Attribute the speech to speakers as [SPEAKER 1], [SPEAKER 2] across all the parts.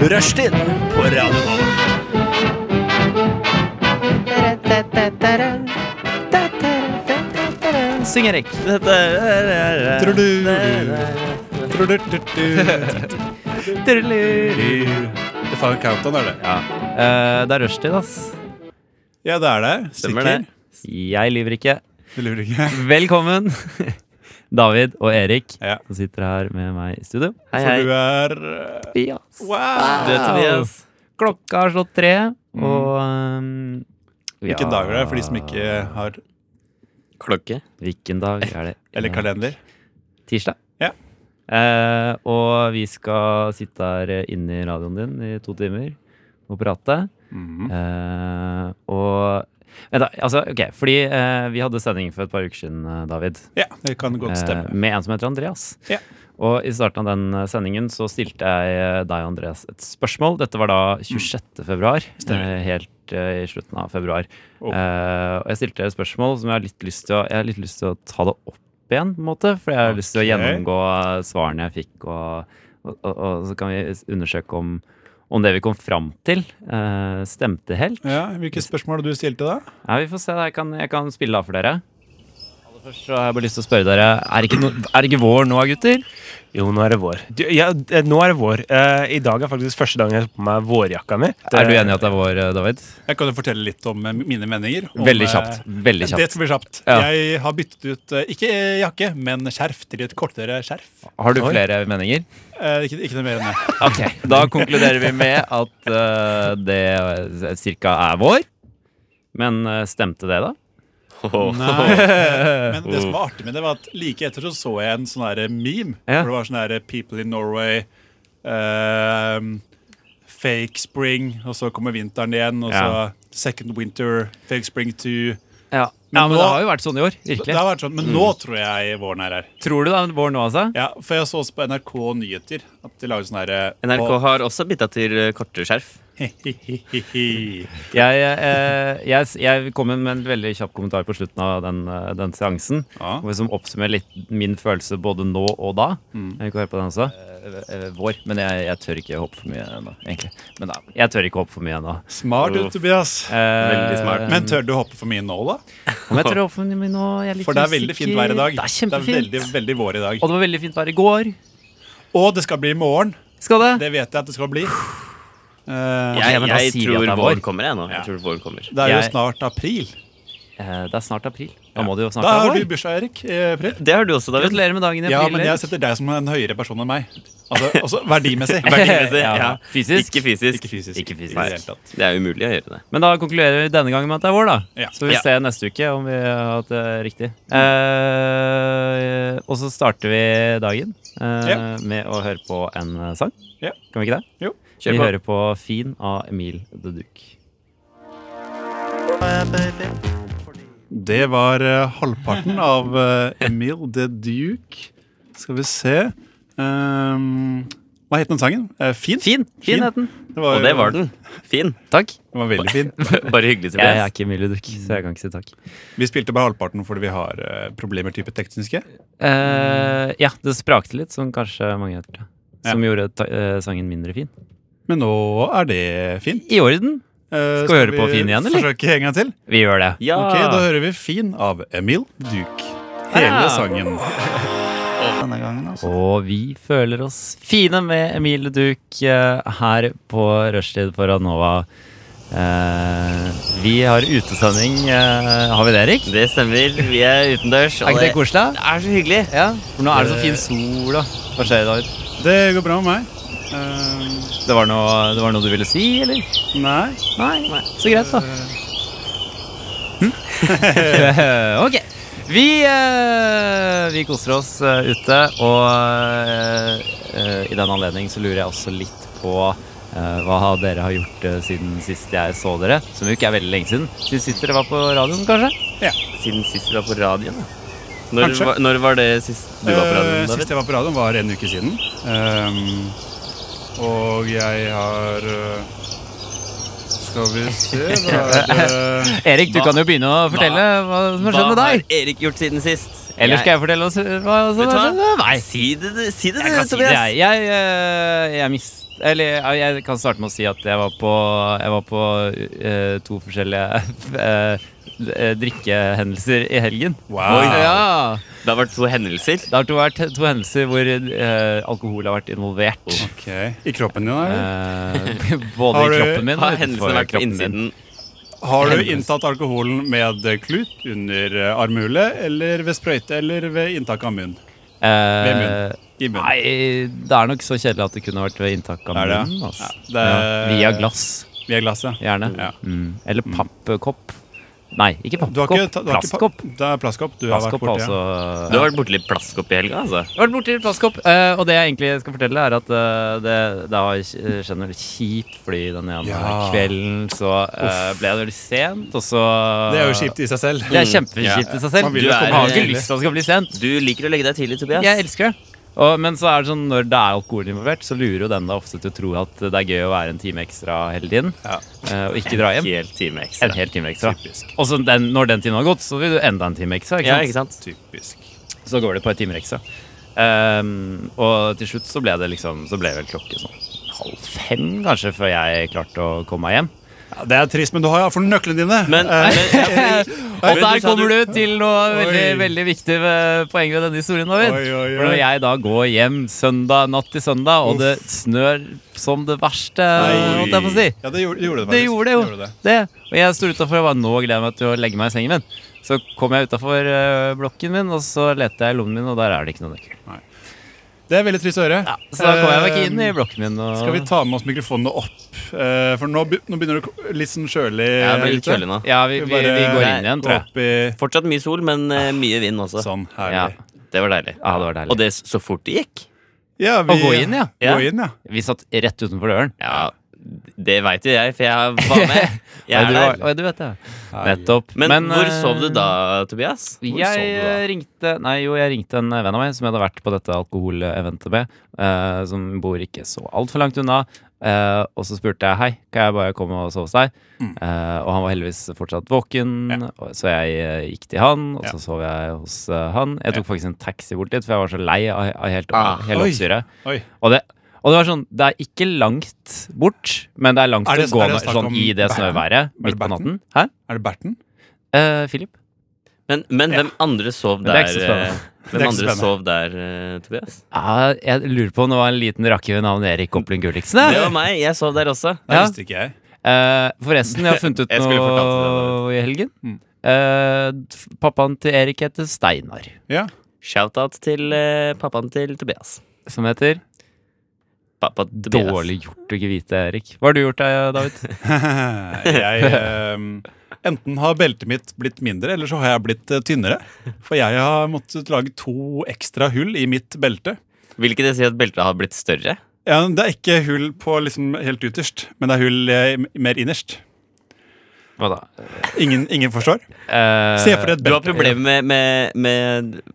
[SPEAKER 1] Rushtid på Radio Nova.
[SPEAKER 2] Syng, Erik.
[SPEAKER 3] Det får en countdown, er det? Ja,
[SPEAKER 2] Eh, det er rushtid, ass.
[SPEAKER 3] det er det.
[SPEAKER 2] Stemmer
[SPEAKER 3] Sikker?
[SPEAKER 2] det. Jeg lyver ikke.
[SPEAKER 3] Det lurer ikke.
[SPEAKER 2] Velkommen, David og Erik,
[SPEAKER 3] Ja.
[SPEAKER 2] som sitter her med meg i studio.
[SPEAKER 3] For du er eh,
[SPEAKER 2] Tobias.
[SPEAKER 3] Wow!
[SPEAKER 2] Du er Tobias. Klokka har slått tre, og um,
[SPEAKER 3] Hvilken dag er det, for de som ikke har
[SPEAKER 4] Klokke.
[SPEAKER 2] Hvilken dag er det?
[SPEAKER 3] Eller kalender.
[SPEAKER 2] Tirsdag.
[SPEAKER 3] Ja.
[SPEAKER 2] Eh, og vi skal sitte her eh, inne i radioen din i to timer og prate. Mhm. Eh, og Vent, da. Altså, ok, fordi eh, vi hadde sending for et par uker siden, eh, David.
[SPEAKER 3] Ja, det kan godt
[SPEAKER 2] eh,
[SPEAKER 3] stemme.
[SPEAKER 2] med en som heter Andreas.
[SPEAKER 3] Ja.
[SPEAKER 2] Og i starten av den eh, sendingen så stilte jeg eh, deg, Andreas, et spørsmål. Dette var da 26. februar.
[SPEAKER 3] Mm. Stemmer.
[SPEAKER 2] eh, Helt eh, i slutten av februar.
[SPEAKER 3] Oh.
[SPEAKER 2] Eh, og jeg stilte deg et spørsmål som jeg har litt lyst til å, jeg har litt lyst til å ta det opp igjen, på en måte. For jeg har lyst til å
[SPEAKER 3] Ok.
[SPEAKER 2] gjennomgå eh, svarene jeg fikk, og, og, og, og så kan vi s- undersøke om, om det vi kom fram til, eh, stemte helt.
[SPEAKER 3] Ja, Hvilke spørsmål hadde du stilte da?
[SPEAKER 2] Ja, vi får se. da. Jeg kan, jeg kan spille av for dere. Aller først så har jeg bare lyst til å spørre dere Er det ikke, no, er det ikke vår nå, gutter?
[SPEAKER 5] Jo, nå er det vår. Du, ja, d- nå er det vår. Eh, I dag er faktisk første dagen jeg har på meg vårjakka mi.
[SPEAKER 2] Er du enig i at det er vår, eh, David?
[SPEAKER 3] Jeg kan jo fortelle litt om eh, mine meninger. Om,
[SPEAKER 2] Veldig
[SPEAKER 3] eh,
[SPEAKER 2] kjapt. Veldig
[SPEAKER 3] Det
[SPEAKER 2] kjapt.
[SPEAKER 3] skal bli kjapt.
[SPEAKER 2] Ja.
[SPEAKER 3] Jeg har byttet ut eh, ikke jakke, men skjerf til et kortere skjerf.
[SPEAKER 2] Har du flere meninger?
[SPEAKER 3] Eh, Ikke, ikke noe mer enn det.
[SPEAKER 2] Ok, Da konkluderer vi med at eh, det cirka er vår. Men eh, stemte det, da?
[SPEAKER 3] Men det som var artig med det, var at like etter så så jeg en sånn her meme.
[SPEAKER 2] Oh. Ja.
[SPEAKER 3] Hvor det var sånn her People in Norway. ehm, fake spring, og så kommer vinteren igjen. Og
[SPEAKER 2] Ja.
[SPEAKER 3] så second winter, fake spring two.
[SPEAKER 2] Ja,
[SPEAKER 3] Men
[SPEAKER 2] men
[SPEAKER 3] nå-
[SPEAKER 2] det har jo vært sånn i år.
[SPEAKER 3] Det
[SPEAKER 2] Virkelig.
[SPEAKER 3] har vært sånn, Men nå
[SPEAKER 2] Mm.
[SPEAKER 3] tror jeg våren er her.
[SPEAKER 2] Tror du det er vår nå, altså?
[SPEAKER 3] Ja, For jeg så også på NRK Nyheter at de lager sånn herre
[SPEAKER 4] NRK har også bytta til eh, kortere skjerf.
[SPEAKER 2] Jeg, eh, jeg, jeg kom med en veldig kjapp kommentar på slutten av den, eh, den seansen.
[SPEAKER 3] Ja.
[SPEAKER 2] hvor- Som oppsummerer litt min følelse både nå og da.
[SPEAKER 3] Mm.
[SPEAKER 2] Jeg kan høre på den også. Eh, vår, men jeg, tør ikke håpe for mye ennå, egentlig. jeg tør ikke håpe for mye ennå.
[SPEAKER 3] Smart du, Tobias.
[SPEAKER 2] Eh, Veldig
[SPEAKER 4] smart.
[SPEAKER 3] Men tør du hoppe for mye nå, da?
[SPEAKER 2] Om jeg tør håpe for mye nå, jeg er litt
[SPEAKER 3] For det er veldig fint vær i dag.
[SPEAKER 2] Det er kjempefint.
[SPEAKER 3] veldig, veldig vår i dag.
[SPEAKER 2] Og det var veldig fint vær i går.
[SPEAKER 3] Og det skal bli i morgen.
[SPEAKER 2] Skal det?
[SPEAKER 3] Det vet jeg at det skal bli. Eh,
[SPEAKER 4] Jeg,
[SPEAKER 2] men da sier
[SPEAKER 4] jeg
[SPEAKER 2] vi at
[SPEAKER 4] tror
[SPEAKER 2] det er vår.
[SPEAKER 4] vår kommer, jeg nå.
[SPEAKER 3] Ja.
[SPEAKER 4] Jeg tror vår kommer.
[SPEAKER 3] Det er jo
[SPEAKER 2] Jeg-
[SPEAKER 3] snart april.
[SPEAKER 2] Eh, det er snart april. Da må det jo snart
[SPEAKER 3] Da har
[SPEAKER 2] være
[SPEAKER 3] du
[SPEAKER 2] vår.
[SPEAKER 3] bursdag, Erik. i april.
[SPEAKER 4] Det har du også, David.
[SPEAKER 2] Gratulerer med dagen i april.
[SPEAKER 3] Ja, men jeg
[SPEAKER 2] Erik.
[SPEAKER 3] setter deg som en høyere person enn meg. Altså, altså verdimessig.
[SPEAKER 4] Verdimessig.
[SPEAKER 2] Ja.
[SPEAKER 4] Ja.
[SPEAKER 2] Fysisk?
[SPEAKER 4] Ikke fysisk.
[SPEAKER 3] Ikke fysisk.
[SPEAKER 2] Ikke fysisk.
[SPEAKER 3] I det hele tatt.
[SPEAKER 4] Det er umulig å gjøre det.
[SPEAKER 2] Men da konkluderer vi denne gangen med at det er vår, da.
[SPEAKER 3] Ja.
[SPEAKER 2] Så vi
[SPEAKER 4] Ja.
[SPEAKER 2] ser neste uke om vi har hatt det riktig. Eh, og så starter vi dagen eh,
[SPEAKER 3] Ja.
[SPEAKER 2] med å høre på en eh, sang.
[SPEAKER 3] Ja.
[SPEAKER 2] Kan vi ikke det?
[SPEAKER 3] Jo.
[SPEAKER 2] vi
[SPEAKER 4] Kjør på.
[SPEAKER 2] hører på Fin av Emil The Duke.
[SPEAKER 3] Det var eh, halvparten av eh, Emil the Duke. Skal vi se Ehm, Hva het den sangen? Eh, fin?
[SPEAKER 2] Fin!
[SPEAKER 3] Fin.
[SPEAKER 2] Fin het den.
[SPEAKER 3] var,
[SPEAKER 4] Og det var den. Fin.
[SPEAKER 2] Takk.
[SPEAKER 3] den var veldig fin.
[SPEAKER 4] Bare hyggelig,
[SPEAKER 2] Jeg er
[SPEAKER 4] Tobias.
[SPEAKER 2] ikke Emil The Duke, så jeg kan ikke si takk.
[SPEAKER 3] Vi spilte bare halvparten fordi vi har eh, problemer type tekniske.
[SPEAKER 2] Eh, ja, det sprakte litt, som kanskje mange har hørt.
[SPEAKER 3] Ja.
[SPEAKER 2] Som gjorde ta eh, sangen mindre fin.
[SPEAKER 3] Men nå er det fin.
[SPEAKER 2] I orden!
[SPEAKER 3] Eh,
[SPEAKER 2] Skal vi høre på fin igjen, eller? Ah.
[SPEAKER 3] Forsøke en gang til?
[SPEAKER 2] Vi gjør det.
[SPEAKER 4] Ja.
[SPEAKER 3] Ok, Da hører vi fin av Emil Duke. Hele
[SPEAKER 2] Ja.
[SPEAKER 3] sangen.
[SPEAKER 2] Og vi føler oss fine med Emilie Duke eh, her på Rushtid på Radnova. Eh, vi har utesending. Eh, har vi det, Erik?
[SPEAKER 4] Det stemmer. Vi er utendørs.
[SPEAKER 2] Er ikke det koselig?
[SPEAKER 4] det er så hyggelig.
[SPEAKER 2] Ja, for nå er det så fin sol, da. Hva skjer, David?
[SPEAKER 3] Det går bra med meg. Eh,
[SPEAKER 2] Det var noe, det var noe du ville si, eller?
[SPEAKER 3] nei.
[SPEAKER 2] Nei, så greit, da. Hm? ok. Vi, eh, vi koser oss eh, ute, og eh, eh, i den anledning så lurer jeg også litt på eh, hva har dere har gjort eh, siden sist jeg så dere, som jo ikke er veldig lenge siden. Siden sist dere var på radioen, kanskje?
[SPEAKER 4] Siden sist vi var på radioen. da. Når,
[SPEAKER 3] Kanskje.
[SPEAKER 4] var- når var det sist du var på
[SPEAKER 3] Eh,
[SPEAKER 4] radioen? David?
[SPEAKER 3] Sist jeg var på radioen, var en uke siden. Eh, og jeg har eh, Skal vi se hva er det?
[SPEAKER 2] Erik, du kan jo begynne å fortelle hva som har skjedd med
[SPEAKER 4] Hva
[SPEAKER 2] deg.
[SPEAKER 4] har Erik gjort siden sist?
[SPEAKER 2] Eller skal jeg fortelle oss eh, hva som
[SPEAKER 4] Vet du hva?
[SPEAKER 2] skjedde med meg?
[SPEAKER 4] Si det, du- si det,
[SPEAKER 2] Jeg
[SPEAKER 4] du,
[SPEAKER 2] kan si det,
[SPEAKER 4] Tobias.
[SPEAKER 2] jeg. Jeg, eh, jeg mist... Eller ja, jeg kan starte med å si at jeg var på, jeg var på eh, to forskjellige eh, eh, drikkehendelser i helgen.
[SPEAKER 5] Wow.
[SPEAKER 2] Ja.
[SPEAKER 4] Det har vært to hendelser.
[SPEAKER 2] Det har to vært to hendelser hvor eh, alkohol har vært involvert.
[SPEAKER 3] Ok. I kroppen din, eller?
[SPEAKER 2] Eh, både
[SPEAKER 3] Har
[SPEAKER 2] i
[SPEAKER 3] du-
[SPEAKER 2] kroppen min
[SPEAKER 4] Har
[SPEAKER 2] og
[SPEAKER 4] hendelsene
[SPEAKER 2] utenfor
[SPEAKER 4] vært på
[SPEAKER 2] kroppen min.
[SPEAKER 4] innsiden?
[SPEAKER 3] Har du inntatt alkoholen med klut under eh, armhulet, eller ved sprøyte, eller ved inntak av munn? Ved munn.
[SPEAKER 2] Eh,
[SPEAKER 3] I munnen.
[SPEAKER 2] nei, det er nok så kjedelig at det kunne vært ved inntak av
[SPEAKER 3] Er det?
[SPEAKER 2] munnen. Altså.
[SPEAKER 3] Ja, det-
[SPEAKER 2] Ja, Via glass,
[SPEAKER 3] Via glasset.
[SPEAKER 2] gjerne.
[SPEAKER 3] Ja.
[SPEAKER 2] Mm. Eller pappkopp. Nei, ikke
[SPEAKER 3] Du har ikke,
[SPEAKER 2] pappkopp.
[SPEAKER 3] ta- du har ikke
[SPEAKER 2] Plastkopp.
[SPEAKER 3] pa- Det er plastkopp. Du har vært
[SPEAKER 2] Plastkopp,
[SPEAKER 3] borti.
[SPEAKER 2] altså.
[SPEAKER 3] ja.
[SPEAKER 4] Du har vært borti litt plastkopp i helga, altså.
[SPEAKER 2] Jeg har vært borti plastkopp, eh, og det jeg egentlig skal fortelle, er at eh, det, det var eh, generelt kjipt, fordi den ene
[SPEAKER 3] Ja.
[SPEAKER 2] kvelden så eh, ble det litt sent, og så
[SPEAKER 3] Det er jo kjipt i seg selv.
[SPEAKER 2] Det er kjempekjipt i seg selv.
[SPEAKER 3] Man vil
[SPEAKER 2] Du
[SPEAKER 4] jo komme
[SPEAKER 2] er, har ikke
[SPEAKER 4] tidlig.
[SPEAKER 2] lyst til at det skal bli sent.
[SPEAKER 4] Du liker å legge deg tidlig, Tobias.
[SPEAKER 2] Jeg elsker det. Og, men så er det sånn, når det er alkohol involvert, så lurer jo den deg ofte til å tro at det er gøy å være en time ekstra hele tiden.
[SPEAKER 3] Ja.
[SPEAKER 2] eh, Og ikke dra hjem.
[SPEAKER 4] Helt time ekstra.
[SPEAKER 2] En hel time ekstra.
[SPEAKER 3] Typisk.
[SPEAKER 2] Og så den, når den timen har gått, så vil du enda en time ekstra. Ikke
[SPEAKER 4] Ja,
[SPEAKER 2] sant?
[SPEAKER 4] ikke sant?
[SPEAKER 3] Typisk.
[SPEAKER 2] Så går det et par timer ekstra. Ehm, og til slutt så ble det liksom Så ble vel klokke sånn halv fem, kanskje, før jeg klarte å komme meg hjem.
[SPEAKER 3] Ja, det er trist, men du har iallfall nøklene dine.
[SPEAKER 4] Men, men ja, fordi-
[SPEAKER 2] Og
[SPEAKER 4] Men
[SPEAKER 2] der
[SPEAKER 4] sa
[SPEAKER 2] kommer du til noe veldig,
[SPEAKER 3] Oi.
[SPEAKER 2] veldig viktig eh, poeng ved denne historien, David.
[SPEAKER 3] Oi, oi, oi.
[SPEAKER 2] For når jeg da går hjem søndag, natt til søndag, og det snør som det verste,
[SPEAKER 3] Nei.
[SPEAKER 2] eh, holdt jeg på å si.
[SPEAKER 3] Ja, det gjorde, gjorde det,
[SPEAKER 2] Det
[SPEAKER 3] faktisk.
[SPEAKER 2] gjorde det jo.
[SPEAKER 3] Gjorde det.
[SPEAKER 2] Det. Og jeg sto utafor og bare nå gleder jeg meg til å legge meg i sengen min. Så kom jeg utafor blokken min, og så lette jeg i lommen min, og der er det ikke noen nøkkel.
[SPEAKER 3] Det er veldig trist å høre. Eh,
[SPEAKER 2] Ja, så da kom jeg meg ikke inn i blokken min. Og...
[SPEAKER 3] Skal vi ta med oss mikrofonene opp? Eh, For nå, be- nå begynner det å ko- litt sånn kjølig.
[SPEAKER 4] Jeg blir litt
[SPEAKER 3] ute.
[SPEAKER 4] kjølig nå.
[SPEAKER 2] Ja, vi, vi,
[SPEAKER 3] Skal bare
[SPEAKER 2] vi går inn igjen,
[SPEAKER 3] gå
[SPEAKER 2] tror jeg.
[SPEAKER 3] opp i-
[SPEAKER 4] Fortsatt mye sol, men eh, mye vind også.
[SPEAKER 3] Sånn,
[SPEAKER 2] Ja.
[SPEAKER 3] herlig.
[SPEAKER 4] Det var deilig.
[SPEAKER 2] Ja, det var deilig.
[SPEAKER 4] Og det s- så fort det gikk.
[SPEAKER 3] Ja,
[SPEAKER 2] Å gå inn, ja.
[SPEAKER 4] Ja.
[SPEAKER 3] Gå inn, ja.
[SPEAKER 2] Vi satt rett utenfor døren.
[SPEAKER 4] Ja, det veit jo jeg, for jeg var med. Jeg
[SPEAKER 2] Oi,
[SPEAKER 4] er
[SPEAKER 2] du, var-
[SPEAKER 4] der.
[SPEAKER 2] oi, du vet det. Nettopp.
[SPEAKER 4] Men, hvor
[SPEAKER 2] eh,
[SPEAKER 4] sov du da, Tobias? Hvor
[SPEAKER 2] jeg
[SPEAKER 4] sov du da?
[SPEAKER 2] eh, ringte Nei, jo, jeg ringte en venn av meg som jeg hadde vært på dette alkoholeventet med, eh, som bor ikke så altfor langt unna. Eh, og så spurte jeg hei, kan jeg bare komme og sove hos deg?
[SPEAKER 3] Mm.
[SPEAKER 2] Eh, og han var heldigvis fortsatt våken, og, så jeg eh, gikk til han, og
[SPEAKER 3] Ja.
[SPEAKER 2] så sov jeg hos eh, han. Jeg tok faktisk en taxi bort dit, for jeg var så lei av, av helt,
[SPEAKER 4] Ah.
[SPEAKER 2] hele
[SPEAKER 3] Oi.
[SPEAKER 2] oppstyret.
[SPEAKER 3] Oi.
[SPEAKER 2] Og det, og det var sånn, det er ikke langt bort, men det er langt
[SPEAKER 3] Er det-
[SPEAKER 2] å gå
[SPEAKER 3] er det
[SPEAKER 2] med,
[SPEAKER 3] snakk
[SPEAKER 2] sånn
[SPEAKER 3] om
[SPEAKER 2] i det
[SPEAKER 3] Bergen? Er
[SPEAKER 2] snøværet
[SPEAKER 3] det
[SPEAKER 2] midt på
[SPEAKER 3] Bergen?
[SPEAKER 2] natten. Hæ?
[SPEAKER 3] Er det Berten?
[SPEAKER 2] Eh, Philip?
[SPEAKER 4] Men, men hvem andre sov
[SPEAKER 2] det
[SPEAKER 4] der?
[SPEAKER 2] er ikke så spennende.
[SPEAKER 4] eh,
[SPEAKER 3] Det
[SPEAKER 4] Hvem
[SPEAKER 3] er ikke så
[SPEAKER 4] andre
[SPEAKER 3] spennende.
[SPEAKER 4] sov der, eh, Tobias?
[SPEAKER 2] Ja, jeg lurer på om det var en liten rakke ved navn Erik Opplund Gulliksen.
[SPEAKER 4] Det
[SPEAKER 2] jeg.
[SPEAKER 4] var meg. Jeg sov der også.
[SPEAKER 3] Det
[SPEAKER 2] Ja.
[SPEAKER 3] visste ikke jeg.
[SPEAKER 2] Eh, forresten, jeg har funnet ut
[SPEAKER 4] Jeg skulle
[SPEAKER 2] noe
[SPEAKER 4] fortalt
[SPEAKER 2] i helgen.
[SPEAKER 3] Mm.
[SPEAKER 2] Eh, f- pappaen til Erik heter Steinar,
[SPEAKER 3] Ja.
[SPEAKER 4] Shout-out til eh, pappaen til Tobias.
[SPEAKER 2] som heter
[SPEAKER 4] Pappa Tobias.
[SPEAKER 2] Dårlig gjort å ikke vite, Erik. Hva har du gjort, da, David?
[SPEAKER 3] Jeg ehm, Enten har beltet mitt blitt mindre, eller så har jeg blitt eh, tynnere. For jeg har måttet lage to ekstra hull i mitt belte.
[SPEAKER 4] Vil ikke det si at beltet har blitt større?
[SPEAKER 3] Ja, det er ikke hull på liksom helt ytterst, men det er hull eh, mer innerst.
[SPEAKER 2] Hva da?
[SPEAKER 3] Ingen, ingen forstår?
[SPEAKER 2] Eh,
[SPEAKER 3] Se for deg et
[SPEAKER 4] Du har
[SPEAKER 3] belte.
[SPEAKER 4] problemer med, med,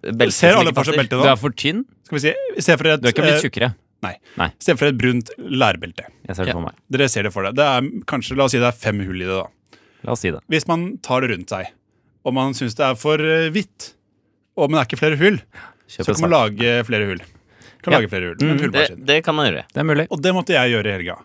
[SPEAKER 4] med beltet
[SPEAKER 3] Ser
[SPEAKER 4] som
[SPEAKER 3] alle
[SPEAKER 4] ikke
[SPEAKER 3] for seg
[SPEAKER 4] passer.
[SPEAKER 3] beltet
[SPEAKER 2] du
[SPEAKER 3] nå?
[SPEAKER 2] er for tynn.
[SPEAKER 3] Skal vi si, se for deg
[SPEAKER 2] Du er
[SPEAKER 3] et,
[SPEAKER 2] ikke blitt tjukkere.
[SPEAKER 3] eh, nei.
[SPEAKER 2] Nei.
[SPEAKER 3] Se for deg et brunt lærbelte.
[SPEAKER 2] Jeg ser det
[SPEAKER 4] Ja.
[SPEAKER 2] for meg.
[SPEAKER 3] Dere ser det for deg. Det er kanskje, La oss si det er fem hull i det. da.
[SPEAKER 2] La oss si det.
[SPEAKER 3] Hvis man tar det rundt seg, og man syns det er for eh, hvitt, og men det er ikke flere hull, så
[SPEAKER 2] Kjøp en
[SPEAKER 3] kan man
[SPEAKER 2] svart.
[SPEAKER 3] lage flere hull. Kan
[SPEAKER 2] Ja. Mm.
[SPEAKER 3] lage flere hull, med
[SPEAKER 4] Det,
[SPEAKER 3] hullmaskin.
[SPEAKER 4] det kan man gjøre.
[SPEAKER 2] Det er mulig.
[SPEAKER 3] Og det måtte jeg gjøre i helga.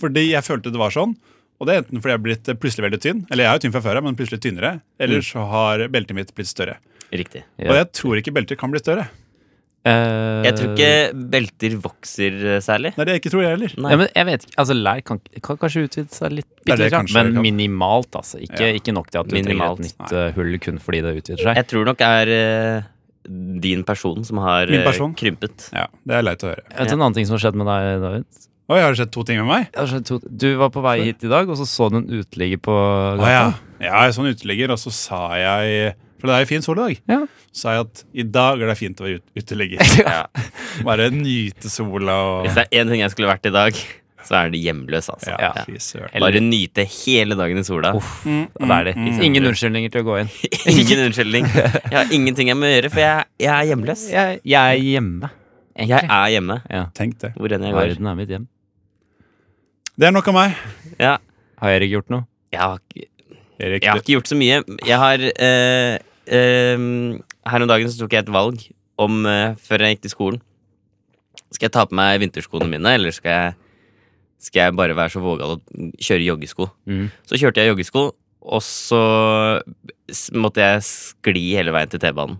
[SPEAKER 3] Fordi jeg følte det var sånn. Og det er enten fordi jeg er blitt eh, plutselig veldig tynn, eller jeg er jo tynn fra før av, men plutselig tynnere. Eller så har beltet mitt blitt større.
[SPEAKER 4] Riktig.
[SPEAKER 2] Mm. Ja.
[SPEAKER 3] Og jeg tror ikke belter kan bli større.
[SPEAKER 2] Eh,
[SPEAKER 4] Jeg tror ikke belter vokser eh, særlig.
[SPEAKER 3] Nei, det er ikke tror jeg heller.
[SPEAKER 4] Nei.
[SPEAKER 2] Ja, men jeg vet ikke, altså Lær kan, kan kanskje utvide seg litt,
[SPEAKER 3] Det er det
[SPEAKER 2] bitte litt,
[SPEAKER 3] kanskje det
[SPEAKER 2] men
[SPEAKER 3] kan.
[SPEAKER 2] minimalt. altså ikke,
[SPEAKER 3] Ja.
[SPEAKER 2] ikke nok til at du trenger
[SPEAKER 4] Minimalt.
[SPEAKER 2] et nytt eh, hull kun fordi det utvider seg.
[SPEAKER 4] Jeg tror nok er eh, din person som har
[SPEAKER 3] Min
[SPEAKER 4] eh,
[SPEAKER 3] person?
[SPEAKER 4] krympet.
[SPEAKER 3] Ja, Det er leit å høre.
[SPEAKER 2] Vet du en sånn annen ting som har skjedd med deg, David?
[SPEAKER 3] Oi, har det skjedd to ting med meg?
[SPEAKER 2] Det har skjedd to- Du var på vei hit i dag, og så så du en uteligger på gata.
[SPEAKER 3] Å, ja. ja, jeg er sånn uteligger, og så sa jeg For det er jo fin sol i dag.
[SPEAKER 2] Ja.
[SPEAKER 3] Så sa jeg at i dag er det fint å være ut- uteligger.
[SPEAKER 4] Ja.
[SPEAKER 3] Bare nyte sola og
[SPEAKER 4] Hvis det er én ting jeg skulle vært i dag, så er det hjemløs, altså.
[SPEAKER 3] Ja,
[SPEAKER 2] Ja.
[SPEAKER 3] fy søren.
[SPEAKER 4] Bare nyte hele dagen i sola. Mm,
[SPEAKER 2] Det er det. Ingen unnskyldninger til å gå inn.
[SPEAKER 4] Ingen unnskyldning. Jeg har ingenting jeg må gjøre, for jeg, jeg er hjemløs.
[SPEAKER 2] Jeg, jeg er hjemme.
[SPEAKER 4] Jeg er hjemme
[SPEAKER 3] Tenk det.
[SPEAKER 4] hvor enn jeg går.
[SPEAKER 2] Verden er mitt hjem.
[SPEAKER 3] Det er nok av meg.
[SPEAKER 4] Ja,
[SPEAKER 2] Har Erik gjort noe?
[SPEAKER 4] jeg, har, ikke-
[SPEAKER 3] Erik,
[SPEAKER 4] jeg har
[SPEAKER 3] du-
[SPEAKER 4] ikke gjort så mye. Jeg har eh, eh, her om dagen så tok jeg et valg om eh, før jeg gikk til skolen. Skal jeg ta på meg vinterskoene mine, eller skal jeg, skal jeg bare være så vågal og kjøre joggesko?
[SPEAKER 2] Mm.
[SPEAKER 4] Så kjørte jeg joggesko, og så s- måtte jeg skli hele veien til T-banen.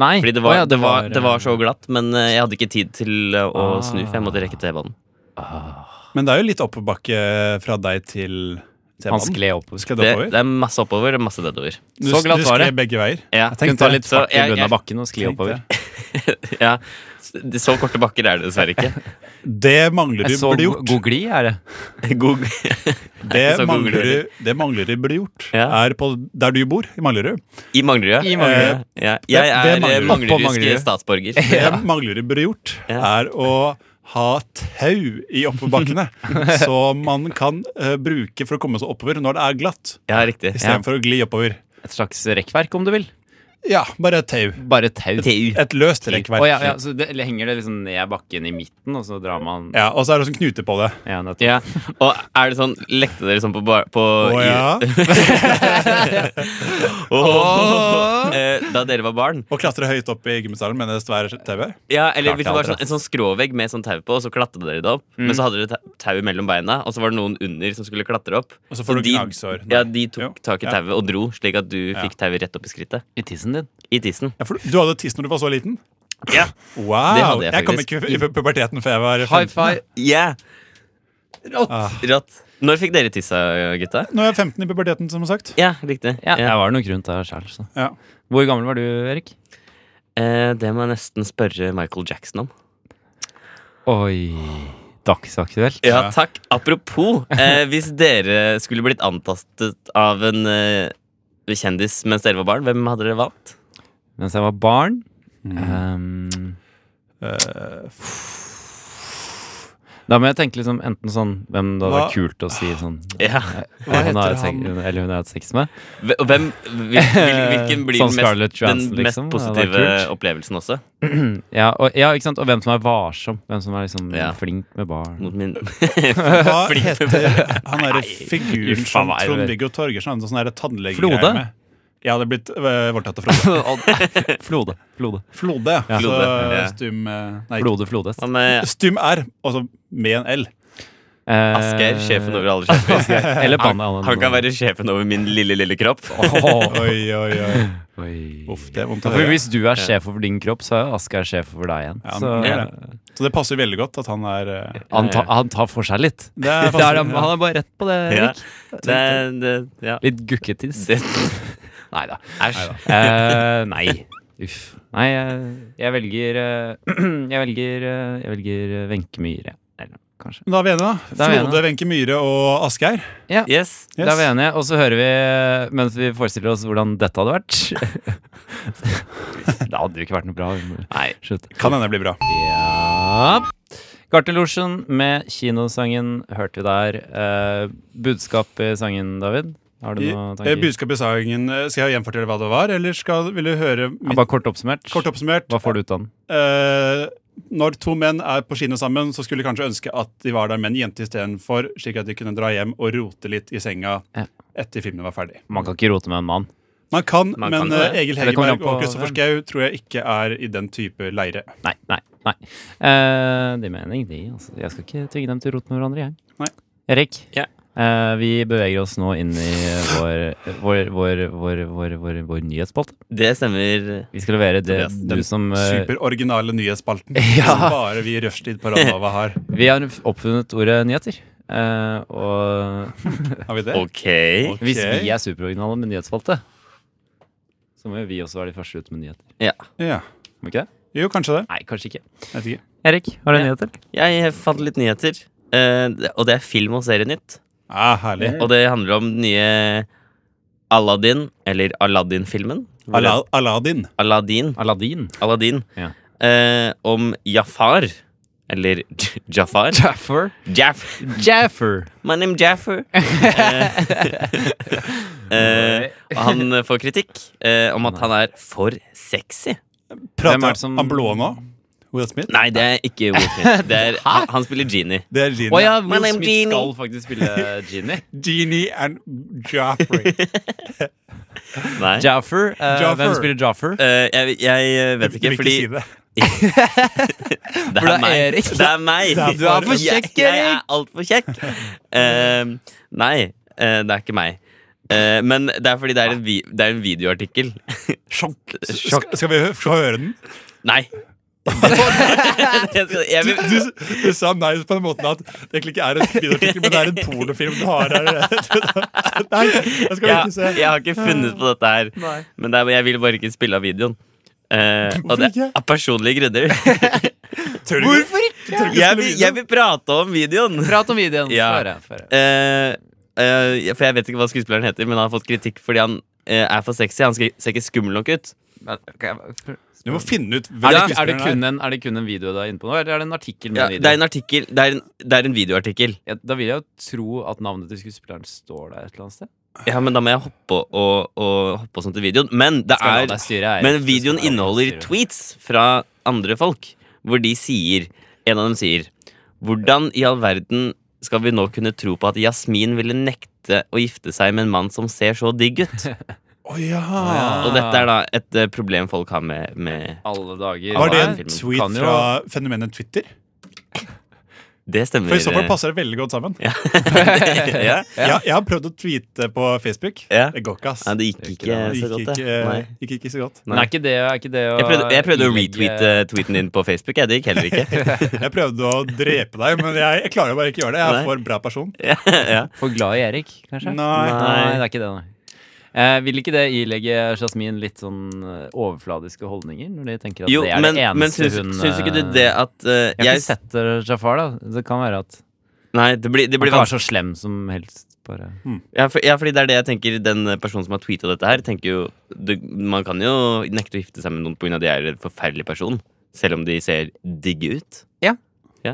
[SPEAKER 2] Nei.
[SPEAKER 4] Fordi det var,
[SPEAKER 2] Å ja,
[SPEAKER 4] det, var, det var så glatt, men eh, jeg hadde ikke tid til eh, å
[SPEAKER 2] Ah.
[SPEAKER 4] snu, for jeg måtte rekke T-banen.
[SPEAKER 3] Men det er jo litt oppebakke fra deg til til
[SPEAKER 2] Han
[SPEAKER 3] mannen.
[SPEAKER 2] skled opp.
[SPEAKER 3] Skal
[SPEAKER 4] Det,
[SPEAKER 3] det oppover?
[SPEAKER 4] det er masse oppover og masse nedover.
[SPEAKER 3] Du,
[SPEAKER 2] så glatt
[SPEAKER 3] du
[SPEAKER 2] var
[SPEAKER 3] skled
[SPEAKER 2] det.
[SPEAKER 3] begge veier.
[SPEAKER 4] Ja,
[SPEAKER 3] tenkte
[SPEAKER 2] Kunne ta
[SPEAKER 3] det.
[SPEAKER 2] litt fart i
[SPEAKER 4] Så jeg-
[SPEAKER 2] bunnen av
[SPEAKER 4] jeg-
[SPEAKER 2] bakken og skli
[SPEAKER 3] Tenkte
[SPEAKER 2] oppover.
[SPEAKER 4] ja. Så- Så korte bakker er det dessverre ikke.
[SPEAKER 3] Det mangler du
[SPEAKER 2] Jeg så
[SPEAKER 3] burde
[SPEAKER 2] go-
[SPEAKER 3] gjort.
[SPEAKER 2] god glid, er det.
[SPEAKER 4] God,
[SPEAKER 3] Det
[SPEAKER 4] så god
[SPEAKER 3] mangler
[SPEAKER 4] glede.
[SPEAKER 3] du, det mangler du burde gjort.
[SPEAKER 4] Ja.
[SPEAKER 3] Er på der du bor, i Manglerud.
[SPEAKER 4] I Manglerud,
[SPEAKER 2] I Manglerud.
[SPEAKER 4] Eh, ja.
[SPEAKER 3] Det-
[SPEAKER 4] Jeg
[SPEAKER 3] det
[SPEAKER 4] er
[SPEAKER 3] mangler
[SPEAKER 4] eh,
[SPEAKER 3] du.
[SPEAKER 2] På Manglerud.
[SPEAKER 4] manglerudsk statsborger.
[SPEAKER 3] Det Manglerud burde gjort,
[SPEAKER 4] Ja.
[SPEAKER 3] er å ha tau i oppoverbakkene. så man kan eh, bruke for å komme seg oppover når det er glatt,
[SPEAKER 4] Ja, riktig. Ja.
[SPEAKER 3] istedenfor for å gli oppover.
[SPEAKER 2] Et slags rekkverk, om du vil.
[SPEAKER 3] Ja, bare et tau.
[SPEAKER 2] Bare tau.
[SPEAKER 4] TU.
[SPEAKER 3] Et løst
[SPEAKER 2] Å
[SPEAKER 3] rekkverk.
[SPEAKER 2] ja, ja, så det, eller henger det liksom ned bakken i midten, og så drar man
[SPEAKER 3] Ja, og så er det også en knute på det.
[SPEAKER 2] Ja, nettopp.
[SPEAKER 4] Ja. Og er det sånn Lekte dere sånn på bar... På,
[SPEAKER 3] Å ja.
[SPEAKER 4] Åh. Eh, Da dere var barn?
[SPEAKER 3] Og klatre høyt opp i gymsalen med det svære tauet.
[SPEAKER 4] Ja, eller
[SPEAKER 2] Klart
[SPEAKER 4] hvis det var
[SPEAKER 2] jeg hadde
[SPEAKER 4] sånn, en sånn skråvegg med sånn tau på, og så klatra dere det opp.
[SPEAKER 3] Mm.
[SPEAKER 4] Men så hadde dere ta- tau mellom beina, og så var det noen under som skulle klatre opp.
[SPEAKER 3] Og så får du
[SPEAKER 4] de-
[SPEAKER 3] gnagsår.
[SPEAKER 4] Ja, de
[SPEAKER 3] Jo.
[SPEAKER 4] tok tak i
[SPEAKER 3] Ja.
[SPEAKER 4] tauet og dro, slik at du fikk tauet rett opp i skrittet.
[SPEAKER 2] I tissen din.
[SPEAKER 4] I tissen.
[SPEAKER 3] Ja, for du hadde tiss når du var så liten?
[SPEAKER 4] Ja. Det
[SPEAKER 3] Wow!
[SPEAKER 4] hadde
[SPEAKER 3] Jeg,
[SPEAKER 4] jeg
[SPEAKER 3] kom
[SPEAKER 4] faktisk.
[SPEAKER 3] ikke i pu- puberteten før jeg var
[SPEAKER 2] High
[SPEAKER 3] 15.
[SPEAKER 2] five.
[SPEAKER 4] Yeah. Rått.
[SPEAKER 3] Ah.
[SPEAKER 4] Rått. Når fikk dere tissa, gutta?
[SPEAKER 3] Nå er jeg 15 i puberteten, som sagt.
[SPEAKER 4] Ja, riktig.
[SPEAKER 2] Ja,
[SPEAKER 4] Ja.
[SPEAKER 2] jeg var nok rundt der sjøl, så.
[SPEAKER 3] Ja.
[SPEAKER 2] Hvor gammel var du, Erik?
[SPEAKER 4] Eh, det må jeg nesten spørre Michael Jackson om.
[SPEAKER 2] Oi. Dagsaktuelt.
[SPEAKER 4] Ja,
[SPEAKER 3] Ja.
[SPEAKER 4] takk. Apropos, eh, hvis dere skulle blitt antastet av en eh, kjendis mens dere var barn, hvem hadde dere valgt?
[SPEAKER 2] Mens jeg var barn ehm,
[SPEAKER 3] Mm. Eh, f-
[SPEAKER 2] Da må jeg tenke liksom enten sånn hvem det hadde vært
[SPEAKER 3] Hva-
[SPEAKER 2] kult å si sånn
[SPEAKER 4] Ja.
[SPEAKER 3] Hva
[SPEAKER 2] hun har
[SPEAKER 3] heter
[SPEAKER 2] hatt sex-
[SPEAKER 3] han?
[SPEAKER 2] Eller hun har hatt sex med.
[SPEAKER 4] Hve- Og hvem, hvil, hvil, hvilken blir
[SPEAKER 2] Sånn
[SPEAKER 4] den
[SPEAKER 2] Scarlett
[SPEAKER 4] mest, den
[SPEAKER 2] Johansson,
[SPEAKER 4] mest
[SPEAKER 2] liksom? Ja, det er
[SPEAKER 4] positive
[SPEAKER 2] kult.
[SPEAKER 4] opplevelsen også?
[SPEAKER 2] Ja, og, ja, ikke sant? Og hvem som er varsom. Hvem som er liksom
[SPEAKER 4] Ja.
[SPEAKER 2] flink med barn.
[SPEAKER 4] Mot min
[SPEAKER 3] Hva heter han derre figuren
[SPEAKER 2] Uffa
[SPEAKER 3] som
[SPEAKER 2] meg, det-
[SPEAKER 3] Trond-Viggo Torgersen hadde sånn derre
[SPEAKER 2] Flode?
[SPEAKER 3] tannlegegreier med? Jeg hadde blitt øh, voldtatt av Frode.
[SPEAKER 2] Flode. Flode.
[SPEAKER 3] Flode, ja. Så
[SPEAKER 4] Flode, ja.
[SPEAKER 3] stum øh, Nei,
[SPEAKER 2] Flode flodest.
[SPEAKER 4] Hva med
[SPEAKER 3] stum R, altså med en L.
[SPEAKER 2] Eh,
[SPEAKER 4] Asgeir, sjefen over alle sjefer?
[SPEAKER 2] Eller banne alle.
[SPEAKER 4] Han kan være sjefen over min lille, lille kropp.
[SPEAKER 2] Åh,
[SPEAKER 3] Oi, oi, oi.
[SPEAKER 2] oi.
[SPEAKER 3] Uff, det er vondt å
[SPEAKER 2] Ja, for
[SPEAKER 3] høre.
[SPEAKER 2] hvis du er sjef over din kropp, så er Asgeir sjef over deg igjen.
[SPEAKER 3] Ja,
[SPEAKER 2] så,
[SPEAKER 3] han er Så det passer veldig godt at han er øh,
[SPEAKER 2] han, tar- han tar for seg litt.
[SPEAKER 3] det er
[SPEAKER 2] Det er,
[SPEAKER 3] passer,
[SPEAKER 2] han han er bare rett på det,
[SPEAKER 4] Ja.
[SPEAKER 2] Erik.
[SPEAKER 4] Det, det, ja.
[SPEAKER 2] Litt gukketiss.
[SPEAKER 4] Det-
[SPEAKER 2] Nei da.
[SPEAKER 4] Æsj.
[SPEAKER 2] Eh, nei. Uff. Nei, jeg, jeg velger eh, Jeg velger eh, Jeg velger eh, Wenche Myhre. Eller kanskje.
[SPEAKER 3] Da er vi enige, da.
[SPEAKER 2] Da er vi enige.
[SPEAKER 3] Frode, Wenche Myhre og Asgeir.
[SPEAKER 4] Yes.
[SPEAKER 3] Yes.
[SPEAKER 2] Da er vi enige. Og så hører vi, eh, mens vi forestiller oss hvordan dette hadde vært Det hadde jo ikke vært noe bra. vi må-
[SPEAKER 4] Nei.
[SPEAKER 2] Slutt.
[SPEAKER 3] Kan hende blir bra.
[SPEAKER 2] Ja Gartelosjen med kinosangen hørte vi der. Eh, budskap i sangen, David? Har du
[SPEAKER 3] I, eh,
[SPEAKER 2] noen tanker?
[SPEAKER 3] budskapet i sangen eh, Skal jeg gjenfortelle hva det var, eller skal, vil du høre
[SPEAKER 2] Ja,
[SPEAKER 3] mitt
[SPEAKER 2] bare kort oppsummert.
[SPEAKER 3] kort oppsummert?
[SPEAKER 2] Hva får du ut av den?
[SPEAKER 3] Eh, når to menn er på kino sammen, så skulle jeg kanskje ønske at de var der med en jente istedenfor, slik at de kunne dra hjem og rote litt i senga
[SPEAKER 2] Ja.
[SPEAKER 3] etter filmen var ferdig.
[SPEAKER 2] Man kan ikke rote med en mann.
[SPEAKER 3] Man kan,
[SPEAKER 4] Man
[SPEAKER 3] men
[SPEAKER 4] kan det.
[SPEAKER 3] eh, Egil
[SPEAKER 2] Det kommer an
[SPEAKER 3] Hegerberg og
[SPEAKER 2] på
[SPEAKER 3] Kristoffer
[SPEAKER 2] hvem.
[SPEAKER 3] Schou tror jeg ikke er i den type leire.
[SPEAKER 2] Nei, nei, nei. Eh, det er mening, de. Altså, jeg skal ikke tvinge dem til å rote med hverandre, jeg.
[SPEAKER 3] Nei.
[SPEAKER 2] Erik,
[SPEAKER 4] Ja.
[SPEAKER 2] eh, vi beveger oss nå inn i vår, vår, vår, vår, vår, vår, vår nyhetsspalte.
[SPEAKER 4] Det stemmer.
[SPEAKER 2] Vi skal levere det
[SPEAKER 4] Tobias,
[SPEAKER 2] du som eh,
[SPEAKER 3] Superoriginale nyhetsspalten
[SPEAKER 2] Ja.
[SPEAKER 3] som bare vi i Rushtid på Radnova har.
[SPEAKER 2] Vi har oppfunnet ordet nyheter. Eh, og
[SPEAKER 3] Har vi det?
[SPEAKER 4] Ok.
[SPEAKER 3] Ok.
[SPEAKER 2] Hvis vi er superoriginale med nyhetsspalte, så må jo vi også være de første ut med nyheter.
[SPEAKER 4] Ja.
[SPEAKER 3] Ja.
[SPEAKER 2] Må ikke det?
[SPEAKER 3] Jo, kanskje det.
[SPEAKER 2] Nei, kanskje ikke.
[SPEAKER 3] Jeg vet ikke.
[SPEAKER 2] Erik, har du
[SPEAKER 4] Ja.
[SPEAKER 2] nyheter?
[SPEAKER 4] Jeg fant litt nyheter, eh, og det er film- og serienytt.
[SPEAKER 3] Ah, herlig.
[SPEAKER 4] Og det handler om den nye Aladdin, eller Aladdin-filmen. Hvor det-
[SPEAKER 3] Ala Aladdin.
[SPEAKER 4] Aladdin.
[SPEAKER 2] Aladdin.
[SPEAKER 4] Aladdin.
[SPEAKER 2] Ja.
[SPEAKER 4] Eh, om Jafar. Eller J- Jafar.
[SPEAKER 2] Jaffer.
[SPEAKER 4] Jaff.
[SPEAKER 2] Jaffer.
[SPEAKER 4] My name Jaffer. Eh, eh, og han eh, får kritikk eh, om at han er for sexy.
[SPEAKER 2] Hvem er
[SPEAKER 3] Prater
[SPEAKER 2] det som-
[SPEAKER 3] han blå nå? Will Smith?
[SPEAKER 4] Nei, det er ikke Will Smith. Det er, han, han spiller Genie.
[SPEAKER 3] Det er Genie.
[SPEAKER 2] Å ja,
[SPEAKER 4] My
[SPEAKER 2] Will
[SPEAKER 4] name
[SPEAKER 2] Smith
[SPEAKER 4] Genie.
[SPEAKER 2] skal faktisk spille Genie.
[SPEAKER 3] Genie and Joffrey.
[SPEAKER 4] Nei.
[SPEAKER 2] Jaffer. eh,
[SPEAKER 3] Jaffer.
[SPEAKER 2] Hvem spiller Jaffer?
[SPEAKER 4] Eh, jeg, jeg vet ikke, fordi
[SPEAKER 3] det.
[SPEAKER 4] det
[SPEAKER 2] For det er
[SPEAKER 4] er meg.
[SPEAKER 2] Erik.
[SPEAKER 4] Det er meg.
[SPEAKER 2] er Du er for kjekk,
[SPEAKER 4] Jeg, jeg er
[SPEAKER 2] Erik.
[SPEAKER 4] altfor kjekk. Eh, nei, eh, det er ikke meg. Eh, men det er fordi det er en, vi det er en videoartikkel.
[SPEAKER 3] Sjokk. Skal, skal vi hø- få høre den?
[SPEAKER 4] Nei. Jeg skal- jeg
[SPEAKER 3] Du,
[SPEAKER 4] vil-
[SPEAKER 3] du, du sa nei på den måten at det egentlig ikke er en videoartikkel, men det er en pornofilm du har her. Nei, jeg skal ikke se.
[SPEAKER 4] jeg, jeg har ikke funnet på dette her. Men det er, jeg vil bare ikke spille av videoen. Eh, og det
[SPEAKER 3] ikke?
[SPEAKER 4] er av personlige grunner.
[SPEAKER 3] Tør du ikke?
[SPEAKER 2] Hvorfor ikke?
[SPEAKER 3] Tør du ikke spille
[SPEAKER 4] Jeg vil,
[SPEAKER 3] video?
[SPEAKER 4] jeg vil prate om videoen.
[SPEAKER 2] Prat om videoen.
[SPEAKER 4] Ja.
[SPEAKER 2] Få høre, få høre.
[SPEAKER 4] Eh, eh, for jeg vet ikke hva skuespilleren heter, men han har fått kritikk fordi han eh, er for sexy. Han skal, ser ikke skummel nok ut.
[SPEAKER 3] Du må finne ut
[SPEAKER 2] Er
[SPEAKER 3] hvem
[SPEAKER 2] det, er, det
[SPEAKER 3] skuespilleren
[SPEAKER 2] kun en, er det kun en video du er inne på nå, eller er det en artikkel med
[SPEAKER 4] Ja,
[SPEAKER 2] en
[SPEAKER 4] det
[SPEAKER 2] video?
[SPEAKER 4] er en artikkel Det er en, det er en videoartikkel.
[SPEAKER 2] Ja, da vil jeg jo tro at navnet til skuespilleren står der et eller annet sted.
[SPEAKER 4] Ja, men da må jeg hoppe og, og hoppe og sånn til videoen. Men, det
[SPEAKER 2] Skal jeg la
[SPEAKER 4] er,
[SPEAKER 2] deg styre, Eirik?
[SPEAKER 4] men
[SPEAKER 2] Du skal la
[SPEAKER 4] videoen
[SPEAKER 2] meg
[SPEAKER 4] inneholder
[SPEAKER 2] styre.
[SPEAKER 4] tweets fra andre folk, hvor de sier En av dem sier Hvordan i all verden skal vi nå kunne tro på at Jasmin ville nekte å gifte seg med en mann som ser så digg ut?
[SPEAKER 3] Å ja.
[SPEAKER 2] Ja.
[SPEAKER 4] Og dette er da et eh, problem folk har med, med
[SPEAKER 2] Alle dager.
[SPEAKER 3] Var det en
[SPEAKER 4] Filmen
[SPEAKER 3] tweet
[SPEAKER 2] kan jo-
[SPEAKER 3] fra fenomenet Twitter?
[SPEAKER 4] Det stemmer.
[SPEAKER 3] For i så fall passer det veldig godt sammen.
[SPEAKER 4] ja.
[SPEAKER 3] Jeg, jeg har prøvd å tweete på Facebook.
[SPEAKER 4] Ja.
[SPEAKER 3] Det går ikke, ass.
[SPEAKER 4] Nei, det gikk ikke
[SPEAKER 3] Det gikk
[SPEAKER 4] så godt,
[SPEAKER 3] ikke, eh,
[SPEAKER 4] det. Nei.
[SPEAKER 3] gikk ikke så godt.
[SPEAKER 2] Men er ikke det, er ikke det å
[SPEAKER 4] Jeg prøvde, jeg prøvde å
[SPEAKER 2] ilegge-
[SPEAKER 4] retweete tweeten din på Facebook. Jeg, det gikk heller ikke.
[SPEAKER 3] Jeg prøvde å drepe deg, men jeg, jeg klarer bare ikke å gjøre det. Jeg
[SPEAKER 4] Nei.
[SPEAKER 3] er for bra person.
[SPEAKER 4] ja, ja.
[SPEAKER 2] For glad i Erik, kanskje?
[SPEAKER 3] Nei.
[SPEAKER 2] Nei, det er ikke det, nei. Eh, vil ikke det ilegge Jasmin litt sånn eh, overfladiske holdninger? Når de tenker at
[SPEAKER 4] Jo,
[SPEAKER 2] det er
[SPEAKER 4] men,
[SPEAKER 2] det eneste
[SPEAKER 4] men syns,
[SPEAKER 2] hun
[SPEAKER 4] syns ikke du
[SPEAKER 2] eh,
[SPEAKER 4] det at eh,
[SPEAKER 2] Jeg har
[SPEAKER 4] jeg,
[SPEAKER 2] ikke sett eh, Jafar, da. Det kan være at
[SPEAKER 4] Nei, det blir, det
[SPEAKER 2] han
[SPEAKER 4] blir
[SPEAKER 2] kan være
[SPEAKER 4] vanskelig.
[SPEAKER 2] så slem som helst. Bare.
[SPEAKER 4] Ja, for, ja, fordi det er det jeg tenker Den personen som har tweeta dette her, tenker jo det, Man kan jo nekte å gifte seg med noen pga. at de er en forferdelig person. Selv om de ser digge ut.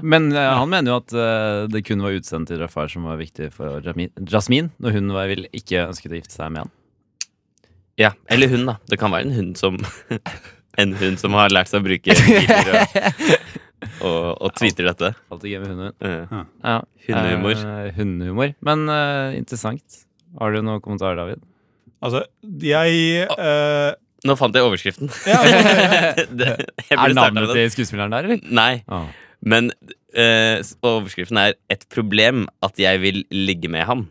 [SPEAKER 2] Men eh, han mener jo at eh, det kun var utseendet til Jafar som var viktig for Jami- Jasmin, når hun var, vil ikke ønsket å gifte seg med han.
[SPEAKER 4] Ja, Eller hun, da. Det kan være en hund som En hund som har lært seg å bruke biler og, og, og tweeter dette.
[SPEAKER 2] Alltid gøy med hunden.
[SPEAKER 4] Eh,
[SPEAKER 2] Ja.
[SPEAKER 4] Hundehumor.
[SPEAKER 2] Eh, hundehumor. Men eh, interessant. Har du noen kommentarer, David?
[SPEAKER 3] Altså, jeg eh,
[SPEAKER 4] Nå fant jeg overskriften.
[SPEAKER 3] ja, altså,
[SPEAKER 4] det, jeg
[SPEAKER 2] Er
[SPEAKER 4] burde starta
[SPEAKER 2] navnet
[SPEAKER 4] med det.
[SPEAKER 2] til skuespilleren der, eller?
[SPEAKER 4] Nei,
[SPEAKER 2] Ah.
[SPEAKER 4] men eh, s- overskriften er 'Et problem at jeg vil ligge med ham'.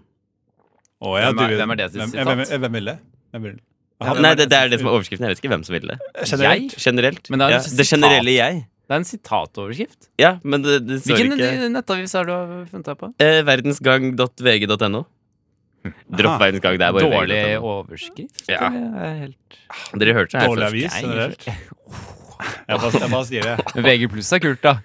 [SPEAKER 3] å, ja,
[SPEAKER 2] Hvem er-
[SPEAKER 3] du-
[SPEAKER 2] hvem er det sitt
[SPEAKER 3] hvem-
[SPEAKER 2] sitat?
[SPEAKER 3] Hvem, hvem, hvem ville? Hvem ville? Han-
[SPEAKER 4] Nei, det, det er det som er overskriften. Jeg vet ikke hvem som vil det.
[SPEAKER 3] Generelt?
[SPEAKER 2] Jeg?
[SPEAKER 4] Generelt.
[SPEAKER 2] Men det er
[SPEAKER 4] ja,
[SPEAKER 2] et
[SPEAKER 4] det
[SPEAKER 2] sitat.
[SPEAKER 4] generelle jeg.
[SPEAKER 2] Det er en sitatoverskrift.
[SPEAKER 4] Ja, men det, det står
[SPEAKER 2] Hvilken eh,
[SPEAKER 4] ikke
[SPEAKER 2] nettavis har du funnet deg på?
[SPEAKER 4] eh, Verdensgang.vg.no. Dropp
[SPEAKER 3] Aha.
[SPEAKER 4] verdensgang. Det er bare
[SPEAKER 2] Dårlig
[SPEAKER 4] vg.no.
[SPEAKER 2] overskrift?
[SPEAKER 4] Ja.
[SPEAKER 2] Det er helt...
[SPEAKER 4] Dere hørte det her
[SPEAKER 3] Dårlig
[SPEAKER 4] først.
[SPEAKER 3] avis
[SPEAKER 2] jeg-
[SPEAKER 3] generelt? Jeg bare, jeg bare sier det.
[SPEAKER 2] Men VG pluss er kult, da.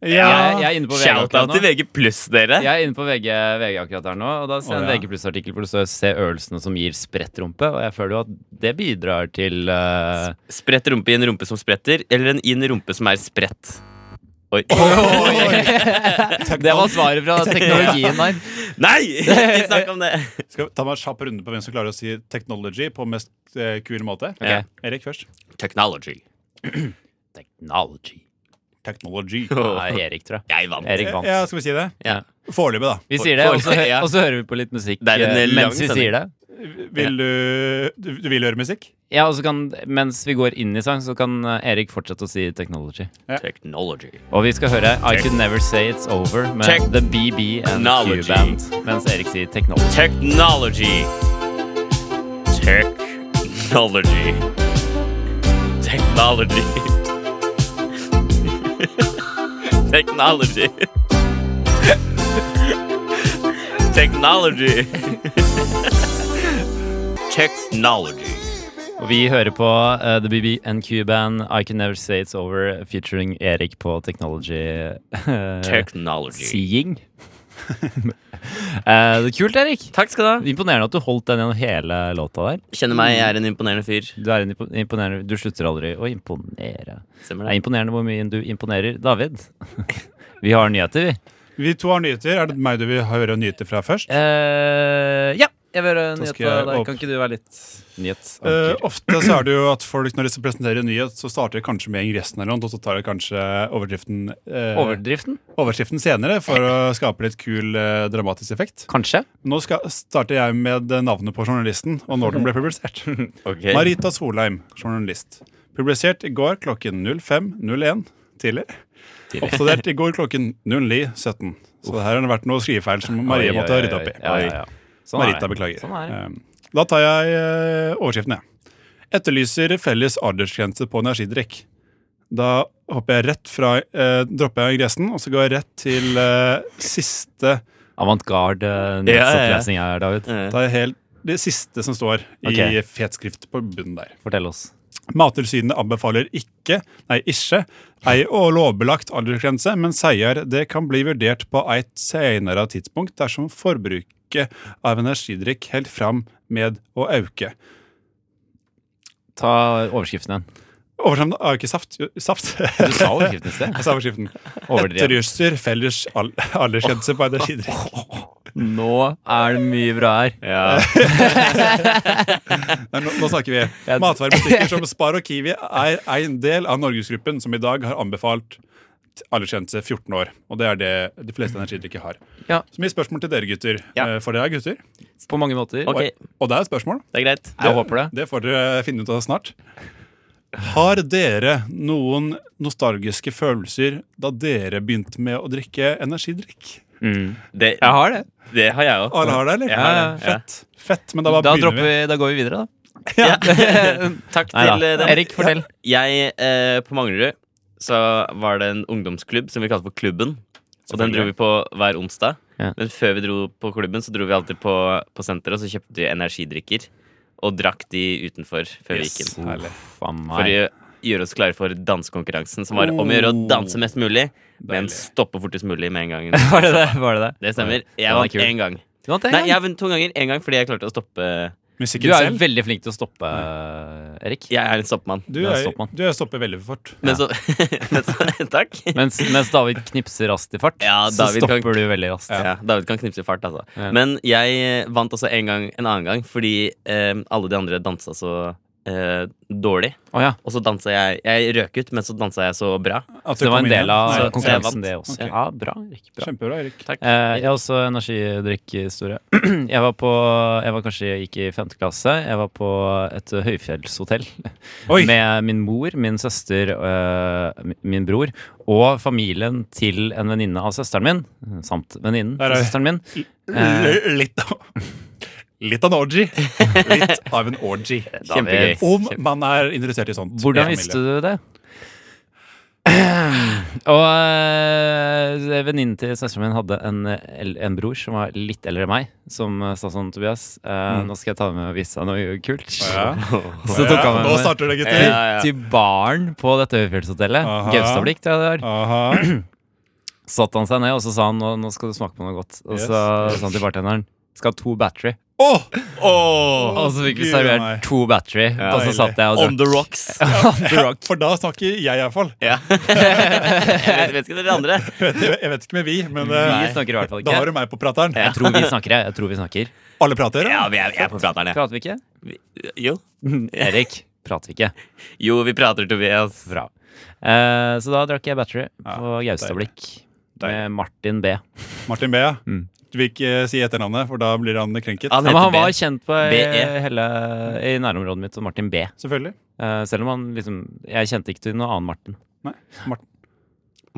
[SPEAKER 2] Jeg, jeg er inne på VG
[SPEAKER 4] Shout-out
[SPEAKER 2] akkurat
[SPEAKER 4] til
[SPEAKER 2] nå.
[SPEAKER 4] VG pluss, dere!
[SPEAKER 2] Jeg er inne på VG, VG akkurat her nå, og da ser jeg en
[SPEAKER 3] Å, ja.
[SPEAKER 2] VG pluss-artikkel hvor det står 'Se øvelsene som gir sprettrumpe', og jeg føler jo at det bidrar til eh,
[SPEAKER 4] Spredt rumpe i en rumpe som spretter, eller en i en rumpe som er spredt. Oi.
[SPEAKER 2] Det var svaret fra teknologien der.
[SPEAKER 4] Nei! Ikke snakk om det!
[SPEAKER 3] Skal vi ta meg en kjapp runde på hvem som klarer å si technology på mest eh, kul måte?
[SPEAKER 2] Ok.
[SPEAKER 3] Erik først.
[SPEAKER 4] Technology.
[SPEAKER 2] Technology.
[SPEAKER 3] Technology.
[SPEAKER 2] Nei, Erik, tror jeg.
[SPEAKER 4] Jeg vant.
[SPEAKER 2] Erik vant.
[SPEAKER 3] Ja, skal vi si det?
[SPEAKER 4] Ja.
[SPEAKER 3] Foreløpig, da.
[SPEAKER 2] Vi sier det,
[SPEAKER 4] For-
[SPEAKER 2] og så, hø-
[SPEAKER 4] ja.
[SPEAKER 2] og så hører vi på litt musikk
[SPEAKER 4] Det er en,
[SPEAKER 2] eh,
[SPEAKER 4] lang
[SPEAKER 2] mens vi
[SPEAKER 4] sending.
[SPEAKER 2] sier det.
[SPEAKER 3] Vil du, du, du vil høre musikk?
[SPEAKER 2] Ja, og så kan, Mens vi går inn i sang, så kan eh, Erik fortsette å si 'technology'.
[SPEAKER 4] Technology.
[SPEAKER 2] Og vi skal høre 'I Could Never Say It's Over' med
[SPEAKER 4] Check.
[SPEAKER 2] The BB and
[SPEAKER 4] Technology.
[SPEAKER 2] Q-Band. Mens Erik sier 'technology'.
[SPEAKER 4] Technology. Technology. Technology. Technology. Technology. Technology.
[SPEAKER 2] Og vi hører på eh, The BB and Q-Band 'I Could Never Say It's Over' featuring Erik på 'Technology'. eh,
[SPEAKER 4] Technology.
[SPEAKER 2] Seeing. Eh, det er kult, Erik.
[SPEAKER 4] Takk skal du ha.
[SPEAKER 2] Imponerende at du holdt den gjennom hele låta der.
[SPEAKER 4] Kjenner meg, jeg er en imponerende fyr.
[SPEAKER 2] Du, er en impo- imponerende, du slutter aldri å imponere. Det
[SPEAKER 4] Stemmer
[SPEAKER 2] er
[SPEAKER 4] det?
[SPEAKER 2] imponerende hvor mye du imponerer. David, vi har nyheter, vi.
[SPEAKER 3] Vi to har nyheter. Er det meg du vil høre nyheter fra først?
[SPEAKER 2] Eh, ja. jeg vil høre
[SPEAKER 3] Da skal
[SPEAKER 2] nyhet
[SPEAKER 3] jeg
[SPEAKER 2] av deg.
[SPEAKER 3] opp.
[SPEAKER 2] Kan ikke du være litt
[SPEAKER 3] Eh,
[SPEAKER 2] nyhetsanker?
[SPEAKER 3] ofte så er det jo at folk når de presenterer nyhet, så starter de kanskje med ingressen eller noe, og så tar de kanskje overdriften eh,
[SPEAKER 2] Overdriften?
[SPEAKER 3] overskriften senere for å skape litt kul, eh, dramatisk effekt.
[SPEAKER 2] Kanskje.
[SPEAKER 3] Nå skal, starter jeg med navnet på journalisten, og når den ble publisert.
[SPEAKER 4] Ok.
[SPEAKER 3] Marita Solheim, journalist. Publisert i går klokken 05.01 tidlig. Oppdatert i går klokken 09.17. Så det her har det vært noe skrivefeil som Marie
[SPEAKER 2] Oi,
[SPEAKER 3] måtte
[SPEAKER 2] oi,
[SPEAKER 3] ha rydda
[SPEAKER 2] oi,
[SPEAKER 3] opp i.
[SPEAKER 2] oi. Ja, ja, ja. Sånn er
[SPEAKER 3] Marita,
[SPEAKER 2] det.
[SPEAKER 3] beklager.
[SPEAKER 2] Sånn er det.
[SPEAKER 3] Eh, Da tar jeg eh, overskriften, jeg. Etterlyser felles aldersgrense på energidrikk. Da hopper jeg rett fra eh, dropper jeg ingressen, og så går jeg rett til eh, siste
[SPEAKER 2] Avantgarde nyhetsopplesning her, David.
[SPEAKER 4] Eh,
[SPEAKER 3] Da er helt det siste som står i
[SPEAKER 2] Ok.
[SPEAKER 3] fet skrift på bunnen der.
[SPEAKER 2] Fortell oss.
[SPEAKER 3] Mattilsynet anbefaler ikke, nei, ikke, ei å lovbelagt aldersgrense, men sier det kan bli vurdert på et senere tidspunkt dersom forbruket av energidrikk helt fram med å øke.
[SPEAKER 2] Ta overskriften igjen.
[SPEAKER 3] Overskriften er jo ah, ikke saft. jo, saft.
[SPEAKER 2] Du sa overskriften i sted.
[SPEAKER 3] Jeg sa overskriften.
[SPEAKER 2] Overdrevet.
[SPEAKER 3] Etterlyser felles al- aldersgrense på energidrikk.
[SPEAKER 2] Nå er det mye bra her.
[SPEAKER 3] Nei, nå, nå snakker vi. Matvarebutikker som Spar og Kiwi er en del av Norgesgruppen som i dag har anbefalt t- aldersgrense 14 år. Og det er det de fleste energidrikker har.
[SPEAKER 2] Ja.
[SPEAKER 3] Så mye spørsmål til dere gutter.
[SPEAKER 4] Ja.
[SPEAKER 3] Eh, For dere er gutter.
[SPEAKER 2] På mange måter.
[SPEAKER 4] Ok,
[SPEAKER 3] Og det er et spørsmål.
[SPEAKER 4] det er greit.
[SPEAKER 2] Jeg håper det.
[SPEAKER 3] Det får dere finne ut av snart. Har dere noen nostalgiske følelser da dere begynte med å drikke energidrikk?
[SPEAKER 4] Det,
[SPEAKER 2] Jeg har det.
[SPEAKER 4] det har jeg òg.
[SPEAKER 3] Alle har det, eller?
[SPEAKER 4] Jeg har det. Ja.
[SPEAKER 3] Fett. Fett, men da bare
[SPEAKER 2] Da, dropper
[SPEAKER 3] begynner vi.
[SPEAKER 2] vi, da går vi videre, da.
[SPEAKER 4] Ja. Takk
[SPEAKER 2] Neida.
[SPEAKER 4] til eh, dem.
[SPEAKER 2] Erik, fortell.
[SPEAKER 4] Jeg, eh, på Manglerud, så var det en ungdomsklubb som vi kalte for Klubben. Og den dro vi på hver onsdag.
[SPEAKER 2] Ja.
[SPEAKER 4] Men før vi dro på klubben, så dro vi alltid på, på senteret, og så kjøpte vi energidrikker. Og drakk de utenfor før vi gikk inn.
[SPEAKER 3] Herlig.
[SPEAKER 2] Faen meg.
[SPEAKER 4] For å gjøre oss klare for dansekonkurransen, som var om å
[SPEAKER 2] Oh.
[SPEAKER 4] gjøre å danse mest mulig, men
[SPEAKER 3] Deilig.
[SPEAKER 4] stoppe fortest mulig med en gang.
[SPEAKER 2] Var det det? Var det, det?
[SPEAKER 4] Det stemmer.
[SPEAKER 2] Ja,
[SPEAKER 4] Jeg
[SPEAKER 2] det
[SPEAKER 4] vant
[SPEAKER 2] er kult.
[SPEAKER 4] én gang.
[SPEAKER 2] Du, vant en
[SPEAKER 4] Nei,
[SPEAKER 2] gang.
[SPEAKER 4] jeg har vunnet to ganger. Én gang fordi jeg klarte å stoppe
[SPEAKER 2] du
[SPEAKER 3] Musikken
[SPEAKER 2] er jo
[SPEAKER 3] selv.
[SPEAKER 2] veldig flink til å stoppe, eh, Erik.
[SPEAKER 4] Jeg er en stoppemann.
[SPEAKER 3] Du,
[SPEAKER 2] Det er
[SPEAKER 3] er,
[SPEAKER 2] stopp, mann.
[SPEAKER 3] du er stopper veldig for fort.
[SPEAKER 4] Men så, men så Takk.
[SPEAKER 2] Mens, mens David knipser raskt i fart,
[SPEAKER 4] Ja, David
[SPEAKER 2] så
[SPEAKER 4] kan-
[SPEAKER 2] stopper du veldig raskt.
[SPEAKER 4] Ja, David kan knipse i fart, altså.
[SPEAKER 2] Ja.
[SPEAKER 4] Men jeg eh, vant også en gang en annen gang fordi eh, alle de andre dansa så eh, dårlig.
[SPEAKER 2] Å ja.
[SPEAKER 4] Og så dansa jeg Jeg røk ut, men så dansa jeg så bra.
[SPEAKER 3] At du
[SPEAKER 2] Så det var
[SPEAKER 3] kom
[SPEAKER 2] en
[SPEAKER 3] inn igjen.
[SPEAKER 2] del av
[SPEAKER 3] Nei,
[SPEAKER 2] konkurransen,
[SPEAKER 4] vant.
[SPEAKER 2] det også.
[SPEAKER 3] Ok.
[SPEAKER 2] Ja, bra, Erik. Bra.
[SPEAKER 3] Kjempebra, Erik.
[SPEAKER 4] Takk.
[SPEAKER 2] Eh, jeg har også energidrikkhistorie. Jeg var på Jeg var kanskje jeg gikk i femte klasse. Jeg var på et høyfjellshotell
[SPEAKER 3] Oi.
[SPEAKER 2] med min mor, min søster, eh, mi- min bror og familien til en venninne av søsteren min, samt venninnen
[SPEAKER 3] Der
[SPEAKER 2] til
[SPEAKER 3] er-
[SPEAKER 2] søsteren min. Eh.
[SPEAKER 3] L- Litt av Litt av en orgy. Litt av en orgy.
[SPEAKER 4] Kjempegøy.
[SPEAKER 3] Om man er interessert i sånt.
[SPEAKER 2] Hvordan visste du det? Og eh, venninnen til søsteren min hadde en, eh, el- en bror som var litt eldre enn meg, som eh, sa sånn, Tobias, eh, nå skal jeg ta med og vise deg noe kult.
[SPEAKER 3] Mm. Ja.
[SPEAKER 2] Så tok han
[SPEAKER 3] Ja,
[SPEAKER 2] med
[SPEAKER 3] Nå
[SPEAKER 2] meg.
[SPEAKER 3] starter det, gutter.
[SPEAKER 2] til, til baren på dette høyfjellshotellet.
[SPEAKER 3] Aha. Ah.
[SPEAKER 2] Gaustablikk, tror jeg det var.
[SPEAKER 3] Aha.
[SPEAKER 2] Satt han seg ned, og så sa han nå, nå skal du smake på noe godt. Og
[SPEAKER 3] Yes.
[SPEAKER 2] så sa han til bartenderen skal ha to battery.
[SPEAKER 3] Åh!
[SPEAKER 2] Og så fikk vi
[SPEAKER 3] Gud, nei.
[SPEAKER 2] servert to battery, og så
[SPEAKER 3] deilig.
[SPEAKER 2] satt jeg og
[SPEAKER 4] On
[SPEAKER 2] drakk.
[SPEAKER 4] the rocks.
[SPEAKER 3] For da snakker jeg iallfall.
[SPEAKER 4] Ja. jeg vet, vet ikke dere andre.
[SPEAKER 3] Jeg, vet- jeg vet ikke med vi, men eh,
[SPEAKER 2] Vi snakker i hvert fall
[SPEAKER 3] da har
[SPEAKER 2] ikke.
[SPEAKER 3] du meg på prateren.
[SPEAKER 2] Jeg tror vi snakker, jeg. jeg tror vi snakker.
[SPEAKER 3] Alle prater?
[SPEAKER 4] Ja, vi er, vi er på praterne.
[SPEAKER 2] Prater vi ikke?
[SPEAKER 4] Jo.
[SPEAKER 2] Erik, prater vi ikke.
[SPEAKER 4] jo, vi prater, Tobias.
[SPEAKER 2] Bra. Eh, så da drakk jeg battery på
[SPEAKER 3] Ja,
[SPEAKER 2] Gaustablikk med Martin B.
[SPEAKER 3] Martin Bea.
[SPEAKER 2] Mm.
[SPEAKER 3] Du vil ikke eh, si etternavnet, for da blir han krenket.
[SPEAKER 2] Ja,
[SPEAKER 4] Han
[SPEAKER 2] men
[SPEAKER 4] heter
[SPEAKER 2] han var
[SPEAKER 4] Ben.
[SPEAKER 2] kjent på i,
[SPEAKER 3] E.
[SPEAKER 4] BE.
[SPEAKER 2] hele, i nærområdet mitt som Martin B.
[SPEAKER 3] Selvfølgelig.
[SPEAKER 2] Eh, selv om han liksom Jeg kjente ikke til noen annen Martin.
[SPEAKER 3] Nei, Martin.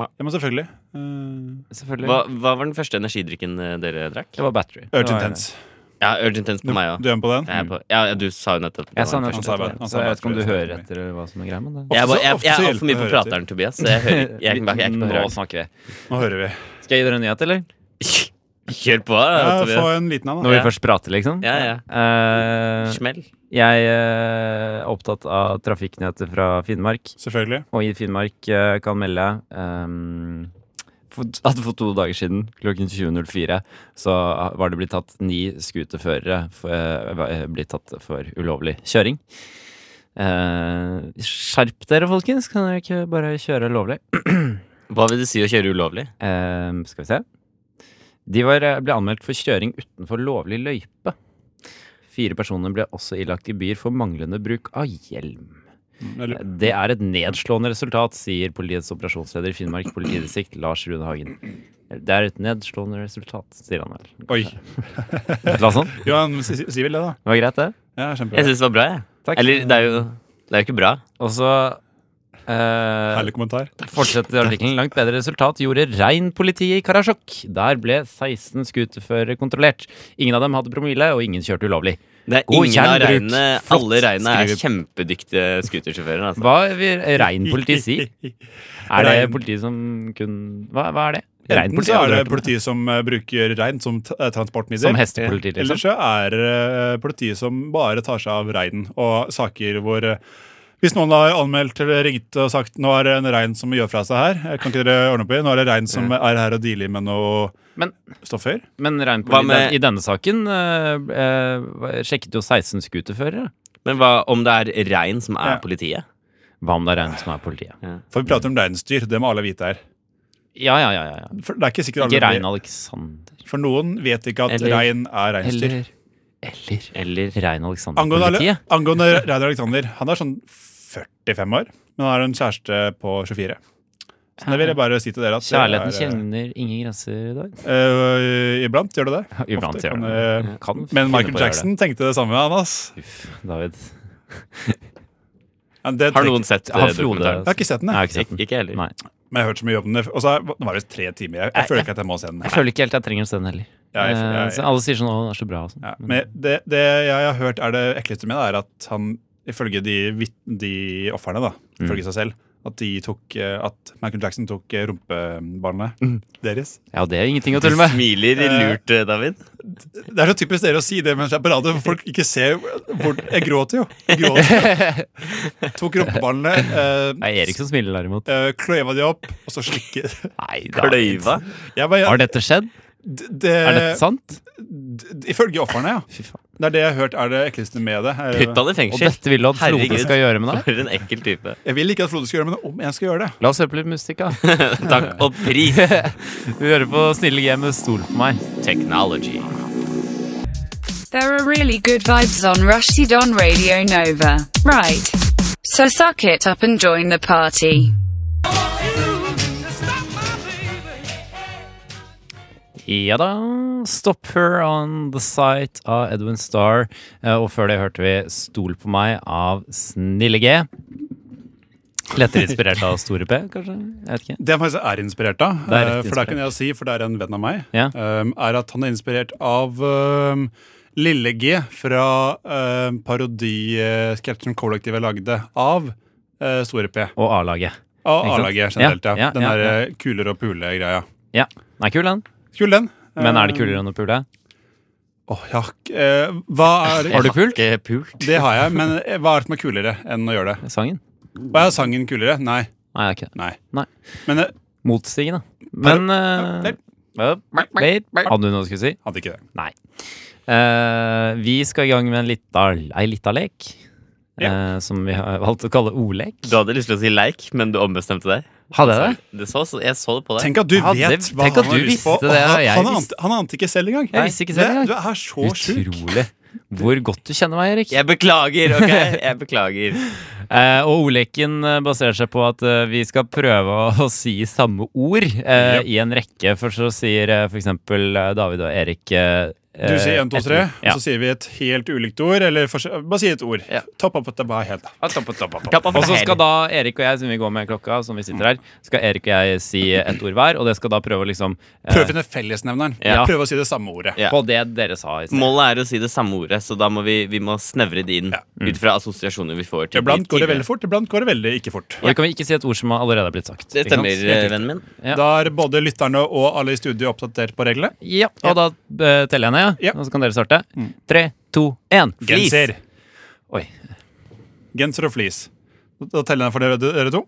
[SPEAKER 3] Ja, men selvfølgelig. Eh,
[SPEAKER 2] Selvfølgelig.
[SPEAKER 4] Hva, hva var den første energidrikken eh, dere drakk?
[SPEAKER 2] Det var battery.
[SPEAKER 3] Urgent
[SPEAKER 2] Det var-
[SPEAKER 3] Tense.
[SPEAKER 4] Ja, Urgent Tense
[SPEAKER 3] Du,
[SPEAKER 4] på meg òg.
[SPEAKER 3] du er med på den?
[SPEAKER 4] Ja, ja, du sa jo nettopp
[SPEAKER 2] Jeg sa
[SPEAKER 4] den
[SPEAKER 2] den
[SPEAKER 4] første.
[SPEAKER 2] først,
[SPEAKER 3] sa vel- han sa
[SPEAKER 2] så jeg vet ikke om du
[SPEAKER 3] battery,
[SPEAKER 2] hører
[SPEAKER 3] stemmer.
[SPEAKER 2] etter eller hva som er greia, men det
[SPEAKER 4] Jeg, er bare- jeg,
[SPEAKER 3] Ofte så-
[SPEAKER 4] jeg er
[SPEAKER 3] ofte så
[SPEAKER 4] altfor mye på
[SPEAKER 3] hjelper det å høre
[SPEAKER 4] prateren, Tobias. Så jeg, hører, jeg, jeg, jeg, jeg,
[SPEAKER 2] Nå
[SPEAKER 4] jeg,
[SPEAKER 2] snakker vi.
[SPEAKER 3] Nå hører vi.
[SPEAKER 2] Skal jeg gi dere en nyhet, eller?
[SPEAKER 4] Kjør på,
[SPEAKER 3] Ja, få
[SPEAKER 4] Tobias.
[SPEAKER 3] en liten en, da.
[SPEAKER 2] Når vi
[SPEAKER 4] Ja.
[SPEAKER 2] først prater, liksom?
[SPEAKER 4] Ja, ja.
[SPEAKER 2] Eh,
[SPEAKER 4] Smell.
[SPEAKER 2] jeg eh, er opptatt av trafikknyheter fra Finnmark,
[SPEAKER 3] Selvfølgelig.
[SPEAKER 2] og i Finnmark eh, kan melde ehm, for- at for to dager siden, klokken 20.04, så var det blitt tatt ni scooterførere for- eh, var- eh, blitt tatt for ulovlig kjøring. Eh, skjerp dere, folkens! Kan dere ikke bare kjøre lovlig?
[SPEAKER 4] Hva vil det si å kjøre ulovlig?
[SPEAKER 2] Eh, skal vi se. De var, ble anmeldt for kjøring utenfor lovlig løype. Fire personer ble også ilagt gebyr for manglende bruk av hjelm.
[SPEAKER 3] Eller,
[SPEAKER 2] Det er et nedslående resultat, sier politiets operasjonsleder i Finnmark politidistrikt, Lars Rune Hagen. Det er et nedslående resultat, sier han vel.
[SPEAKER 3] oi.
[SPEAKER 2] Et eller annet sånt.
[SPEAKER 3] Jo, han si- si- sier vel det, da.
[SPEAKER 2] Det var greit, det.
[SPEAKER 3] Ja,
[SPEAKER 4] Jeg
[SPEAKER 3] kjempebra.
[SPEAKER 4] syns det var bra, jeg.
[SPEAKER 2] Takk.
[SPEAKER 4] Eller det er jo det er jo ikke bra.
[SPEAKER 2] Og så eh,
[SPEAKER 3] Herlig kommentar.
[SPEAKER 2] fortsetter artikkelen. Langt bedre resultat gjorde reinpolitiet i Karasjok. Der ble 16 scooterførere kontrollert. Ingen av dem hadde promille, og ingen kjørte ulovlig.
[SPEAKER 4] Det er
[SPEAKER 2] God
[SPEAKER 4] ingen av
[SPEAKER 2] gjenbruk.
[SPEAKER 4] reinene
[SPEAKER 2] Flott
[SPEAKER 4] Alle reinene er
[SPEAKER 2] skrevet.
[SPEAKER 4] kjempedyktige scootersjåfører. Altså.
[SPEAKER 2] Hva vil reinpolitiet si? Er det
[SPEAKER 3] Rein-
[SPEAKER 2] politiet som kun Hva, hva er det?
[SPEAKER 3] Enten så
[SPEAKER 2] Reinpoliti, har
[SPEAKER 3] er
[SPEAKER 2] du
[SPEAKER 3] det
[SPEAKER 2] hørt om det?
[SPEAKER 3] politiet som eh, bruker rein som t- eh, transportmiddel.
[SPEAKER 2] Som hestepoliti, liksom.
[SPEAKER 3] Eller så er det eh, politiet som bare tar seg av reinen og saker hvor eh, hvis noen har anmeldt eller ringt og sagt nå er det en rein som gjør fra seg her, eh, kan ikke dere ordne opp i? Nå er det rein som er her og dealer med noe
[SPEAKER 2] Men-
[SPEAKER 3] stoffer.
[SPEAKER 2] Men
[SPEAKER 4] Hva
[SPEAKER 2] reinpolitiet
[SPEAKER 4] med-
[SPEAKER 2] i denne saken eh, eh, sjekket jo 16 scooterførere.
[SPEAKER 4] Men hva om det er rein som er
[SPEAKER 3] Ja.
[SPEAKER 4] politiet?
[SPEAKER 2] Hva om det er rein som er politiet?
[SPEAKER 3] For vi prater om reinsdyr, det må alle vite her.
[SPEAKER 2] Ja, ja, ja. ja, ja.
[SPEAKER 3] For det er ikke sikkert
[SPEAKER 2] Ikke
[SPEAKER 3] alle
[SPEAKER 2] rein Alexander.
[SPEAKER 3] For noen vet ikke at
[SPEAKER 4] Eller-
[SPEAKER 3] rein er reinsdyr.
[SPEAKER 2] Eller Eller
[SPEAKER 4] Eller
[SPEAKER 2] rein
[SPEAKER 3] Angående, alle-
[SPEAKER 2] Alexander-politiet.
[SPEAKER 3] angående Reidar Alexander, han er sånn 45 år, men han har en kjæreste på 24. Så det vil jeg bare si til dere at det
[SPEAKER 2] Kjærligheten
[SPEAKER 3] er,
[SPEAKER 2] kjenner ingen grenser i dag.
[SPEAKER 3] eh, øh, Iblant gjør det det.
[SPEAKER 2] Iblant
[SPEAKER 3] Ofte
[SPEAKER 2] gjør
[SPEAKER 3] kan,
[SPEAKER 2] det.
[SPEAKER 3] eh,
[SPEAKER 2] Kan finne
[SPEAKER 3] men
[SPEAKER 2] på
[SPEAKER 3] Michael
[SPEAKER 2] å gjøre
[SPEAKER 3] Jackson tenkte det samme. Han, ass.
[SPEAKER 2] det. Uff, David.
[SPEAKER 3] Ja, det
[SPEAKER 4] Har
[SPEAKER 3] tenkte-
[SPEAKER 4] noen sett
[SPEAKER 2] Har
[SPEAKER 4] eh,
[SPEAKER 2] Frode-
[SPEAKER 4] dokumentaren?
[SPEAKER 3] Jeg har ikke sett den,
[SPEAKER 2] Nei, jeg
[SPEAKER 3] jeg.
[SPEAKER 2] har ikke sett den.
[SPEAKER 4] Ikke heller.
[SPEAKER 2] Nei.
[SPEAKER 3] Men jeg har hørt så mye om den. Og så er- den var det tre timer. Jeg, jeg føler ikke at jeg må se den.
[SPEAKER 2] Jeg føler ikke helt jeg trenger å se den heller.
[SPEAKER 3] Ja, jeg-
[SPEAKER 2] Eh,
[SPEAKER 3] jeg-
[SPEAKER 2] så alle sier sånn 'Å, den er så bra'. Og sånn.
[SPEAKER 3] Ja, men det, det jeg har hørt er det ekleste med det, er at han, ifølge de, vit- de offerne, da,
[SPEAKER 2] Mm.
[SPEAKER 3] ifølge seg selv, at, de tok, eh, at Michael Jackson tok eh, rumpebarnet
[SPEAKER 2] Mm.
[SPEAKER 3] deres.
[SPEAKER 2] Ja, det er ingenting å
[SPEAKER 4] Du
[SPEAKER 2] tulle med.
[SPEAKER 4] smiler lurt, eh, David.
[SPEAKER 3] Det er så typisk dere å si det mens jeg er på radio, for folk ikke ser hvor Jeg gråter jo. Jeg gråter. Tok rumpebarnet,
[SPEAKER 2] Det
[SPEAKER 3] eh,
[SPEAKER 2] er Erik som smiler, derimot.
[SPEAKER 3] eh, kløyva de opp, og så slikket
[SPEAKER 2] Nei,
[SPEAKER 4] Kløyva.
[SPEAKER 3] Jeg bare-
[SPEAKER 2] Har dette skjedd?
[SPEAKER 3] d- det,
[SPEAKER 2] Er dette sant?
[SPEAKER 3] d- d- Ifølge offerne, ja.
[SPEAKER 2] Fy faen.
[SPEAKER 3] Det er det jeg har hørt er det ekleste med det. Eh,
[SPEAKER 4] Putt han i
[SPEAKER 2] Og
[SPEAKER 4] fengsel.
[SPEAKER 2] dette vil du at Frode
[SPEAKER 4] Herregud.
[SPEAKER 2] skal gjøre med deg?
[SPEAKER 4] For en ekkel type.
[SPEAKER 3] Jeg vil ikke at Frode skal gjøre det, men om jeg skal gjøre det
[SPEAKER 2] La oss høre på litt musikk, da.
[SPEAKER 4] Takk og pris,
[SPEAKER 2] Vi hører på Snille Gamet, stol på meg.
[SPEAKER 4] technology.
[SPEAKER 6] There are really good vibes on Rushdie on Radio Nova. Right. So suck it up and join the party.
[SPEAKER 2] Ja da. Stop Her On The Sight av Edwin Starr. Eh, Og før det hørte vi Stol på meg av Snille G. Lettere inspirert av Store P, kanskje? Jeg vet ikke.
[SPEAKER 3] Det jeg faktisk er inspirert av,
[SPEAKER 2] Det er
[SPEAKER 3] eh,
[SPEAKER 2] rett
[SPEAKER 3] for det
[SPEAKER 2] inspirert.
[SPEAKER 3] kan jeg si, for det er en venn av meg,
[SPEAKER 2] Ja.
[SPEAKER 3] eh, er at han er inspirert av eh, Lille G fra uh, parodisketsjen kollektivet lagde av eh, Store P.
[SPEAKER 2] Og A-laget.
[SPEAKER 3] Av
[SPEAKER 2] Ikke sant?
[SPEAKER 3] A-laget generelt, ja.
[SPEAKER 2] Ja, ja,
[SPEAKER 3] Den
[SPEAKER 2] ja,
[SPEAKER 3] der eh, kuler og pule-greia.
[SPEAKER 2] Ja. Den er kul, den.
[SPEAKER 3] Kul, den. Eh,
[SPEAKER 2] Men er det kulere enn å pule?
[SPEAKER 3] Åh, jeg har ikke- eh, hva er
[SPEAKER 2] Har du pult?
[SPEAKER 4] Ikke pult.
[SPEAKER 3] Det har jeg, men eh, hva er det som er kulere enn å gjøre det?
[SPEAKER 2] Sangen?
[SPEAKER 3] Og er sangen kulere? Nei.
[SPEAKER 2] Nei, det er ikke det.
[SPEAKER 3] Nei.
[SPEAKER 2] Nei.
[SPEAKER 3] Men eh,
[SPEAKER 2] Motsigende. Men eh, ja, Babe, hadde du noe du skulle si?
[SPEAKER 3] hadde ikke det.
[SPEAKER 2] Nei. Eh, vi skal i gang med en lita, ei lita lek. eh, som vi har valgt å kalle ordlek.
[SPEAKER 4] Du hadde lyst til å si leik, men du ombestemte deg.
[SPEAKER 2] Hadde jeg det?
[SPEAKER 4] Det så, så, jeg så det på deg.
[SPEAKER 3] Tenk at du
[SPEAKER 2] Ja, det-
[SPEAKER 3] vet hva
[SPEAKER 2] tenk
[SPEAKER 3] han
[SPEAKER 2] at
[SPEAKER 3] har
[SPEAKER 2] du
[SPEAKER 3] lyst på.
[SPEAKER 2] visste
[SPEAKER 3] og
[SPEAKER 2] det, og
[SPEAKER 3] han,
[SPEAKER 2] jeg
[SPEAKER 3] han,
[SPEAKER 2] visste-
[SPEAKER 3] ante, han ante ikke selv engang.
[SPEAKER 2] Jeg visste ikke selv
[SPEAKER 3] Det-
[SPEAKER 2] engang.
[SPEAKER 3] Du er så sjuk.
[SPEAKER 2] Utrolig. Hvor godt du kjenner meg, Erik.
[SPEAKER 4] Jeg beklager, ok? Jeg beklager.
[SPEAKER 2] Eh, og ordleken eh, baserer seg på at eh, vi skal prøve å, å si samme ord eh, i en rekke. For så sier eh, for eksempel eh, David og Erik eh,
[SPEAKER 3] Du sier 1, 2, 3, og
[SPEAKER 2] Ja.
[SPEAKER 3] så sier vi et helt ulikt ord. Eller forskjell- bare si et ord. Topp opp at det bare er
[SPEAKER 2] Eh.
[SPEAKER 3] helt
[SPEAKER 4] Klapp
[SPEAKER 2] Og
[SPEAKER 4] av for
[SPEAKER 2] så
[SPEAKER 4] deg.
[SPEAKER 2] skal da Erik og jeg, som vi går med klokka, som vi sitter her, skal Erik og jeg si et ord hver, og det skal da prøve å liksom eh,
[SPEAKER 3] Prøv å finne fellesnevneren.
[SPEAKER 2] Ja.
[SPEAKER 3] Prøv å si det samme ordet.
[SPEAKER 4] Ja.
[SPEAKER 2] på det dere sa i sted.
[SPEAKER 4] Målet er å si det samme ordet, så da må vi, vi må snevre det inn ut fra assosiasjoner vi får. til
[SPEAKER 3] Iblant
[SPEAKER 4] de
[SPEAKER 3] går det
[SPEAKER 4] tidligere.
[SPEAKER 3] veldig fort, iblant går det veldig ikke fort.
[SPEAKER 2] Og det kan vi ikke si et ord som allerede er blitt sagt.
[SPEAKER 4] Det
[SPEAKER 2] ikke sant?
[SPEAKER 4] stemmer, eh, vennen min.
[SPEAKER 2] Ja.
[SPEAKER 3] Da er både lytterne og alle i studio oppdatert på reglene.
[SPEAKER 2] Ja, og da eh, teller jeg ned, ja.
[SPEAKER 3] Ja. Mm.
[SPEAKER 2] Og så kan dere starte. Tre, to, én. Flis.
[SPEAKER 3] Genser.
[SPEAKER 2] Oi.
[SPEAKER 3] Genser og flis. Da teller jeg for dere, dere to.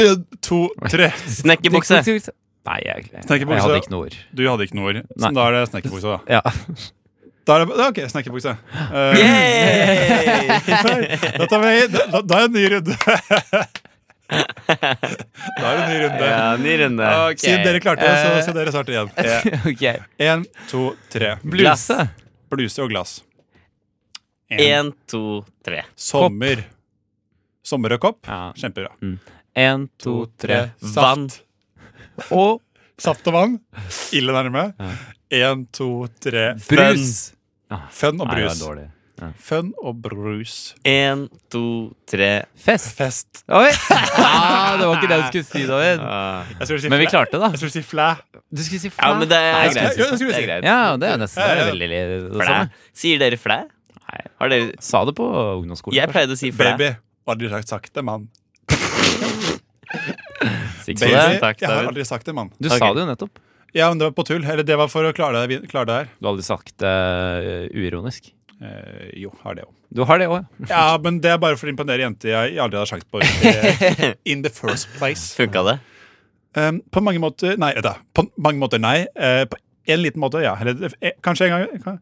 [SPEAKER 3] En, to, tre.
[SPEAKER 4] Snekkerbukse.
[SPEAKER 2] Nei, jeg, jeg, jeg
[SPEAKER 3] Snekkerbukse.
[SPEAKER 2] hadde ikke noe ord.
[SPEAKER 3] Du hadde ikke noe ord.
[SPEAKER 2] Nei.
[SPEAKER 3] Så da er det snekkerbukse, da.
[SPEAKER 2] Ja.
[SPEAKER 3] da er det, ja, ok, snekkerbukse. Eh,
[SPEAKER 4] Yay!
[SPEAKER 3] da, tar vi, da, da- da er det en ny runde. da er det en ny runde.
[SPEAKER 4] Ja, ny runde.
[SPEAKER 2] Ok.
[SPEAKER 3] Siden dere klarte det, så
[SPEAKER 2] Eh,
[SPEAKER 3] skal dere starte igjen.
[SPEAKER 2] ok.
[SPEAKER 3] Én, to, tre.
[SPEAKER 2] Bluse.
[SPEAKER 3] Bluse og glass.
[SPEAKER 4] Én, to, tre.
[SPEAKER 3] Sommer. Sommer og kopp.
[SPEAKER 2] Ja. Mm. Eh,
[SPEAKER 3] Kjempebra.
[SPEAKER 2] En, to, tre.
[SPEAKER 4] Vann.
[SPEAKER 2] Og
[SPEAKER 3] Saft og vann. Ille nærme. Én, to, tre.
[SPEAKER 2] brus.
[SPEAKER 3] Fun og
[SPEAKER 2] Nei, det er
[SPEAKER 3] brus.
[SPEAKER 2] dårlig.
[SPEAKER 3] Fun og brus.
[SPEAKER 4] Én, to, tre.
[SPEAKER 2] Fest.
[SPEAKER 3] Fest.
[SPEAKER 2] Oi! Ah, det var ikke det du skulle si, David.
[SPEAKER 3] Jeg skulle si
[SPEAKER 2] Men vi
[SPEAKER 3] flæ.
[SPEAKER 2] klarte
[SPEAKER 3] Jeg
[SPEAKER 2] det, da.
[SPEAKER 3] skulle si flæ.
[SPEAKER 2] Du skulle si
[SPEAKER 4] Ah. Ja, men det er
[SPEAKER 3] det
[SPEAKER 4] greit.
[SPEAKER 3] skulle- jo, det skulle
[SPEAKER 4] Det
[SPEAKER 3] jeg
[SPEAKER 4] er
[SPEAKER 3] si.
[SPEAKER 4] greit.
[SPEAKER 2] Ja, det er nesten det er
[SPEAKER 3] Ja, ja.
[SPEAKER 2] veldig det
[SPEAKER 4] Flæ.
[SPEAKER 2] samme.
[SPEAKER 4] Sier dere flæ?
[SPEAKER 2] Nei.
[SPEAKER 4] Har dere
[SPEAKER 2] Sa det på ungdomsskolen.
[SPEAKER 4] Jeg pleide å si flæ.
[SPEAKER 3] Baby. Aldri sagt sagt det, mann.
[SPEAKER 2] Sikkert
[SPEAKER 3] Baby.
[SPEAKER 2] det.
[SPEAKER 4] takk,
[SPEAKER 3] jeg har
[SPEAKER 4] David.
[SPEAKER 3] aldri sagt det, mann.
[SPEAKER 2] Du
[SPEAKER 4] Ok.
[SPEAKER 2] sa det jo nettopp.
[SPEAKER 3] Ja, men det var på tull. Eller det var for å klare det, klare det her.
[SPEAKER 2] Du har aldri sagt det eh, uironisk.
[SPEAKER 3] Eh, jo, har det òg.
[SPEAKER 2] Du har det òg, ja.
[SPEAKER 3] Ja, men det er bare for å imponere jenter jeg aldri hadde sjanse på. eh, In the first place.
[SPEAKER 4] Funka det?
[SPEAKER 3] Um, på mange måter Nei. vet du, På mange måter nei. Eh, på en liten måte, ja. Eller eh, kanskje en gang. kan-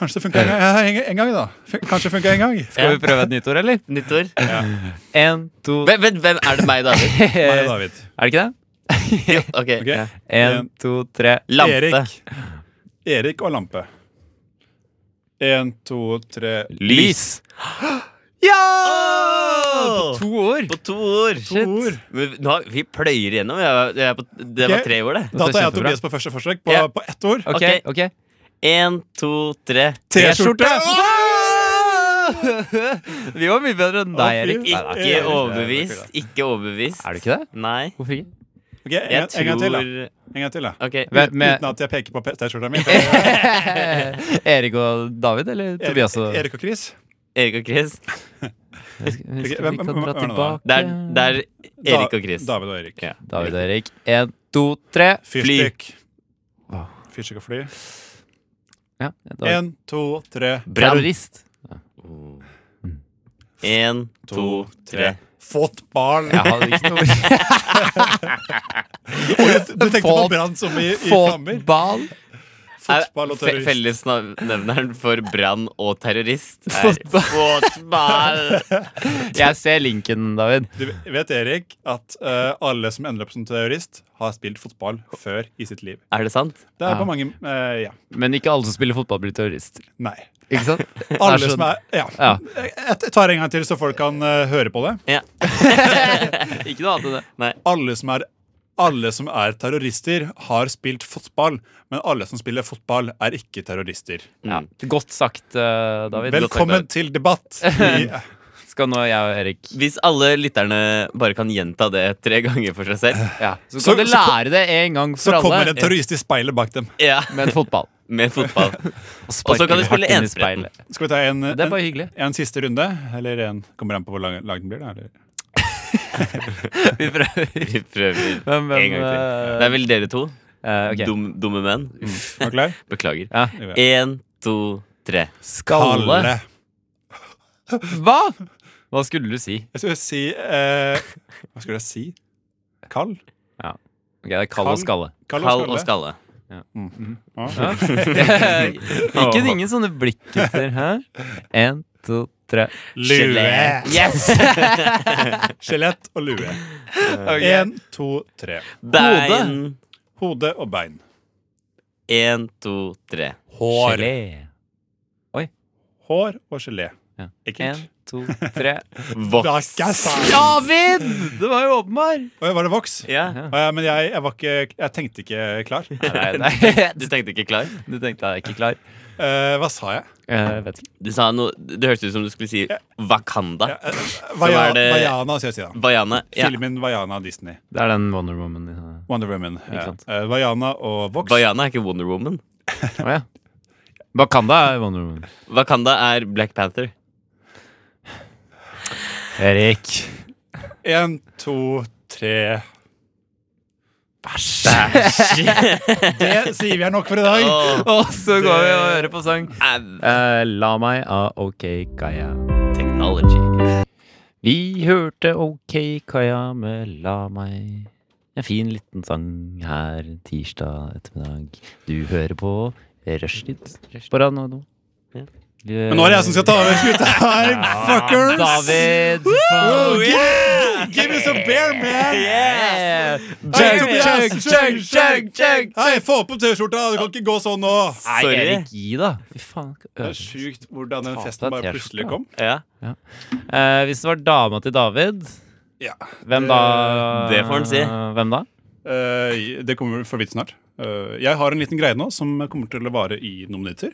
[SPEAKER 3] Kanskje det funka en gang. Ja, en, en gang, da. Fun- Kanskje det funka en gang.
[SPEAKER 2] Skal vi prøve et nytt ord, eller?
[SPEAKER 4] Nytt ord?
[SPEAKER 2] En, to
[SPEAKER 4] Hvem, hvem, hvem er det meg, David?
[SPEAKER 3] Nei, David.
[SPEAKER 2] Er det ikke det?
[SPEAKER 4] Ok.
[SPEAKER 3] Ok?
[SPEAKER 2] En, to, tre.
[SPEAKER 4] Lampe.
[SPEAKER 3] Erik. Erik og lampe. Én, to, tre
[SPEAKER 4] Lys.
[SPEAKER 2] Ja! På to år.
[SPEAKER 4] På to ord.
[SPEAKER 2] Shit.
[SPEAKER 4] Men nå har, vi pløyer gjennom. Jeg var, jeg er på, det var
[SPEAKER 3] Ok.
[SPEAKER 4] tre ord, det.
[SPEAKER 3] Da tar jeg og
[SPEAKER 2] kjempebra.
[SPEAKER 3] Tobias på første forsøk på,
[SPEAKER 4] Ja.
[SPEAKER 3] på ett ord.
[SPEAKER 2] Ok,
[SPEAKER 4] Ok.
[SPEAKER 2] ok.
[SPEAKER 4] Én, to, tre.
[SPEAKER 2] Vi var mye bedre enn deg, Erik.
[SPEAKER 3] Nei, nei,
[SPEAKER 4] Ikke
[SPEAKER 3] nei, nei,
[SPEAKER 4] overbevist. Ikke overbevist.
[SPEAKER 2] Er du ikke det?
[SPEAKER 4] Nei.
[SPEAKER 2] Hvorfor ikke?
[SPEAKER 3] Ok, en,
[SPEAKER 4] Jeg
[SPEAKER 3] gang- en gang til, da.
[SPEAKER 4] tror
[SPEAKER 3] En gang til, da.
[SPEAKER 4] Ok.
[SPEAKER 2] Hvem- med-
[SPEAKER 3] Uten at jeg peker på pe- T-skjorta mi. for-
[SPEAKER 2] Erik og David, eller Tobias og
[SPEAKER 3] Erik og Chris.
[SPEAKER 4] Erik og Chris.
[SPEAKER 2] Jeg skal- jeg skal-
[SPEAKER 3] hvem-
[SPEAKER 2] Vi
[SPEAKER 3] hvem-
[SPEAKER 2] kan dra
[SPEAKER 3] hvem er det
[SPEAKER 2] tilbake.
[SPEAKER 3] da?
[SPEAKER 4] Det er, det er Erik og Chris.
[SPEAKER 3] Da, David og Erik.
[SPEAKER 4] Ja.
[SPEAKER 2] David og Erik. En, to, tre.
[SPEAKER 3] Fyrstikk.
[SPEAKER 2] Wow.
[SPEAKER 3] Fyrstikk og fly.
[SPEAKER 2] Ja, David.
[SPEAKER 3] Én, to, tre.
[SPEAKER 2] Terrorist.
[SPEAKER 4] Én, to, tre.
[SPEAKER 3] Fotball.
[SPEAKER 2] Jeg hadde ikke noe
[SPEAKER 3] Du, du tenkte på
[SPEAKER 2] Fot-
[SPEAKER 3] brann som i, i flammer?
[SPEAKER 2] Fotball.
[SPEAKER 3] Fotball og
[SPEAKER 4] Fe-
[SPEAKER 3] terrorist.
[SPEAKER 4] Fellesnevneren for brann og terrorist er fotball.
[SPEAKER 2] Jeg ser linken, David.
[SPEAKER 3] Du vet, Erik, at eh, alle som ender opp som terrorist, har spilt fotball før i sitt liv.
[SPEAKER 4] Er det sant?
[SPEAKER 3] Det er
[SPEAKER 2] Ja.
[SPEAKER 3] på mange eh, Ja.
[SPEAKER 2] Men ikke alle som spiller fotball, blir terrorister.
[SPEAKER 3] Nei.
[SPEAKER 2] Ikke sant?
[SPEAKER 3] Alle
[SPEAKER 2] Det er så-
[SPEAKER 3] som er Ja.
[SPEAKER 2] Ja.
[SPEAKER 3] Jeg jeg tar en gang til, så folk kan eh, høre på det.
[SPEAKER 4] Ja.
[SPEAKER 2] Ikke noe annet enn det.
[SPEAKER 4] Nei.
[SPEAKER 3] Alle som er alle som er terrorister, har spilt fotball, men alle som spiller fotball, er ikke terrorister.
[SPEAKER 2] Ja.
[SPEAKER 4] Mm.
[SPEAKER 2] Godt sagt, eh, David.
[SPEAKER 3] Velkommen til debatt! I,
[SPEAKER 2] Skal nå jeg og Erik
[SPEAKER 4] Hvis alle lytterne bare kan gjenta det tre ganger for seg selv.
[SPEAKER 2] ja. Så
[SPEAKER 3] Så-
[SPEAKER 2] kan du
[SPEAKER 3] så kom-
[SPEAKER 2] lære det en gang for
[SPEAKER 3] så kommer
[SPEAKER 2] alle
[SPEAKER 3] en terrorist i speilet bak dem.
[SPEAKER 4] Ja,
[SPEAKER 2] med fotball.
[SPEAKER 4] Med fotball. Og så kan du spille enspretten.
[SPEAKER 3] Skal vi ta en,
[SPEAKER 2] Det er bare
[SPEAKER 3] en,
[SPEAKER 2] hyggelig.
[SPEAKER 3] en siste runde? Eller en Kommer an på hvor lang, lang den blir, da. Eller?
[SPEAKER 2] Vi prøver.
[SPEAKER 4] Vi prøver
[SPEAKER 2] Men, men,
[SPEAKER 4] en gang til.
[SPEAKER 2] eh,
[SPEAKER 4] Det er vel dere to?
[SPEAKER 2] eh, ok. Mm.
[SPEAKER 4] Dum, dumme menn?
[SPEAKER 3] Er du klar?
[SPEAKER 4] Beklager.
[SPEAKER 2] Ja.
[SPEAKER 4] Én, to, tre.
[SPEAKER 2] Skalle. Hva? Hva skulle du si?
[SPEAKER 3] Jeg skulle si eh, Hva skulle jeg si? Kall?
[SPEAKER 2] Ok, det er kall
[SPEAKER 3] Kall.
[SPEAKER 2] og skalle.
[SPEAKER 3] Kall
[SPEAKER 4] Kall og skalle.
[SPEAKER 3] Ja.
[SPEAKER 2] Ikke ingen sånne blikkgutter. Hæ? En, to, tre.
[SPEAKER 3] Lue.
[SPEAKER 2] Yes!
[SPEAKER 3] Skjelett og lue.
[SPEAKER 2] Ok.
[SPEAKER 3] Én, to, tre.
[SPEAKER 4] Bein.
[SPEAKER 3] Hode og bein.
[SPEAKER 4] Én, to, tre.
[SPEAKER 3] Hår.
[SPEAKER 2] Gelé.
[SPEAKER 3] Hår og gelé.
[SPEAKER 2] Ja. En,
[SPEAKER 3] Ekkelt.
[SPEAKER 2] to, tre.
[SPEAKER 4] Voks.
[SPEAKER 3] Ja.
[SPEAKER 2] David! Det var jo åpenbar.
[SPEAKER 3] Oi, var det voks?
[SPEAKER 4] Ja.
[SPEAKER 3] Å ja, men jeg, jeg, var ikke, jeg tenkte ikke klar.
[SPEAKER 2] Nei, nei.
[SPEAKER 4] Du tenkte ikke klar?
[SPEAKER 2] Du tenkte jeg er ikke klar.
[SPEAKER 3] Eh, hva sa jeg?
[SPEAKER 2] Eh, vet ikke.
[SPEAKER 4] Du sa noe Det hørtes ut som du skulle si Wakanda.
[SPEAKER 3] Vaja,
[SPEAKER 4] er det-
[SPEAKER 3] eh, Vaiana, skal jeg si da.
[SPEAKER 4] Vaiana. Ja.
[SPEAKER 3] Filmen Vaiana Disney.
[SPEAKER 2] Det er den Wonder Woman. eh.
[SPEAKER 3] Wonder Woman.
[SPEAKER 2] Ikke
[SPEAKER 3] Ja.
[SPEAKER 2] sant.
[SPEAKER 3] Eh, Vaiana og Vox.
[SPEAKER 4] Vaiana er ikke Wonder Woman.
[SPEAKER 2] Å ja. Bakanda er Wonder Woman.
[SPEAKER 4] Wakanda er Black Panther.
[SPEAKER 2] Erik.
[SPEAKER 3] En, to, tre Bæsj! Det sier vi er nok for i dag.
[SPEAKER 4] Åh,
[SPEAKER 2] Og så går vi og hører på sang.
[SPEAKER 4] au.
[SPEAKER 2] Eh, la meg av OK Kaya.
[SPEAKER 4] Technology.
[SPEAKER 2] Vi hørte OK Kaja med La meg. En fin liten sang her tirsdag ettermiddag. Du hører på Rushtid på Radio Nova.
[SPEAKER 4] Ja.
[SPEAKER 3] Men
[SPEAKER 2] Men
[SPEAKER 3] nå er det jeg som skal ta over skuta her, fuckers!
[SPEAKER 2] David!
[SPEAKER 3] Oh,
[SPEAKER 2] fuck.
[SPEAKER 3] yeah! Give me some beer, man!
[SPEAKER 2] Yeah!
[SPEAKER 3] Hey,
[SPEAKER 2] Chug,
[SPEAKER 3] Tobias!
[SPEAKER 2] chug, chug, chug, chug!
[SPEAKER 3] Hei, få på T-skjorta! Du kan ikke gå sånn nå!
[SPEAKER 2] Nei,
[SPEAKER 4] Sorry.
[SPEAKER 2] Erik, gi da. Fy faen.
[SPEAKER 3] Det er sjukt hvordan den
[SPEAKER 2] Ta
[SPEAKER 3] festen
[SPEAKER 2] på deg
[SPEAKER 3] bare
[SPEAKER 2] T-skjorta.
[SPEAKER 3] plutselig kom.
[SPEAKER 4] Ja.
[SPEAKER 2] Eh, hvis det var dama til David,
[SPEAKER 3] Ja.
[SPEAKER 2] hvem
[SPEAKER 3] Det-
[SPEAKER 2] da?
[SPEAKER 4] Eh, det får han si.
[SPEAKER 2] Hvem da?
[SPEAKER 3] Eh, det kommer for vidt snart. Eh, jeg har en liten greie nå som kommer til å vare i noen minutter.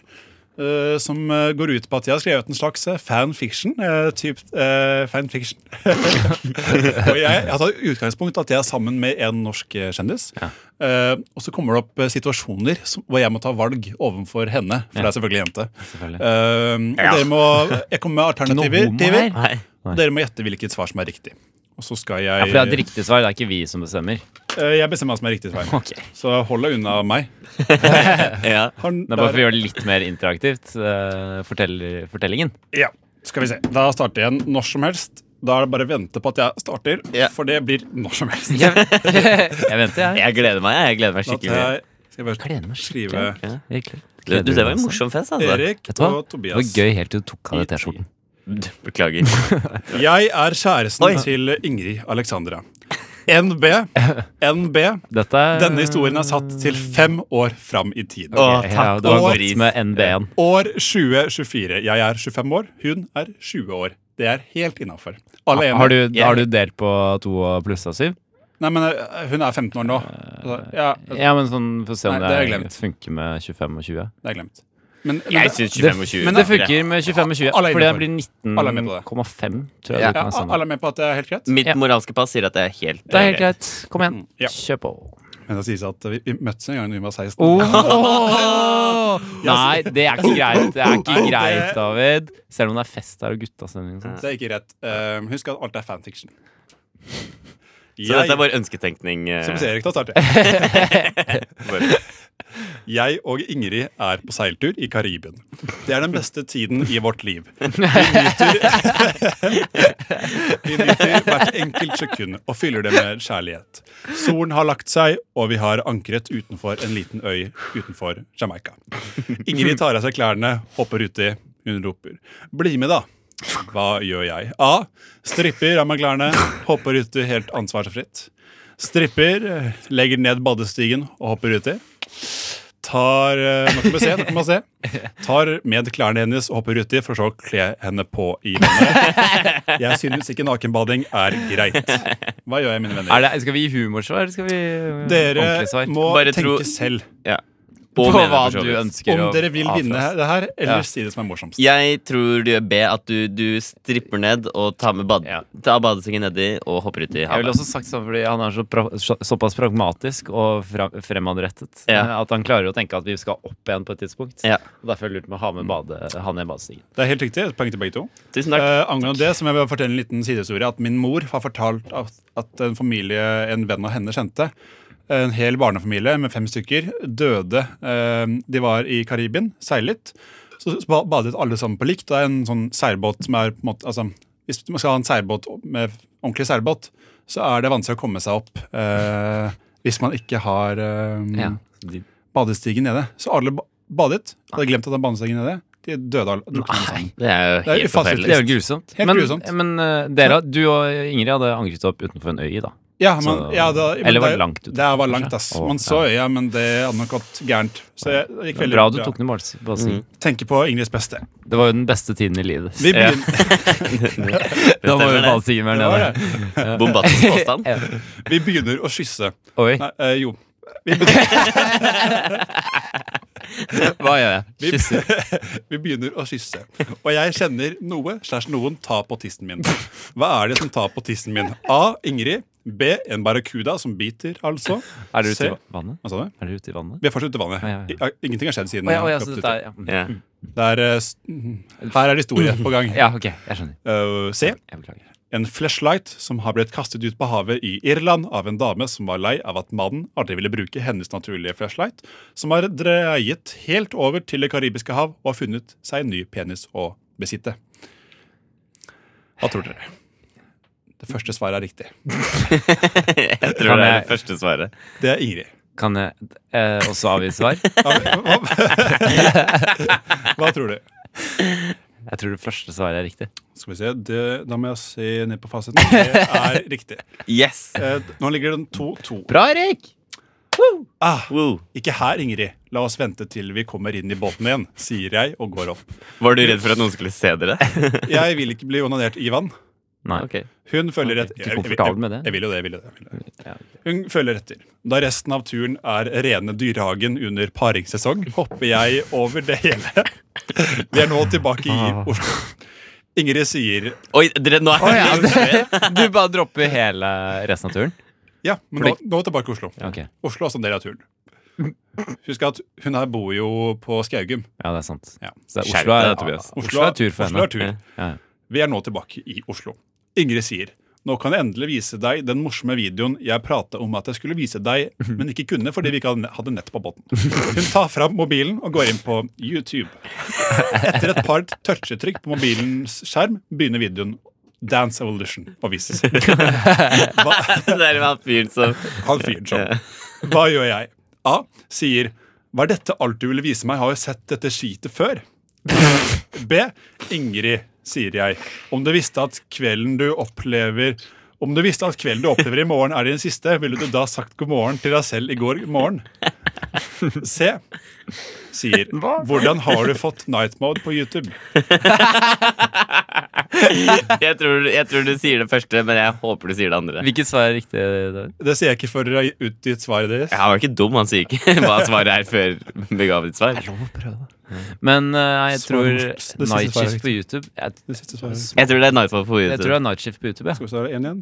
[SPEAKER 3] eh, som eh, går ut på at jeg har skrevet en slags eh, fanfiction. eh, typ eh, fanfiction. og jeg, jeg har tatt utgangspunkt at jeg er sammen med en norsk eh, kjendis. Eh, og så kommer det opp eh, situasjoner som, hvor jeg må ta valg overfor henne. For det er selvfølgelig jente. Eh, og dere må, jeg kommer med
[SPEAKER 2] Ikke noe
[SPEAKER 3] alternativer.
[SPEAKER 2] homo
[SPEAKER 3] tiver,
[SPEAKER 2] her.
[SPEAKER 4] Nei.
[SPEAKER 3] og Dere må gjette hvilket svar som er riktig. Og så skal jeg
[SPEAKER 2] Ja, for det er et riktig svar, det er ikke vi som bestemmer.
[SPEAKER 3] Eh, Jeg bestemmer hva som er riktig svar. Så hold deg unna meg.
[SPEAKER 4] Ja.
[SPEAKER 3] Han,
[SPEAKER 2] Det er bare for å
[SPEAKER 3] der-
[SPEAKER 2] gjøre det litt mer interaktivt, eh, fortell, fortellingen.
[SPEAKER 3] ja. Skal vi se. Da starter jeg når som helst. Da er det bare å vente på at jeg starter,
[SPEAKER 4] Ja.
[SPEAKER 3] for det blir når som helst.
[SPEAKER 2] Jeg venter, jeg.
[SPEAKER 4] Jeg gleder meg. Jeg gleder meg
[SPEAKER 3] Da tar
[SPEAKER 4] skikkelig.
[SPEAKER 3] jeg, skal jeg bare
[SPEAKER 2] Gleder meg skikkelig.
[SPEAKER 3] skrive
[SPEAKER 2] Virkelig.
[SPEAKER 4] Du, du, det var en
[SPEAKER 2] altså.
[SPEAKER 4] morsom fest, altså.
[SPEAKER 3] Erik
[SPEAKER 2] Vet du hva?
[SPEAKER 3] og
[SPEAKER 2] Det var
[SPEAKER 3] Tobias.
[SPEAKER 2] gøy helt til du tok av deg T-skjorten.
[SPEAKER 4] Beklager.
[SPEAKER 3] Jeg er kjæresten
[SPEAKER 4] Oi.
[SPEAKER 3] til Ingrid Alexandra. NB. NB.
[SPEAKER 2] Dette er
[SPEAKER 3] Denne historien er satt til fem år fram i tid.
[SPEAKER 4] Å,
[SPEAKER 2] Ja,
[SPEAKER 4] takk
[SPEAKER 2] Det var
[SPEAKER 4] og
[SPEAKER 2] godt
[SPEAKER 4] pris.
[SPEAKER 2] med NB-en.
[SPEAKER 3] År 2024. Jeg er 25 år, hun er 20 år. Det er helt innafor. Alle er enige.
[SPEAKER 2] Har du, har du delt på to og pluss av syv?
[SPEAKER 3] Nei, men eh, hun er 15 år nå. Så, Ja,
[SPEAKER 4] Eh,
[SPEAKER 3] det
[SPEAKER 2] Ja, men sånn, for å se om
[SPEAKER 3] Nei, det har jeg
[SPEAKER 2] det,
[SPEAKER 3] glemt.
[SPEAKER 2] funker med 25 og 20.
[SPEAKER 3] er glemt. Men, men
[SPEAKER 4] Jeg
[SPEAKER 3] det-
[SPEAKER 4] syns 25 og 20
[SPEAKER 2] Men det funker med 25 og 20,
[SPEAKER 3] Alle er
[SPEAKER 2] fordi det
[SPEAKER 3] innenfor.
[SPEAKER 2] blir
[SPEAKER 3] Alle er med på det.
[SPEAKER 2] 19,5. tror jeg
[SPEAKER 4] Ja.
[SPEAKER 2] du
[SPEAKER 3] ja,
[SPEAKER 2] kan ha sammen.
[SPEAKER 3] alle er med på at det er helt greit?
[SPEAKER 4] Mitt
[SPEAKER 2] Ja.
[SPEAKER 4] moralske pass sier at det er helt
[SPEAKER 2] Det er helt greit. Kom igjen.
[SPEAKER 3] Ja.
[SPEAKER 2] Kjør på.
[SPEAKER 3] Men det sies at vi, vi møttes en gang da vi var 16.
[SPEAKER 4] Oh.
[SPEAKER 2] Nei, det er ikke greit. Det er ikke
[SPEAKER 3] Nei,
[SPEAKER 2] greit,
[SPEAKER 3] det-
[SPEAKER 2] David. Selv om det er fest her og guttastemning. og sånn? sånt.
[SPEAKER 3] Det er ikke greit. Eh, husk at alt er fanfiction.
[SPEAKER 4] Så dette er bare ønsketenkning. eh,
[SPEAKER 3] Som sier Erik til å starte.
[SPEAKER 4] bare.
[SPEAKER 3] Jeg og Ingrid er på seiltur i Karibien. Det er den beste tiden i vårt liv. Vi nyter, vi nyter hvert enkelt sekund og fyller det med kjærlighet. Solen har lagt seg, og vi har ankret utenfor en liten øy utenfor Jamaica. Ingrid tar av seg klærne, hopper uti. Hun roper 'bli med', da. Hva gjør jeg? A. Stripper av meg klærne, hopper uti helt ansvarsfritt. Stripper, eh, legger ned badestigen og hopper uti tar eh, Nå kan vi se, nå kan man se. Tar med klærne hennes og hopper uti for så å kle henne på i vannet. Jeg synes ikke nakenbading er greit. Hva gjør jeg, mine venner?
[SPEAKER 2] Er det, skal vi gi humorsvar, eller skal vi
[SPEAKER 3] Dere
[SPEAKER 2] ordentlig svar?
[SPEAKER 3] må
[SPEAKER 4] Bare
[SPEAKER 3] tenke
[SPEAKER 4] tro-
[SPEAKER 3] selv
[SPEAKER 4] Ja.
[SPEAKER 2] På
[SPEAKER 4] Og mener
[SPEAKER 2] hva
[SPEAKER 4] for så
[SPEAKER 2] du
[SPEAKER 4] vidt.
[SPEAKER 2] ønsker
[SPEAKER 3] om
[SPEAKER 2] å
[SPEAKER 3] dere vil vinne
[SPEAKER 2] avfeste.
[SPEAKER 3] her- det her,
[SPEAKER 2] Ja.
[SPEAKER 3] eller si det som er morsomst.
[SPEAKER 4] Jeg tror du gjør B, at du, du stripper ned og tar med bad
[SPEAKER 2] Ja.
[SPEAKER 4] tar badesengen nedi og hopper uti
[SPEAKER 2] Jeg ville
[SPEAKER 4] havet.
[SPEAKER 2] også sagt sånn fordi han er så pra så, såpass pragmatisk og fra fremadrettet
[SPEAKER 4] Ja.
[SPEAKER 2] eh, at han klarer å tenke at vi skal opp igjen på et tidspunkt.
[SPEAKER 4] Ja.
[SPEAKER 2] Og Derfor er det lurt med å ha med bade, ha ned badestigen.
[SPEAKER 3] Det er helt riktig. et Poeng til begge to.
[SPEAKER 4] Tusen takk.
[SPEAKER 3] Eh, angående det, så må jeg bare fortelle en liten sidehistorie. At min mor har fortalt at, at en familie en venn av henne kjente, en hel barnefamilie med fem stykker, døde. Eh, de var i Karibien, seilet. Så så ba- badet alle sammen på likt. Det er en sånn seilbåt som er på en måte altså, Hvis man skal ha en seilbåt med ordentlig seilbåt, så er det vanskelig å komme seg opp eh, hvis man ikke har
[SPEAKER 2] Mm.
[SPEAKER 3] eh,
[SPEAKER 2] De,
[SPEAKER 3] badestigen nede. Så alle ba- badet. Hadde glemt at det var badestigen nede. De døde alle. drukna alle sammen.
[SPEAKER 4] Det er jo
[SPEAKER 3] Det er
[SPEAKER 4] helt
[SPEAKER 3] ufattelig
[SPEAKER 2] det
[SPEAKER 4] forferdelig.
[SPEAKER 2] er jo grusomt.
[SPEAKER 3] Helt
[SPEAKER 2] men
[SPEAKER 3] grusomt.
[SPEAKER 2] men eh, dere, du og Ingrid hadde angret opp utenfor en øy, da.
[SPEAKER 3] Ja, men,
[SPEAKER 2] Så-
[SPEAKER 3] ja, da, men
[SPEAKER 2] eller var
[SPEAKER 3] det-
[SPEAKER 2] det langt utenfor,
[SPEAKER 3] Det var
[SPEAKER 2] kanskje?
[SPEAKER 3] langt, ass.
[SPEAKER 2] Å,
[SPEAKER 3] Man så øya, men det hadde nok gått gærent. Så jeg, det gikk
[SPEAKER 2] Det var
[SPEAKER 3] veldig
[SPEAKER 2] bra du tok ned bads- badestigen.
[SPEAKER 3] Tenker på Ingrids beste.
[SPEAKER 2] Det var jo den beste tiden i livet.
[SPEAKER 3] Vi begynner,
[SPEAKER 2] Da var jo
[SPEAKER 4] Stemmer det.
[SPEAKER 2] badestigen mer
[SPEAKER 3] det var
[SPEAKER 2] nede.
[SPEAKER 3] det.
[SPEAKER 4] Bombastisk påstand.
[SPEAKER 3] vi begynner å kysse.
[SPEAKER 2] Oi,
[SPEAKER 3] Nei, eh, jo. Vi begynner,
[SPEAKER 2] hva gjør jeg?
[SPEAKER 3] vi,
[SPEAKER 2] Kysser.
[SPEAKER 3] vi begynner å kysse. Og jeg kjenner noe slash noen ta på tissen min. Hva er det som tar på tissen min? A. Ingrid. B. En barrakuda som biter, altså.
[SPEAKER 2] Er dere ute
[SPEAKER 3] Se.
[SPEAKER 2] i vannet?
[SPEAKER 3] Hva sa du?
[SPEAKER 2] Er dere ute i vannet?
[SPEAKER 3] Vi er fortsatt ute i vannet.
[SPEAKER 2] Ja, ja, ja.
[SPEAKER 3] I- Ingenting har skjedd siden.
[SPEAKER 2] Å ja, å ja,
[SPEAKER 3] jeg
[SPEAKER 2] så
[SPEAKER 3] hoppet
[SPEAKER 2] dette
[SPEAKER 3] uti.
[SPEAKER 2] er ja.
[SPEAKER 4] Ja.
[SPEAKER 3] det er, eh, s- her er det historie på gang.
[SPEAKER 2] ja, ok, jeg skjønner.
[SPEAKER 3] Eh, C.
[SPEAKER 2] Jeg beklager.
[SPEAKER 3] En flashlight som har blitt kastet ut på havet i Irland av en dame som var lei av at mannen aldri ville bruke hennes naturlige flashlight, som har dreiet helt over til Det karibiske hav og har funnet seg en ny penis å besitte. Hva tror dere? Det første svaret er riktig.
[SPEAKER 4] Jeg tror
[SPEAKER 2] Kan
[SPEAKER 4] det er
[SPEAKER 2] jeg-
[SPEAKER 4] det første svaret.
[SPEAKER 3] Det er Ingrid.
[SPEAKER 2] Kan jeg eh, også avgi svar?
[SPEAKER 3] Ja, men Hva, hva tror du?
[SPEAKER 2] Jeg tror det første svaret er riktig.
[SPEAKER 3] Skal vi se, det, Da må jeg se ned på fasiten. Det er riktig.
[SPEAKER 4] Yes!
[SPEAKER 3] Eh, nå ligger den 2-2.
[SPEAKER 2] Bra, Erik!
[SPEAKER 3] Ah,
[SPEAKER 4] Wow.
[SPEAKER 3] ikke her, Ingrid. La oss vente til vi kommer inn i båten igjen, sier jeg og går opp.
[SPEAKER 4] Var du redd for at noen skulle se dere?
[SPEAKER 3] Jeg vil ikke bli onanert i vann.
[SPEAKER 2] Nei.
[SPEAKER 4] Ok.
[SPEAKER 3] Hun følger etter.
[SPEAKER 2] Ikke komfortabel med det?
[SPEAKER 3] Jeg vil jo det. jeg vil jo det, jeg vil jo det. Hun følger etter. Da resten av turen er rene dyrehagen under paringssesong, hopper jeg over det hele. Vi er nå tilbake i
[SPEAKER 2] Ah.
[SPEAKER 3] Oslo. Ingrid sier
[SPEAKER 4] Oi, dere, nå er
[SPEAKER 2] Å ja, det- du bare dropper hele resten av turen?
[SPEAKER 3] ja, men nå, nå tilbake i Oslo.
[SPEAKER 2] Ja, ok.
[SPEAKER 3] Oslo er som del av turen. Husk at hun her bor jo på Skaugum.
[SPEAKER 2] Ja, det er sant.
[SPEAKER 3] Ja.
[SPEAKER 2] Så
[SPEAKER 4] Skjerp
[SPEAKER 2] Oslo er,
[SPEAKER 4] deg, Tobias.
[SPEAKER 2] Oslo er tur for
[SPEAKER 3] Oslo
[SPEAKER 2] henne.
[SPEAKER 3] er tur.
[SPEAKER 2] Ja, ja.
[SPEAKER 3] Vi er nå tilbake i Oslo. Ingrid sier nå kan jeg endelig vise deg den morsomme videoen jeg prata om at jeg skulle vise deg, men ikke kunne fordi vi ikke hadde- hadde nett på båten. Hun tar fram mobilen og går inn på YouTube. Etter et par touchetrykk på mobilens skjerm begynner videoen Dance Evolution å vises. Hva,
[SPEAKER 4] det er han fyren som
[SPEAKER 3] han fyren som. Hva gjør jeg? A. Sier Hva er dette alt du ville vise meg? Har jo sett dette skitet før. B. Ingrid, sier jeg. Om du visste at kvelden du opplever om du visste at kvelden du opplever i morgen er din siste, ville du da sagt god morgen til deg selv i går morgen? C. Sier Hvordan har du fått night mode på YouTube?
[SPEAKER 4] jeg tror, jeg tror du sier det første, men jeg håper du sier det andre.
[SPEAKER 2] Hvilket svar er riktig? David?
[SPEAKER 3] Det sier jeg ikke før dere har utgitt svaret deres.
[SPEAKER 4] Ja, Han var ikke dum, han sier ikke hva svaret er før vi ga ditt svar.
[SPEAKER 2] Men eh, jeg
[SPEAKER 3] Svar
[SPEAKER 2] tror
[SPEAKER 3] norsk. Det siste
[SPEAKER 2] Night
[SPEAKER 3] svaret er
[SPEAKER 2] Shift på YouTube jeg,
[SPEAKER 3] Det siste svaret.
[SPEAKER 4] Jeg tror det er Nightfall på
[SPEAKER 2] jeg tror det
[SPEAKER 4] YouTube.
[SPEAKER 2] er Night Shift på YouTube, ja.
[SPEAKER 3] Skal vi svare én igjen?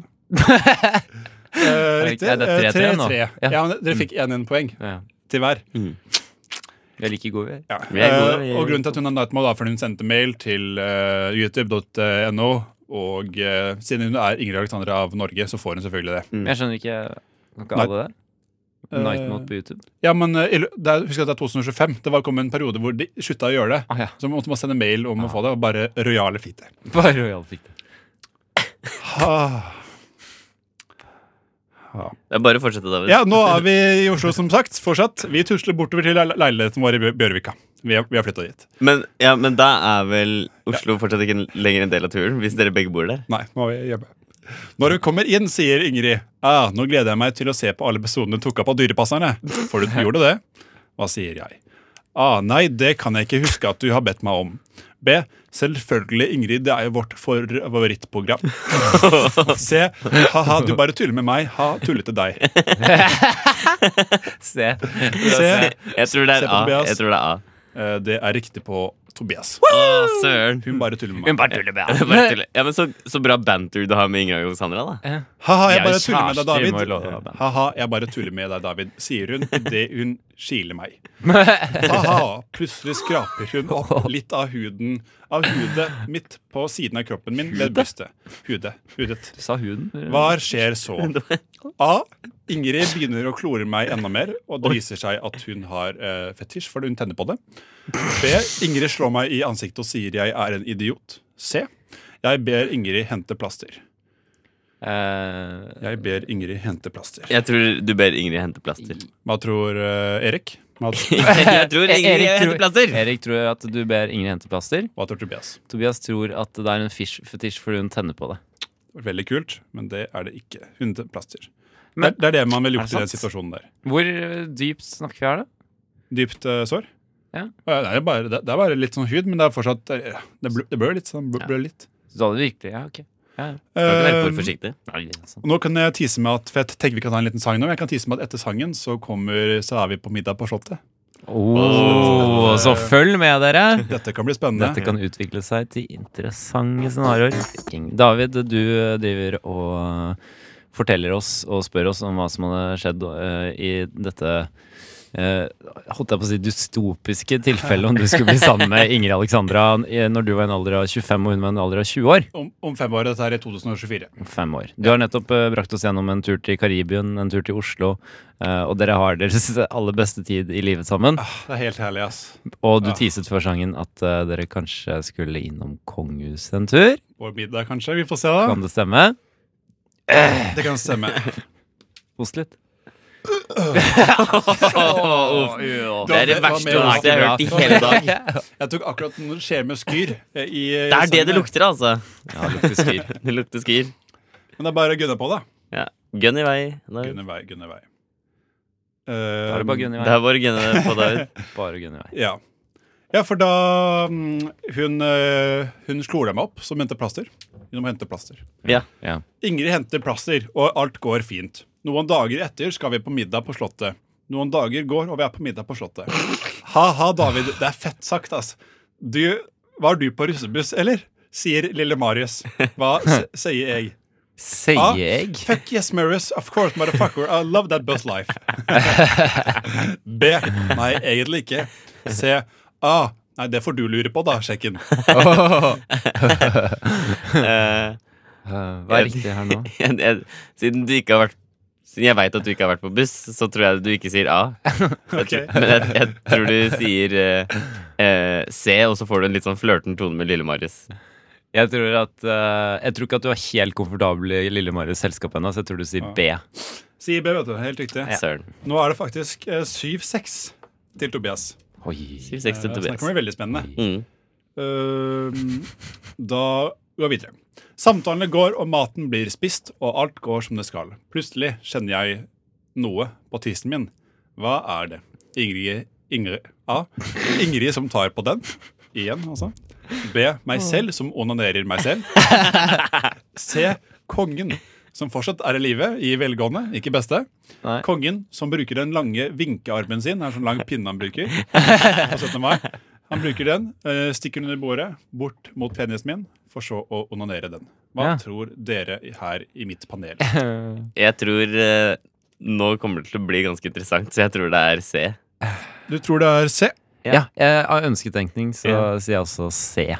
[SPEAKER 3] Eh, riktig.
[SPEAKER 2] Er det tre,
[SPEAKER 3] Eh,
[SPEAKER 2] tre nå?
[SPEAKER 3] 3-3. Ja.
[SPEAKER 2] Ja.
[SPEAKER 3] men dere fikk én poeng
[SPEAKER 2] ja.
[SPEAKER 3] til hver.
[SPEAKER 2] Vi er like gode, vi.
[SPEAKER 3] Ja.
[SPEAKER 4] Vi er gode,
[SPEAKER 3] Eh,
[SPEAKER 4] vi er
[SPEAKER 3] og grunnen til at hun har Nightmall, er fordi hun sendte mail til eh, youtube.no. Og eh, siden hun er Ingrid Alexandra av Norge, så får hun selvfølgelig
[SPEAKER 4] Mm.
[SPEAKER 3] det.
[SPEAKER 2] Men Jeg skjønner ikke Kan ikke alle det? Night Mode på YouTube?
[SPEAKER 3] Ja, men eh, i lø- det er, Husk at det er 2025. Det var kom en periode hvor de slutta å gjøre det.
[SPEAKER 2] Ah, ja.
[SPEAKER 3] Så måtte man sende mail om
[SPEAKER 4] Ah.
[SPEAKER 3] å få det, og bare rojale fite.
[SPEAKER 2] Bare Royal fikk det.
[SPEAKER 3] Ah.
[SPEAKER 4] Det er bare å fortsette, David.
[SPEAKER 3] Ja, nå er vi i Oslo, som sagt. Fortsatt. Vi tusler bortover til le- leiligheten vår i Bjø- Bjørvika. Vi har, vi har flytta dit.
[SPEAKER 4] Men, ja, men da er vel Oslo fortsatt ikke en- lenger en del av turen, hvis dere begge bor der.
[SPEAKER 3] Nei, nå er vi hjemme. Når vi kommer inn, sier Ingrid ah, Nå gleder jeg meg til å se på alle episodene du tok opp av Dyrepasserne. For du gjorde det. Hva sier jeg? Ah, nei, det kan jeg ikke huske at du har bedt meg om. B. Selvfølgelig, Ingrid. Det er jo vårt favorittprogram. C. Ha-ha, du bare tuller med meg. Ha, tullete deg.
[SPEAKER 2] Se.
[SPEAKER 3] C.
[SPEAKER 4] Jeg tror det
[SPEAKER 3] Se
[SPEAKER 4] er
[SPEAKER 3] på
[SPEAKER 4] A.
[SPEAKER 3] Tobias.
[SPEAKER 4] Jeg tror det er A.
[SPEAKER 3] Eh, Det er riktig på Tobias.
[SPEAKER 4] Å, søren.
[SPEAKER 3] Hun bare tuller med
[SPEAKER 2] Hun
[SPEAKER 3] meg.
[SPEAKER 2] bare tuller med
[SPEAKER 4] Det er bare til- Ja, men så, så bra banter du har med Ingrid Alexandra, da.
[SPEAKER 3] Ha-ha, jeg
[SPEAKER 2] Vi er jo
[SPEAKER 3] bare tuller med deg,
[SPEAKER 2] kjærester, vi må jo love å ha
[SPEAKER 3] David.
[SPEAKER 2] band.
[SPEAKER 3] Ha-ha, jeg bare tuller med deg, David, sier hun idet hun kiler meg. Ha-ha, plutselig skraper hun opp litt av huden av hudet mitt på siden av kroppen min ved brystet. Hudet. Hudet.
[SPEAKER 2] Sa huden?
[SPEAKER 3] Hva skjer så? A. Ingrid begynner å klore meg enda mer, og det viser seg at hun har eh, fetisj, for hun tenner på det. B. Ingrid slår meg i ansiktet og sier jeg er en idiot. C. Jeg ber Ingrid hente plaster.
[SPEAKER 2] Eh,
[SPEAKER 3] Jeg ber Ingrid hente plaster.
[SPEAKER 4] Jeg tror du ber Ingrid hente plaster.
[SPEAKER 3] Hva tror eh, Erik? Hva,
[SPEAKER 4] Jeg tror Ingrid
[SPEAKER 2] Erik tror-
[SPEAKER 4] henter plaster.
[SPEAKER 2] Erik tror at du ber Ingrid hente plaster.
[SPEAKER 3] hva tror Tobias?
[SPEAKER 2] Tobias tror at det er en fish fetisj fordi hun tenner på det.
[SPEAKER 3] Veldig kult, men det er det ikke. Hun henter plaster.
[SPEAKER 2] Men-
[SPEAKER 3] det, er, det er det man ville gjort i
[SPEAKER 2] Er det
[SPEAKER 3] den situasjonen der.
[SPEAKER 2] Hvor eh, dypt snakker vi her, da?
[SPEAKER 3] Dypt eh, sår?
[SPEAKER 2] Ja.
[SPEAKER 3] det, er bare, det, det er bare litt sånn hud, men det er fortsatt Det, er- det blør- det blør litt. Sånn, blør,
[SPEAKER 2] Ja.
[SPEAKER 3] blør litt.
[SPEAKER 2] Så da hadde det virkelig Ja, ok. Ja, ja.
[SPEAKER 4] Du skal ikke være for
[SPEAKER 3] Eh,
[SPEAKER 4] forsiktig.
[SPEAKER 2] Nei, det er sant.
[SPEAKER 3] nå kan jeg tise med at For jeg tenker vi kan ta en liten sang nå. men Jeg kan tise med at etter sangen så kommer Så er vi på middag på Slottet.
[SPEAKER 2] Oh, så følg med, dere.
[SPEAKER 3] Dette kan bli spennende.
[SPEAKER 2] Dette kan utvikle seg til interessante scenarioer. David, du eh, driver og eh, forteller oss og spør oss om hva som hadde skjedd eh, i dette eh, holdt jeg på å si dystopiske tilfellet om du skulle bli sammen med Ingrid Alexandra eh, når du var i en alder av 25 og hun var i en alder av 20 år.
[SPEAKER 3] Om, om fem år. Dette er i 2024.
[SPEAKER 2] Fem år. Du har nettopp eh, brakt oss gjennom en tur til Karibien, en tur til Oslo, eh, og dere har deres aller beste tid i livet sammen.
[SPEAKER 3] Det er helt herlig, ass.
[SPEAKER 2] Og du teaset før sangen at eh, dere kanskje skulle innom kongehuset en tur.
[SPEAKER 3] Vår middag, kanskje. Vi får se, da.
[SPEAKER 2] Kan det stemme?
[SPEAKER 3] Det kan stemme.
[SPEAKER 2] Host litt.
[SPEAKER 4] Det er det
[SPEAKER 3] Det var
[SPEAKER 4] verste
[SPEAKER 3] mer
[SPEAKER 4] ordet jeg har hørt i hele dag.
[SPEAKER 3] Jeg tok akkurat når det skjer med skyr. eh, I, eh,
[SPEAKER 4] Det er det
[SPEAKER 3] sangen.
[SPEAKER 4] det lukter, altså.
[SPEAKER 2] Ja, lukter skyr.
[SPEAKER 4] Det lukter skir.
[SPEAKER 3] Men det er bare å gunne på, da.
[SPEAKER 4] Ja. Gunn i vei. David.
[SPEAKER 3] Gunne vei, gunne vei.
[SPEAKER 2] Da er det bare Gunn i
[SPEAKER 4] Det
[SPEAKER 2] vei.
[SPEAKER 4] er bare å gunne på David.
[SPEAKER 2] Um, Bare Gunn i vei.
[SPEAKER 3] Um, Ja. ja, for da mm, hun, eh, hun slo deg meg opp som henter plaster. Hun må hente plaster.
[SPEAKER 4] Ja.
[SPEAKER 2] Ja.
[SPEAKER 3] Ingrid henter plaster, og alt går fint. Noen dager etter skal vi på middag på Slottet. Noen dager går, og vi er på middag på Slottet. Ha-ha, David. Det er fett sagt, ass. Du, var du på russebuss, eller? Sier lille Marius. Hva s- sier jeg? Ah,
[SPEAKER 2] Sier jeg?
[SPEAKER 3] Fuck yes, Marius. Of course, motherfucker. I love that bus life. B. Nei, egentlig ikke. C. A. Nei, det får du lure på, da, sjekken.
[SPEAKER 4] Eh,
[SPEAKER 2] Hva er riktig her nå?
[SPEAKER 4] jeg- jeg- Siden du ikke har vært Siden jeg veit at du ikke har vært på buss, så tror jeg du ikke sier A.
[SPEAKER 3] Ok.
[SPEAKER 4] Men jeg, jeg tror du sier eh, eh, C, og så får du en litt sånn flørten tone med lille Marius.
[SPEAKER 2] Jeg tror, at, eh, jeg tror ikke at du er helt komfortabel i Lille Marius' selskap ennå, så jeg tror du
[SPEAKER 3] Ah.
[SPEAKER 2] sier B.
[SPEAKER 3] Sier B, vet du. Helt riktig.
[SPEAKER 4] Søren.
[SPEAKER 3] Nå er det faktisk eh, 7-6 til Tobias.
[SPEAKER 2] Oi.
[SPEAKER 4] 7-6 til
[SPEAKER 3] Eh, Så det
[SPEAKER 4] Tobias.
[SPEAKER 3] kan bli veldig spennende.
[SPEAKER 4] Mm.
[SPEAKER 3] Ehm, da går vi videre. Samtalene går, og maten blir spist, og alt går som det skal. Plutselig kjenner jeg noe på tissen min. Hva er det? Ingrid Ingrid, A. Ingrid som tar på den. Igjen, altså. B. Meg selv som onanerer meg selv. C. Kongen som fortsatt er i live, i velgående, ikke beste.
[SPEAKER 2] Nei.
[SPEAKER 3] Kongen som bruker den lange vinkearmen sin, det er en sånn lang pinne han bruker på 17. mai. Han bruker den, eh, stikker den under bordet, bort mot penisen min, for så å onanere den. Hva
[SPEAKER 2] Ja.
[SPEAKER 3] tror dere her i mitt panel?
[SPEAKER 4] Jeg tror eh, nå kommer det til å bli ganske interessant, så jeg tror det er C.
[SPEAKER 3] Du tror det er C?
[SPEAKER 2] Ja, jeg har ønsketenkning, så
[SPEAKER 4] Ja.
[SPEAKER 2] sier jeg også C.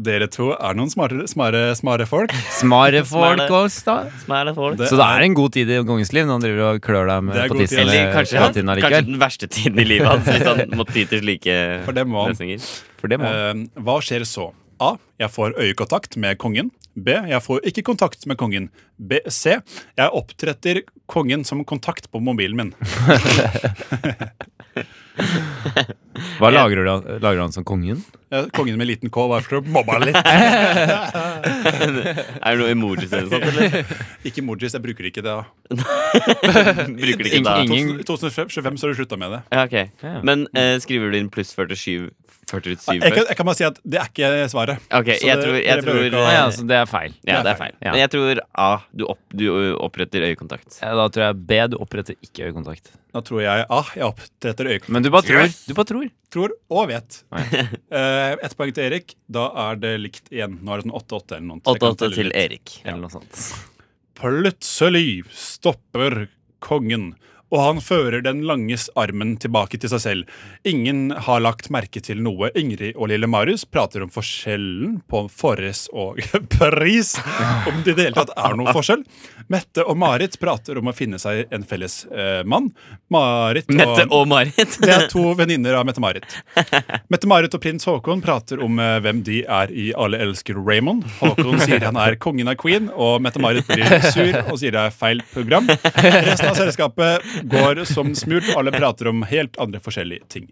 [SPEAKER 3] Dere to er noen smarte, smare, smare folk. Eh,
[SPEAKER 2] Smare folk
[SPEAKER 4] Smare.
[SPEAKER 2] også, da.
[SPEAKER 4] Som er det folk.
[SPEAKER 3] Det
[SPEAKER 2] Så det er en god tid i kongens liv når han driver og klør deg
[SPEAKER 3] Det
[SPEAKER 2] med
[SPEAKER 3] er
[SPEAKER 2] på
[SPEAKER 3] god tid.
[SPEAKER 2] tissen
[SPEAKER 4] Eller
[SPEAKER 2] eller
[SPEAKER 4] kanskje,
[SPEAKER 2] på tiden
[SPEAKER 4] kanskje
[SPEAKER 2] allikevel.
[SPEAKER 4] den verste tiden i livet hans, hvis han må ty til slike
[SPEAKER 3] For det må han.
[SPEAKER 4] løsninger.
[SPEAKER 2] For det må
[SPEAKER 3] Eh, hva skjer så? A. Jeg får øyekontakt med kongen. B. Jeg får ikke kontakt med kongen. B, C. Jeg oppretter kongen som kontakt på mobilen min.
[SPEAKER 2] Hva lager du? da? Lager han som kongen?
[SPEAKER 3] Eh, Kongen med liten K, bare for å mobbe han litt.
[SPEAKER 4] Er det noe emojis eller sånt, eller?
[SPEAKER 3] Ikke emojis, jeg bruker ikke det. da.
[SPEAKER 4] Bruker det ikke da?
[SPEAKER 2] Ingen-
[SPEAKER 3] 2025 så har du slutta med det.
[SPEAKER 4] Ja, ok.
[SPEAKER 2] Ja.
[SPEAKER 4] Men eh, skriver du inn pluss 47 47
[SPEAKER 3] Jeg kan,
[SPEAKER 4] før?
[SPEAKER 3] jeg kan bare si at det er ikke svaret.
[SPEAKER 4] Ok,
[SPEAKER 3] Så det-
[SPEAKER 4] jeg tror,
[SPEAKER 3] dere
[SPEAKER 4] jeg
[SPEAKER 3] behøver
[SPEAKER 4] tror
[SPEAKER 3] ikke å-
[SPEAKER 2] Ah, ja, så det er feil.
[SPEAKER 4] Ja, det er feil.
[SPEAKER 2] Ja.
[SPEAKER 4] Men jeg tror A. Du, opp, du ø, oppretter øyekontakt.
[SPEAKER 2] Ja, Eh, Da tror jeg B. Du oppretter ikke øyekontakt.
[SPEAKER 3] Da tror jeg ah, jeg oppretter øyekontakt.
[SPEAKER 2] Men du bare tror. Du bare tror.
[SPEAKER 3] Tror og vet. Eh, Ett poeng til Erik. Da er det likt igjen. Nå er det sånn 8-8 eller noe. så jeg kan
[SPEAKER 4] 8-8
[SPEAKER 3] telle
[SPEAKER 4] til
[SPEAKER 3] litt.
[SPEAKER 4] Erik.
[SPEAKER 2] Eller noe sånt.
[SPEAKER 3] Plutselig stopper kongen, og han fører den langes armen tilbake til seg selv. Ingen har lagt merke til noe. Ingrid og lille Marius prater om forskjellen på forres og pris, om det i det hele tatt er noe forskjell. Mette og Marit prater om å finne seg en felles eh, mann. Marit og
[SPEAKER 4] Mette og Marit.
[SPEAKER 3] det er to venninner av Mette-Marit. Mette-Marit og prins Haakon prater om eh, hvem de er i Alle elsker Raymond. Haakon sier han er kongen av Queen, og Mette-Marit blir sur og sier det er feil program. Resten av selskapet går som smurt, og alle prater om helt andre forskjellige ting.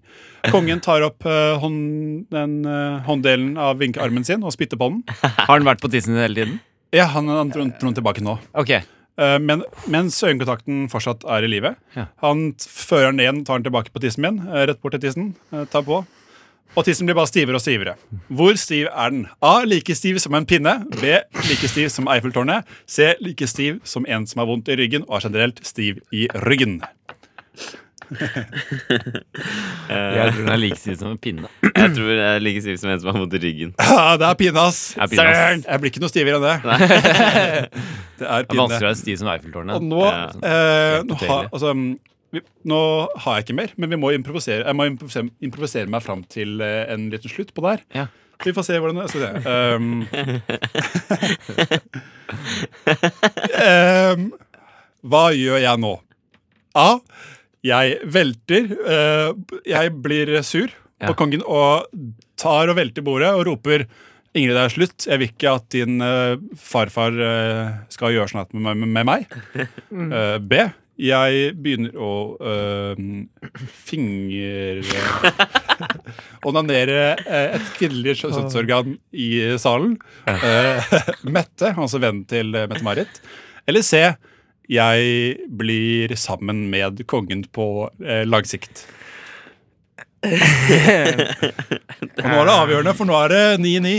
[SPEAKER 3] Kongen tar opp eh, hånd, den, eh, hånddelen av vinkearmen sin og spytter på den.
[SPEAKER 2] Har han vært på tissen din hele tiden?
[SPEAKER 3] Ja, han han dro dro den tilbake nå.
[SPEAKER 2] Ok.
[SPEAKER 3] Eh, Men mens øyekontakten fortsatt er i live.
[SPEAKER 2] Ja.
[SPEAKER 3] Han t- fører den igjen, tar den tilbake på tissen min. eh, Rett bort til tissen. eh, Tar på. Og tissen blir bare stivere og stivere. Hvor stiv er den? A. Like stiv som en pinne. B. Like stiv som Eiffeltårnet. C. Like stiv som en som har vondt i ryggen og er generelt stiv i ryggen.
[SPEAKER 2] Jeg tror den er like stiv som en pinne.
[SPEAKER 4] Jeg tror jeg er like stiv som en som har vondt i ryggen.
[SPEAKER 3] Ah, det er pinne, ass!
[SPEAKER 2] Det er pinne, ass.
[SPEAKER 3] Søren! Jeg blir ikke noe stivere enn det. Det er
[SPEAKER 2] Det er
[SPEAKER 3] pinne.
[SPEAKER 2] vanskelig å være stiv som
[SPEAKER 3] Og
[SPEAKER 2] Eiffeltårnet.
[SPEAKER 3] nå, eh, nå,
[SPEAKER 2] Helt
[SPEAKER 3] har, altså, mm, vi, nå har jeg ikke mer, men vi må improvisere, jeg må improvisere, improvisere meg fram til eh, en liten slutt på det her.
[SPEAKER 2] Ja.
[SPEAKER 3] Vi får se hvordan det skal se. Um, um, hva gjør jeg nå? A. Jeg velter. eh, jeg blir sur
[SPEAKER 2] Ja.
[SPEAKER 3] på kongen og tar og velter bordet og roper Ingrid, det er slutt. Jeg vil ikke at din eh, farfar eh, skal gjøre sånn at med, med, med meg. Eh, B. Jeg begynner å øh, finger... Onanere eh, et kvinnelig kjønnsorgan i salen. Eh, Mette, altså vennen til eh, Mette-Marit. Eller C. Jeg blir sammen med kongen på eh, langsikt. Og nå er det avgjørende, for nå er det 9-9.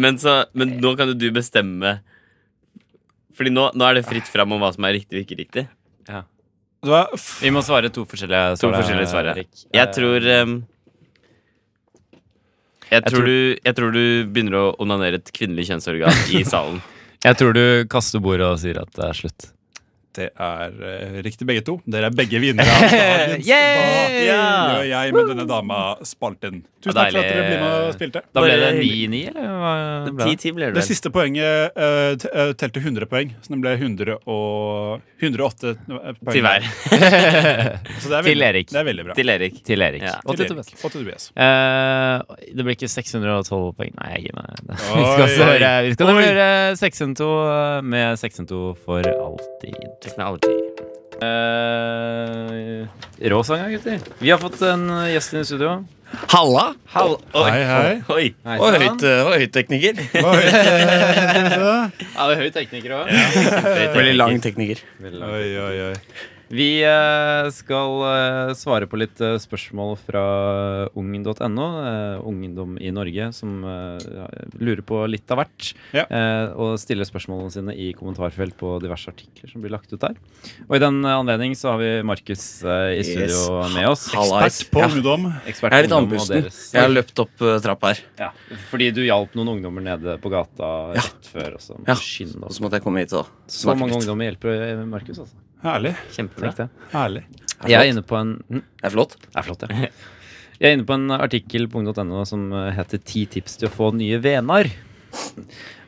[SPEAKER 4] Men, så, men nå kan jo du bestemme Fordi nå, nå er det fritt fram om hva som er riktig og ikke riktig.
[SPEAKER 3] Det var f-
[SPEAKER 2] Vi må svare to forskjellige
[SPEAKER 4] To
[SPEAKER 2] svar,
[SPEAKER 4] forskjellige svar. ja.
[SPEAKER 2] Erik.
[SPEAKER 4] Jeg tror um, jeg tror,
[SPEAKER 2] tror-
[SPEAKER 4] du, jeg tror du begynner å onanere et kvinnelig kjønnsorgan i salen.
[SPEAKER 2] Jeg tror du kaster bordet og sier at det er slutt.
[SPEAKER 3] Det er eh, riktig, begge to. Dere er begge vinnere. av dagens Hva gjør
[SPEAKER 4] Ja.
[SPEAKER 3] jeg med denne dama-spalten? Tusen takk for at dere
[SPEAKER 2] Deilig.
[SPEAKER 3] blir med og spilte.
[SPEAKER 2] Da ble det
[SPEAKER 4] Bare hyggelig.
[SPEAKER 2] 9-9, eller hva ble det?
[SPEAKER 4] 10-10 blir det
[SPEAKER 3] Det
[SPEAKER 4] vel.
[SPEAKER 3] siste poenget eh, t- eh, telte 100 poeng, så den ble 100 og, 108 poeng.
[SPEAKER 4] Til hver.
[SPEAKER 3] Så det er veldig,
[SPEAKER 2] Til Erik.
[SPEAKER 3] Det er veldig bra.
[SPEAKER 4] Til Erik.
[SPEAKER 2] Til Erik.
[SPEAKER 4] Ja.
[SPEAKER 2] Og til
[SPEAKER 3] Erik.
[SPEAKER 2] Tobias.
[SPEAKER 3] Og til Tobias.
[SPEAKER 2] Eh, det blir ikke 612 poeng. Nei, jeg gir meg. Vi skal
[SPEAKER 3] Oi,
[SPEAKER 2] også
[SPEAKER 3] oi.
[SPEAKER 2] høre, vi skal
[SPEAKER 3] Oi.
[SPEAKER 2] høre 612 eh, med 612 for alltid.
[SPEAKER 4] Technology.
[SPEAKER 2] Eh, rå sang, ja, gutter. Vi har fått en eh, gjest inn i studio.
[SPEAKER 1] Halla!
[SPEAKER 4] Hall Oi.
[SPEAKER 3] Hei, hei.
[SPEAKER 4] Oi.
[SPEAKER 2] Hei,
[SPEAKER 1] Og høyt, eh, og høytekniker.
[SPEAKER 2] Ja, det er høy tekniker òg.
[SPEAKER 1] Veldig lang tekniker.
[SPEAKER 3] Oi, oi, oi.
[SPEAKER 2] Vi eh, skal eh, svare på litt eh, spørsmål fra ung.no, eh, Ungdom i Norge, som eh, ja, lurer på litt av hvert.
[SPEAKER 3] Ja.
[SPEAKER 2] eh, Og stiller spørsmålene sine i kommentarfelt på diverse artikler som blir lagt ut der. Og i den eh, anledning så har vi Markus eh, i
[SPEAKER 1] Yes.
[SPEAKER 2] studio med oss.
[SPEAKER 1] Hallais.
[SPEAKER 3] Pert på ungdom.
[SPEAKER 2] Ekspert
[SPEAKER 1] Jeg er litt
[SPEAKER 2] ungdom og
[SPEAKER 1] andpusten.
[SPEAKER 2] deres-
[SPEAKER 1] Jeg har løpt opp eh, trappa her.
[SPEAKER 2] Ja, fordi du hjalp noen ungdommer nede på gata
[SPEAKER 1] Ja.
[SPEAKER 2] rett før. Og så
[SPEAKER 1] Ja.
[SPEAKER 2] skynde
[SPEAKER 1] Og
[SPEAKER 2] oss.
[SPEAKER 1] så måtte jeg komme hit og
[SPEAKER 2] Så mange
[SPEAKER 1] litt.
[SPEAKER 2] ungdommer hjelper eh, Markus, altså.
[SPEAKER 3] Herlig.
[SPEAKER 4] Kjempebra.
[SPEAKER 2] Tenk det.
[SPEAKER 3] herlig.
[SPEAKER 1] Er
[SPEAKER 2] Jeg er
[SPEAKER 1] flott.
[SPEAKER 2] inne på en hm?
[SPEAKER 1] Det er flott.
[SPEAKER 2] Det er flott, ja. Jeg er inne på en artikkel på ung.no som heter 'Ti tips til å få nye venner'.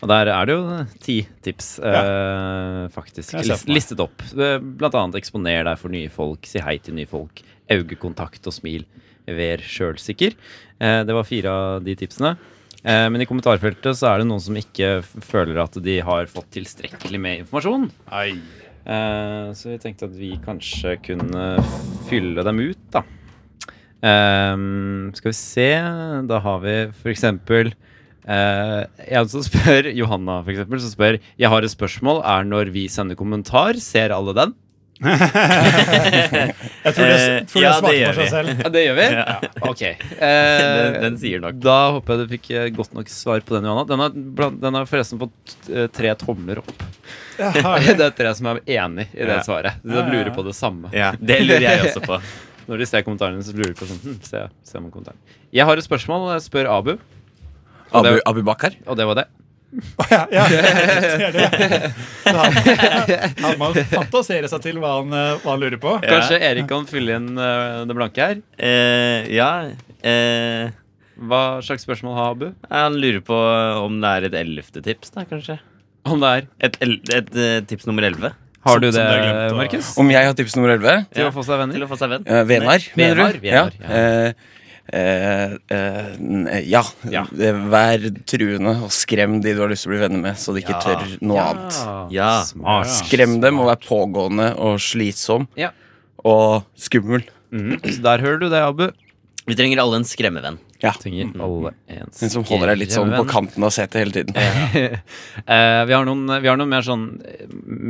[SPEAKER 2] Og der er det jo ti tips, eh, faktisk,
[SPEAKER 3] Jeg ser
[SPEAKER 2] lis-
[SPEAKER 3] for meg.
[SPEAKER 2] listet opp. Eh, Blant annet 'Eksponer deg for nye folk', 'Si hei til nye folk', 'Augekontakt og smil', 'Vær sjølsikker'. Eh, det var fire av de tipsene. Eh, men i kommentarfeltet så er det noen som ikke f- føler at de har fått tilstrekkelig med informasjon.
[SPEAKER 3] Ei.
[SPEAKER 2] Eh, Så vi tenkte at vi kanskje kunne fylle dem ut, da. Ehm, skal vi se Da har vi for eksempel eh, en som spør Johanna, for eksempel, som spør Jeg har et spørsmål. Er når vi sender kommentar, ser alle den?
[SPEAKER 3] Jeg tror det,
[SPEAKER 4] Eh,
[SPEAKER 3] tror det
[SPEAKER 4] ja, det
[SPEAKER 3] svarte
[SPEAKER 4] gjør
[SPEAKER 3] for seg selv.
[SPEAKER 2] Ja, det gjør vi? Ok.
[SPEAKER 4] Den,
[SPEAKER 2] Eh,
[SPEAKER 4] den sier nok.
[SPEAKER 2] da håper jeg du fikk eh, godt nok svar på den, Johanna. Den har, blant- den har forresten fått eh, tre tomler opp.
[SPEAKER 3] Ja, herlig.
[SPEAKER 2] Det er tre som er enig i det
[SPEAKER 4] Ja.
[SPEAKER 2] svaret.
[SPEAKER 3] Ja,
[SPEAKER 2] De
[SPEAKER 3] ja,
[SPEAKER 2] lurer
[SPEAKER 3] ja.
[SPEAKER 2] på det samme.
[SPEAKER 4] Ja, det lurer jeg også på.
[SPEAKER 2] Når de ser kommentarene, så lurer de på sånn hm, se, se om kommentaren. Jeg har et spørsmål, og jeg spør Abu, Og
[SPEAKER 1] Abu,
[SPEAKER 2] det-
[SPEAKER 1] Abu Bakar.
[SPEAKER 2] og det var det.
[SPEAKER 3] Ja, ja. Det er det. Så Han, han må fantasere seg til hva han, eh, hva han lurer på.
[SPEAKER 2] Kanskje Erik kan fylle inn eh, det blanke her.
[SPEAKER 4] Eh, ja eh,
[SPEAKER 2] Hva slags spørsmål har Abu?
[SPEAKER 4] Han lurer på om det er et ellevte tips, da, kanskje.
[SPEAKER 2] Om det er
[SPEAKER 4] Et, el- et eh, tips nummer elleve
[SPEAKER 2] Har du
[SPEAKER 3] Som- som
[SPEAKER 2] det,
[SPEAKER 3] du har glemt å-
[SPEAKER 2] Markus?
[SPEAKER 1] Om jeg har tips nummer 11?
[SPEAKER 2] Til
[SPEAKER 4] Ja.
[SPEAKER 2] å få seg venner?
[SPEAKER 4] til å få seg venn.
[SPEAKER 1] Eh, Venar, mener du?
[SPEAKER 2] Venar, Venar,
[SPEAKER 1] ja. Eh, eh, eh, n- ja.
[SPEAKER 2] Ja.
[SPEAKER 1] Det- Vær truende og skrem de du har lyst til å bli venner med, så de ikke tør noe annet.
[SPEAKER 4] Ja.
[SPEAKER 2] Smart.
[SPEAKER 1] Skrem dem og vær pågående og slitsom
[SPEAKER 2] Ja.
[SPEAKER 1] og skummel.
[SPEAKER 2] Mhm, Så der hører du det, Abu.
[SPEAKER 4] Vi trenger alle en skremmevenn.
[SPEAKER 1] Ja.
[SPEAKER 2] Trenger alle en
[SPEAKER 1] Hun som holder deg litt sånn på kanten av setet hele tiden.
[SPEAKER 2] Eh, vi har noen, vi har noen mer, sånn,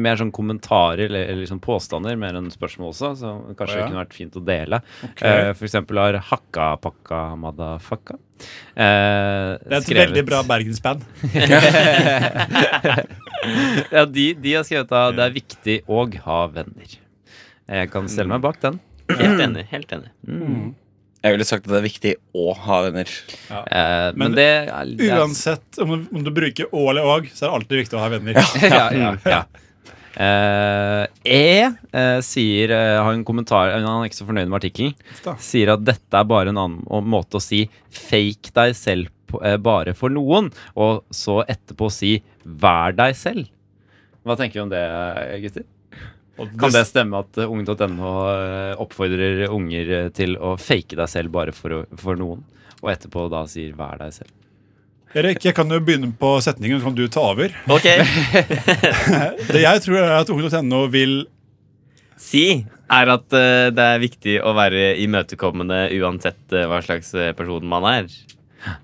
[SPEAKER 2] mer sånn kommentarer eller, eller sånn påstander, mer enn spørsmål også, så kanskje
[SPEAKER 3] Å, ja.
[SPEAKER 2] det kunne vært fint å dele. Eh, for eksempel har Hakka Pakka Madafakka eh,
[SPEAKER 3] Det er et
[SPEAKER 2] skrevet-
[SPEAKER 3] veldig bra bergensband.
[SPEAKER 2] ja, de, de har skrevet at det er viktig å ha venner. Jeg kan stelle
[SPEAKER 3] Mm.
[SPEAKER 2] meg bak den.
[SPEAKER 4] Helt enig. helt enig
[SPEAKER 1] Jeg ville sagt at det er viktig å ha venner.
[SPEAKER 2] Eh, men,
[SPEAKER 3] Men
[SPEAKER 2] det er det er-
[SPEAKER 3] Uansett om du, om du bruker å eller åg, så er det alltid viktig å ha venner.
[SPEAKER 2] ja, ja, ja. Eh, e eh, sier, eh, har en kommentar eh, Han er ikke så fornøyd med artikkelen.
[SPEAKER 3] da.
[SPEAKER 2] Sier at dette er bare en annen å- måte å si 'fake deg selv' på, eh, bare for noen, og så etterpå si 'vær deg selv'. Hva tenker vi om det, eh, gutter?
[SPEAKER 3] Og
[SPEAKER 2] Kan det
[SPEAKER 3] det,
[SPEAKER 2] stemme at eh, ung.no eh, oppfordrer unger eh, til å fake deg selv bare for, å- for noen, og etterpå da sier 'vær deg selv'?
[SPEAKER 3] Erik, jeg kan jo begynne på setningen, så kan du ta over.
[SPEAKER 4] Ok,
[SPEAKER 3] Det jeg tror er at ung.no vil
[SPEAKER 4] Si er at eh, det er viktig å være imøtekommende uansett eh, hva slags eh, person man er.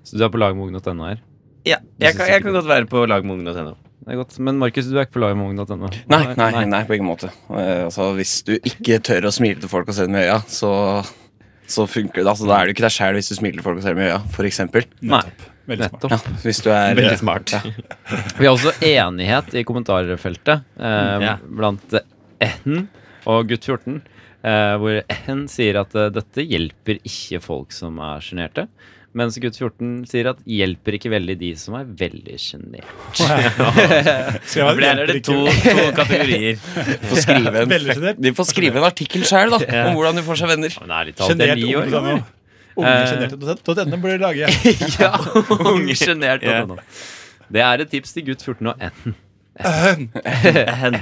[SPEAKER 2] Så du er på lag med ung.no her?
[SPEAKER 4] Ja, jeg kan, jeg kan godt være på lag med ung.no.
[SPEAKER 2] Det er godt. Men Markus, du er ikke på lag med ung.no?
[SPEAKER 1] Nei, nei, nei, på ingen måte. Eh, altså, hvis du ikke tør å smile til folk og se dem i øya, så, så funker det. Altså, da er du ikke deg sjæl hvis du smiler til folk og ser dem i øya, for eksempel.
[SPEAKER 2] Nei,
[SPEAKER 3] Veldig smart.
[SPEAKER 2] nettopp.
[SPEAKER 1] Ja, hvis du er
[SPEAKER 4] Veldig smart.
[SPEAKER 1] Ja.
[SPEAKER 2] Vi har også enighet i kommentarfeltet eh,
[SPEAKER 4] Ja.
[SPEAKER 2] blant Ehen og gutt 14. Eh, hvor Ehen sier at eh, dette hjelper ikke folk som er sjenerte. Mens gutt 14 sier at hjelper ikke veldig de som er veldig sjenerte.
[SPEAKER 3] Skal
[SPEAKER 4] Da
[SPEAKER 3] jeg
[SPEAKER 4] blir
[SPEAKER 3] være
[SPEAKER 4] det
[SPEAKER 3] hjelper
[SPEAKER 4] to,
[SPEAKER 3] ikke?
[SPEAKER 4] to kategorier.
[SPEAKER 1] Får skrive en,
[SPEAKER 3] Veldig sjenert.
[SPEAKER 1] de får skrive en artikkel sjæl, da, om hvordan de får seg venner.
[SPEAKER 2] Men ærlig talt, det er
[SPEAKER 3] Sjenert
[SPEAKER 2] ni år Eh.
[SPEAKER 3] ung.no.
[SPEAKER 2] gammel.
[SPEAKER 3] Ung.no blir laget.
[SPEAKER 2] ja, unge sjenert.
[SPEAKER 4] Ja.
[SPEAKER 2] nå. Det er et tips til gutt 14 og Ehen.
[SPEAKER 4] Hen.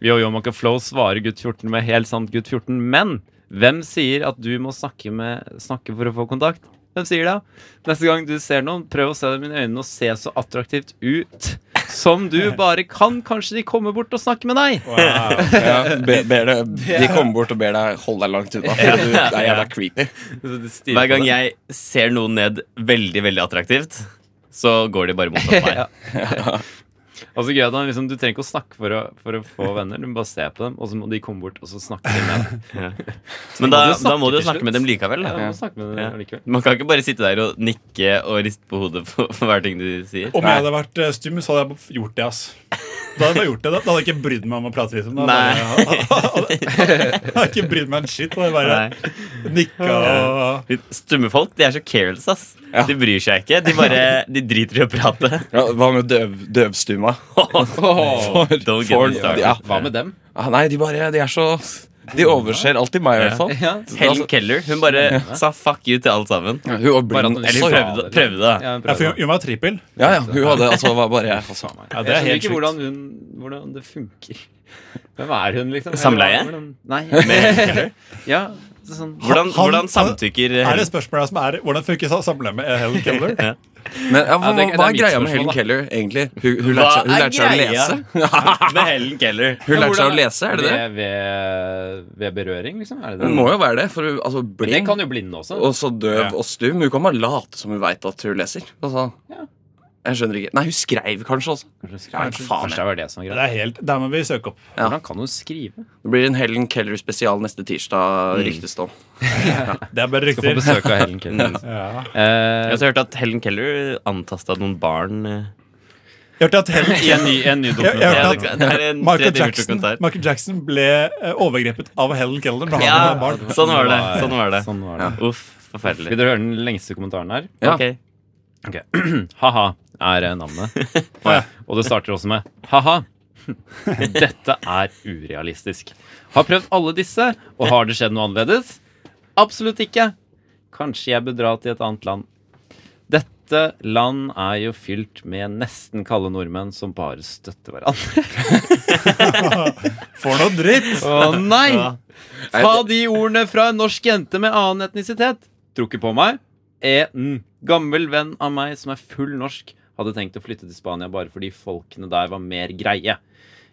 [SPEAKER 2] Jo, jo, man kan flow svarer gutt 14 med helt sant gutt 14, men hvem sier at du må snakke, med, snakke for å få kontakt? Hvem sier det? Neste gang du ser noen, prøv å se dem i øynene og se så attraktivt ut som du bare kan. Kanskje de kommer bort og snakker med deg.
[SPEAKER 3] Wow.
[SPEAKER 1] Ja, be, ber deg- de kommer bort og ber deg holde deg langt unna, for du er jævla creepy.
[SPEAKER 4] Hver gang jeg ser noen ned veldig, veldig attraktivt, så går de bare motsatt vei.
[SPEAKER 2] Ja. Og så gøy at han liksom, Du trenger ikke å snakke for å, for å få venner, du må bare se på dem, og så må de komme bort og så snakke med dem.
[SPEAKER 4] Men da,
[SPEAKER 2] Må du snakke
[SPEAKER 4] da må du jo
[SPEAKER 2] til
[SPEAKER 4] snakke
[SPEAKER 2] slutt?
[SPEAKER 4] med dem likevel.
[SPEAKER 2] Ja,
[SPEAKER 4] Da.
[SPEAKER 2] du må snakke med dem likevel.
[SPEAKER 4] Man kan ikke bare sitte der og nikke og riste på hodet for, for hver ting de sier.
[SPEAKER 3] Om jeg hadde vært eh, stum, så hadde jeg gjort det. ass Da hadde jeg gjort det, da, da hadde jeg ikke brydd meg om å prate litt om det. Da hadde jeg bare- Jeg hadde ikke brydd meg en shit. Da hadde jeg bare
[SPEAKER 4] Nei.
[SPEAKER 3] nikka og
[SPEAKER 4] Litt Stumme folk de er så careless. ass
[SPEAKER 1] Ja.
[SPEAKER 4] De bryr seg ikke. De bare, de driter i å prate.
[SPEAKER 1] Ja, hva med døv, døvstuma?
[SPEAKER 4] Don't get
[SPEAKER 1] for-
[SPEAKER 4] me started.
[SPEAKER 1] ja.
[SPEAKER 2] Hva med dem?
[SPEAKER 1] Ah, nei, de bare De er så De overser alltid meg, i hvert fall.
[SPEAKER 2] Ja,
[SPEAKER 4] Helen Keller hun bare sa fuck you til alt sammen.
[SPEAKER 1] Ja, Hun var
[SPEAKER 2] Bare at hun
[SPEAKER 1] blind.
[SPEAKER 2] ikke
[SPEAKER 4] Eller
[SPEAKER 2] sa
[SPEAKER 4] hun prøvde,
[SPEAKER 2] det.
[SPEAKER 4] prøvde da.
[SPEAKER 2] ja,
[SPEAKER 3] Ja, for
[SPEAKER 2] prøv.
[SPEAKER 3] Hun hun var trippel.
[SPEAKER 1] Ja, ja, hun hadde altså var bare jeg, altså.
[SPEAKER 3] Ja, det er
[SPEAKER 2] Jeg skjønner
[SPEAKER 3] helt
[SPEAKER 2] ikke
[SPEAKER 3] sjukt.
[SPEAKER 2] hvordan, hun, hvordan det funker. Hvem er hun, liksom?
[SPEAKER 4] Samleie?
[SPEAKER 2] Eller hvordan- Nei. ja, sånn.
[SPEAKER 3] Han-
[SPEAKER 4] Hvordan, hvordan samtykker
[SPEAKER 3] Er det
[SPEAKER 4] Helen?
[SPEAKER 3] spørsmålet som er Hvordan funker sa- samleie med Helen Keller?
[SPEAKER 1] Men ja, hva,
[SPEAKER 2] Ja, det- det er
[SPEAKER 1] hva er
[SPEAKER 2] mitt
[SPEAKER 1] greia
[SPEAKER 2] spørsmål,
[SPEAKER 1] med Helen
[SPEAKER 2] da.
[SPEAKER 1] Keller, egentlig? Hun, hun
[SPEAKER 4] Hva
[SPEAKER 1] lærte seg, hun
[SPEAKER 4] er
[SPEAKER 1] lærte seg å
[SPEAKER 4] greia?
[SPEAKER 1] lese.
[SPEAKER 4] med Helen Keller?
[SPEAKER 1] Hun
[SPEAKER 2] Ja,
[SPEAKER 1] lærte seg
[SPEAKER 2] hvordan-
[SPEAKER 1] å lese, er det det?
[SPEAKER 2] Ved, ved, ved berøring, liksom? Er det det?
[SPEAKER 1] Hun må jo være det, for hun altså,
[SPEAKER 2] Men det kan
[SPEAKER 1] blind
[SPEAKER 2] jo blinde også.
[SPEAKER 1] og så
[SPEAKER 3] Ja.
[SPEAKER 1] døv og stum. Hun kan bare late som hun veit at hun leser. Altså,
[SPEAKER 2] Ja.
[SPEAKER 1] jeg skjønner ikke Nei, hun skreiv kanskje også.
[SPEAKER 2] Kanskje skrev-
[SPEAKER 1] Ja, faen,
[SPEAKER 2] Kanskje det var det som var
[SPEAKER 3] Det
[SPEAKER 2] greit.
[SPEAKER 3] er helt, Der må vi søke opp.
[SPEAKER 1] Ja.
[SPEAKER 2] Hvordan kan hun skrive?
[SPEAKER 1] Det blir en Helen Keller-spesial neste tirsdag, ryktes det om.
[SPEAKER 3] Det er bare rykter.
[SPEAKER 2] Skal få besøk av Helen Keller. liksom.
[SPEAKER 3] Ja.
[SPEAKER 4] Jeg
[SPEAKER 2] Eh,
[SPEAKER 4] har også hørt at Helen Keller antasta noen barn. eh.
[SPEAKER 3] Jeg hørte at Helen
[SPEAKER 2] I en ny, en ny
[SPEAKER 3] jeg
[SPEAKER 2] dokumentar.
[SPEAKER 4] Ja,
[SPEAKER 3] hørte
[SPEAKER 4] det, det er en
[SPEAKER 3] Michael
[SPEAKER 4] tredje
[SPEAKER 3] Jackson,
[SPEAKER 4] dokumentar.
[SPEAKER 3] Michael Jackson ble eh, overgrepet av Helen Keller. Da han
[SPEAKER 4] Ja,
[SPEAKER 3] var barn.
[SPEAKER 4] sånn var det. Sånn var det.
[SPEAKER 2] Sånn var det.
[SPEAKER 4] Uff,
[SPEAKER 2] Vil
[SPEAKER 4] forferdelig.
[SPEAKER 2] dere høre den lengste kommentaren her?
[SPEAKER 1] Ja.
[SPEAKER 4] Ok.
[SPEAKER 2] Ha-ha er eh, navnet.
[SPEAKER 3] ja.
[SPEAKER 2] Og det starter også med ha-ha. Dette er urealistisk. Har prøvd alle disse, og har det skjedd noe annerledes? Absolutt ikke. Kanskje jeg bør dra til et annet land. Dette land er jo fylt med nesten kalde nordmenn som bare støtter hverandre.
[SPEAKER 3] For noe dritt!
[SPEAKER 2] Å nei! Ta
[SPEAKER 1] Nei,
[SPEAKER 2] de ordene fra en norsk jente med annen etnisitet. Tror ikke på meg. En gammel venn av meg som er full norsk, hadde tenkt å flytte til Spania bare fordi folkene der var mer greie.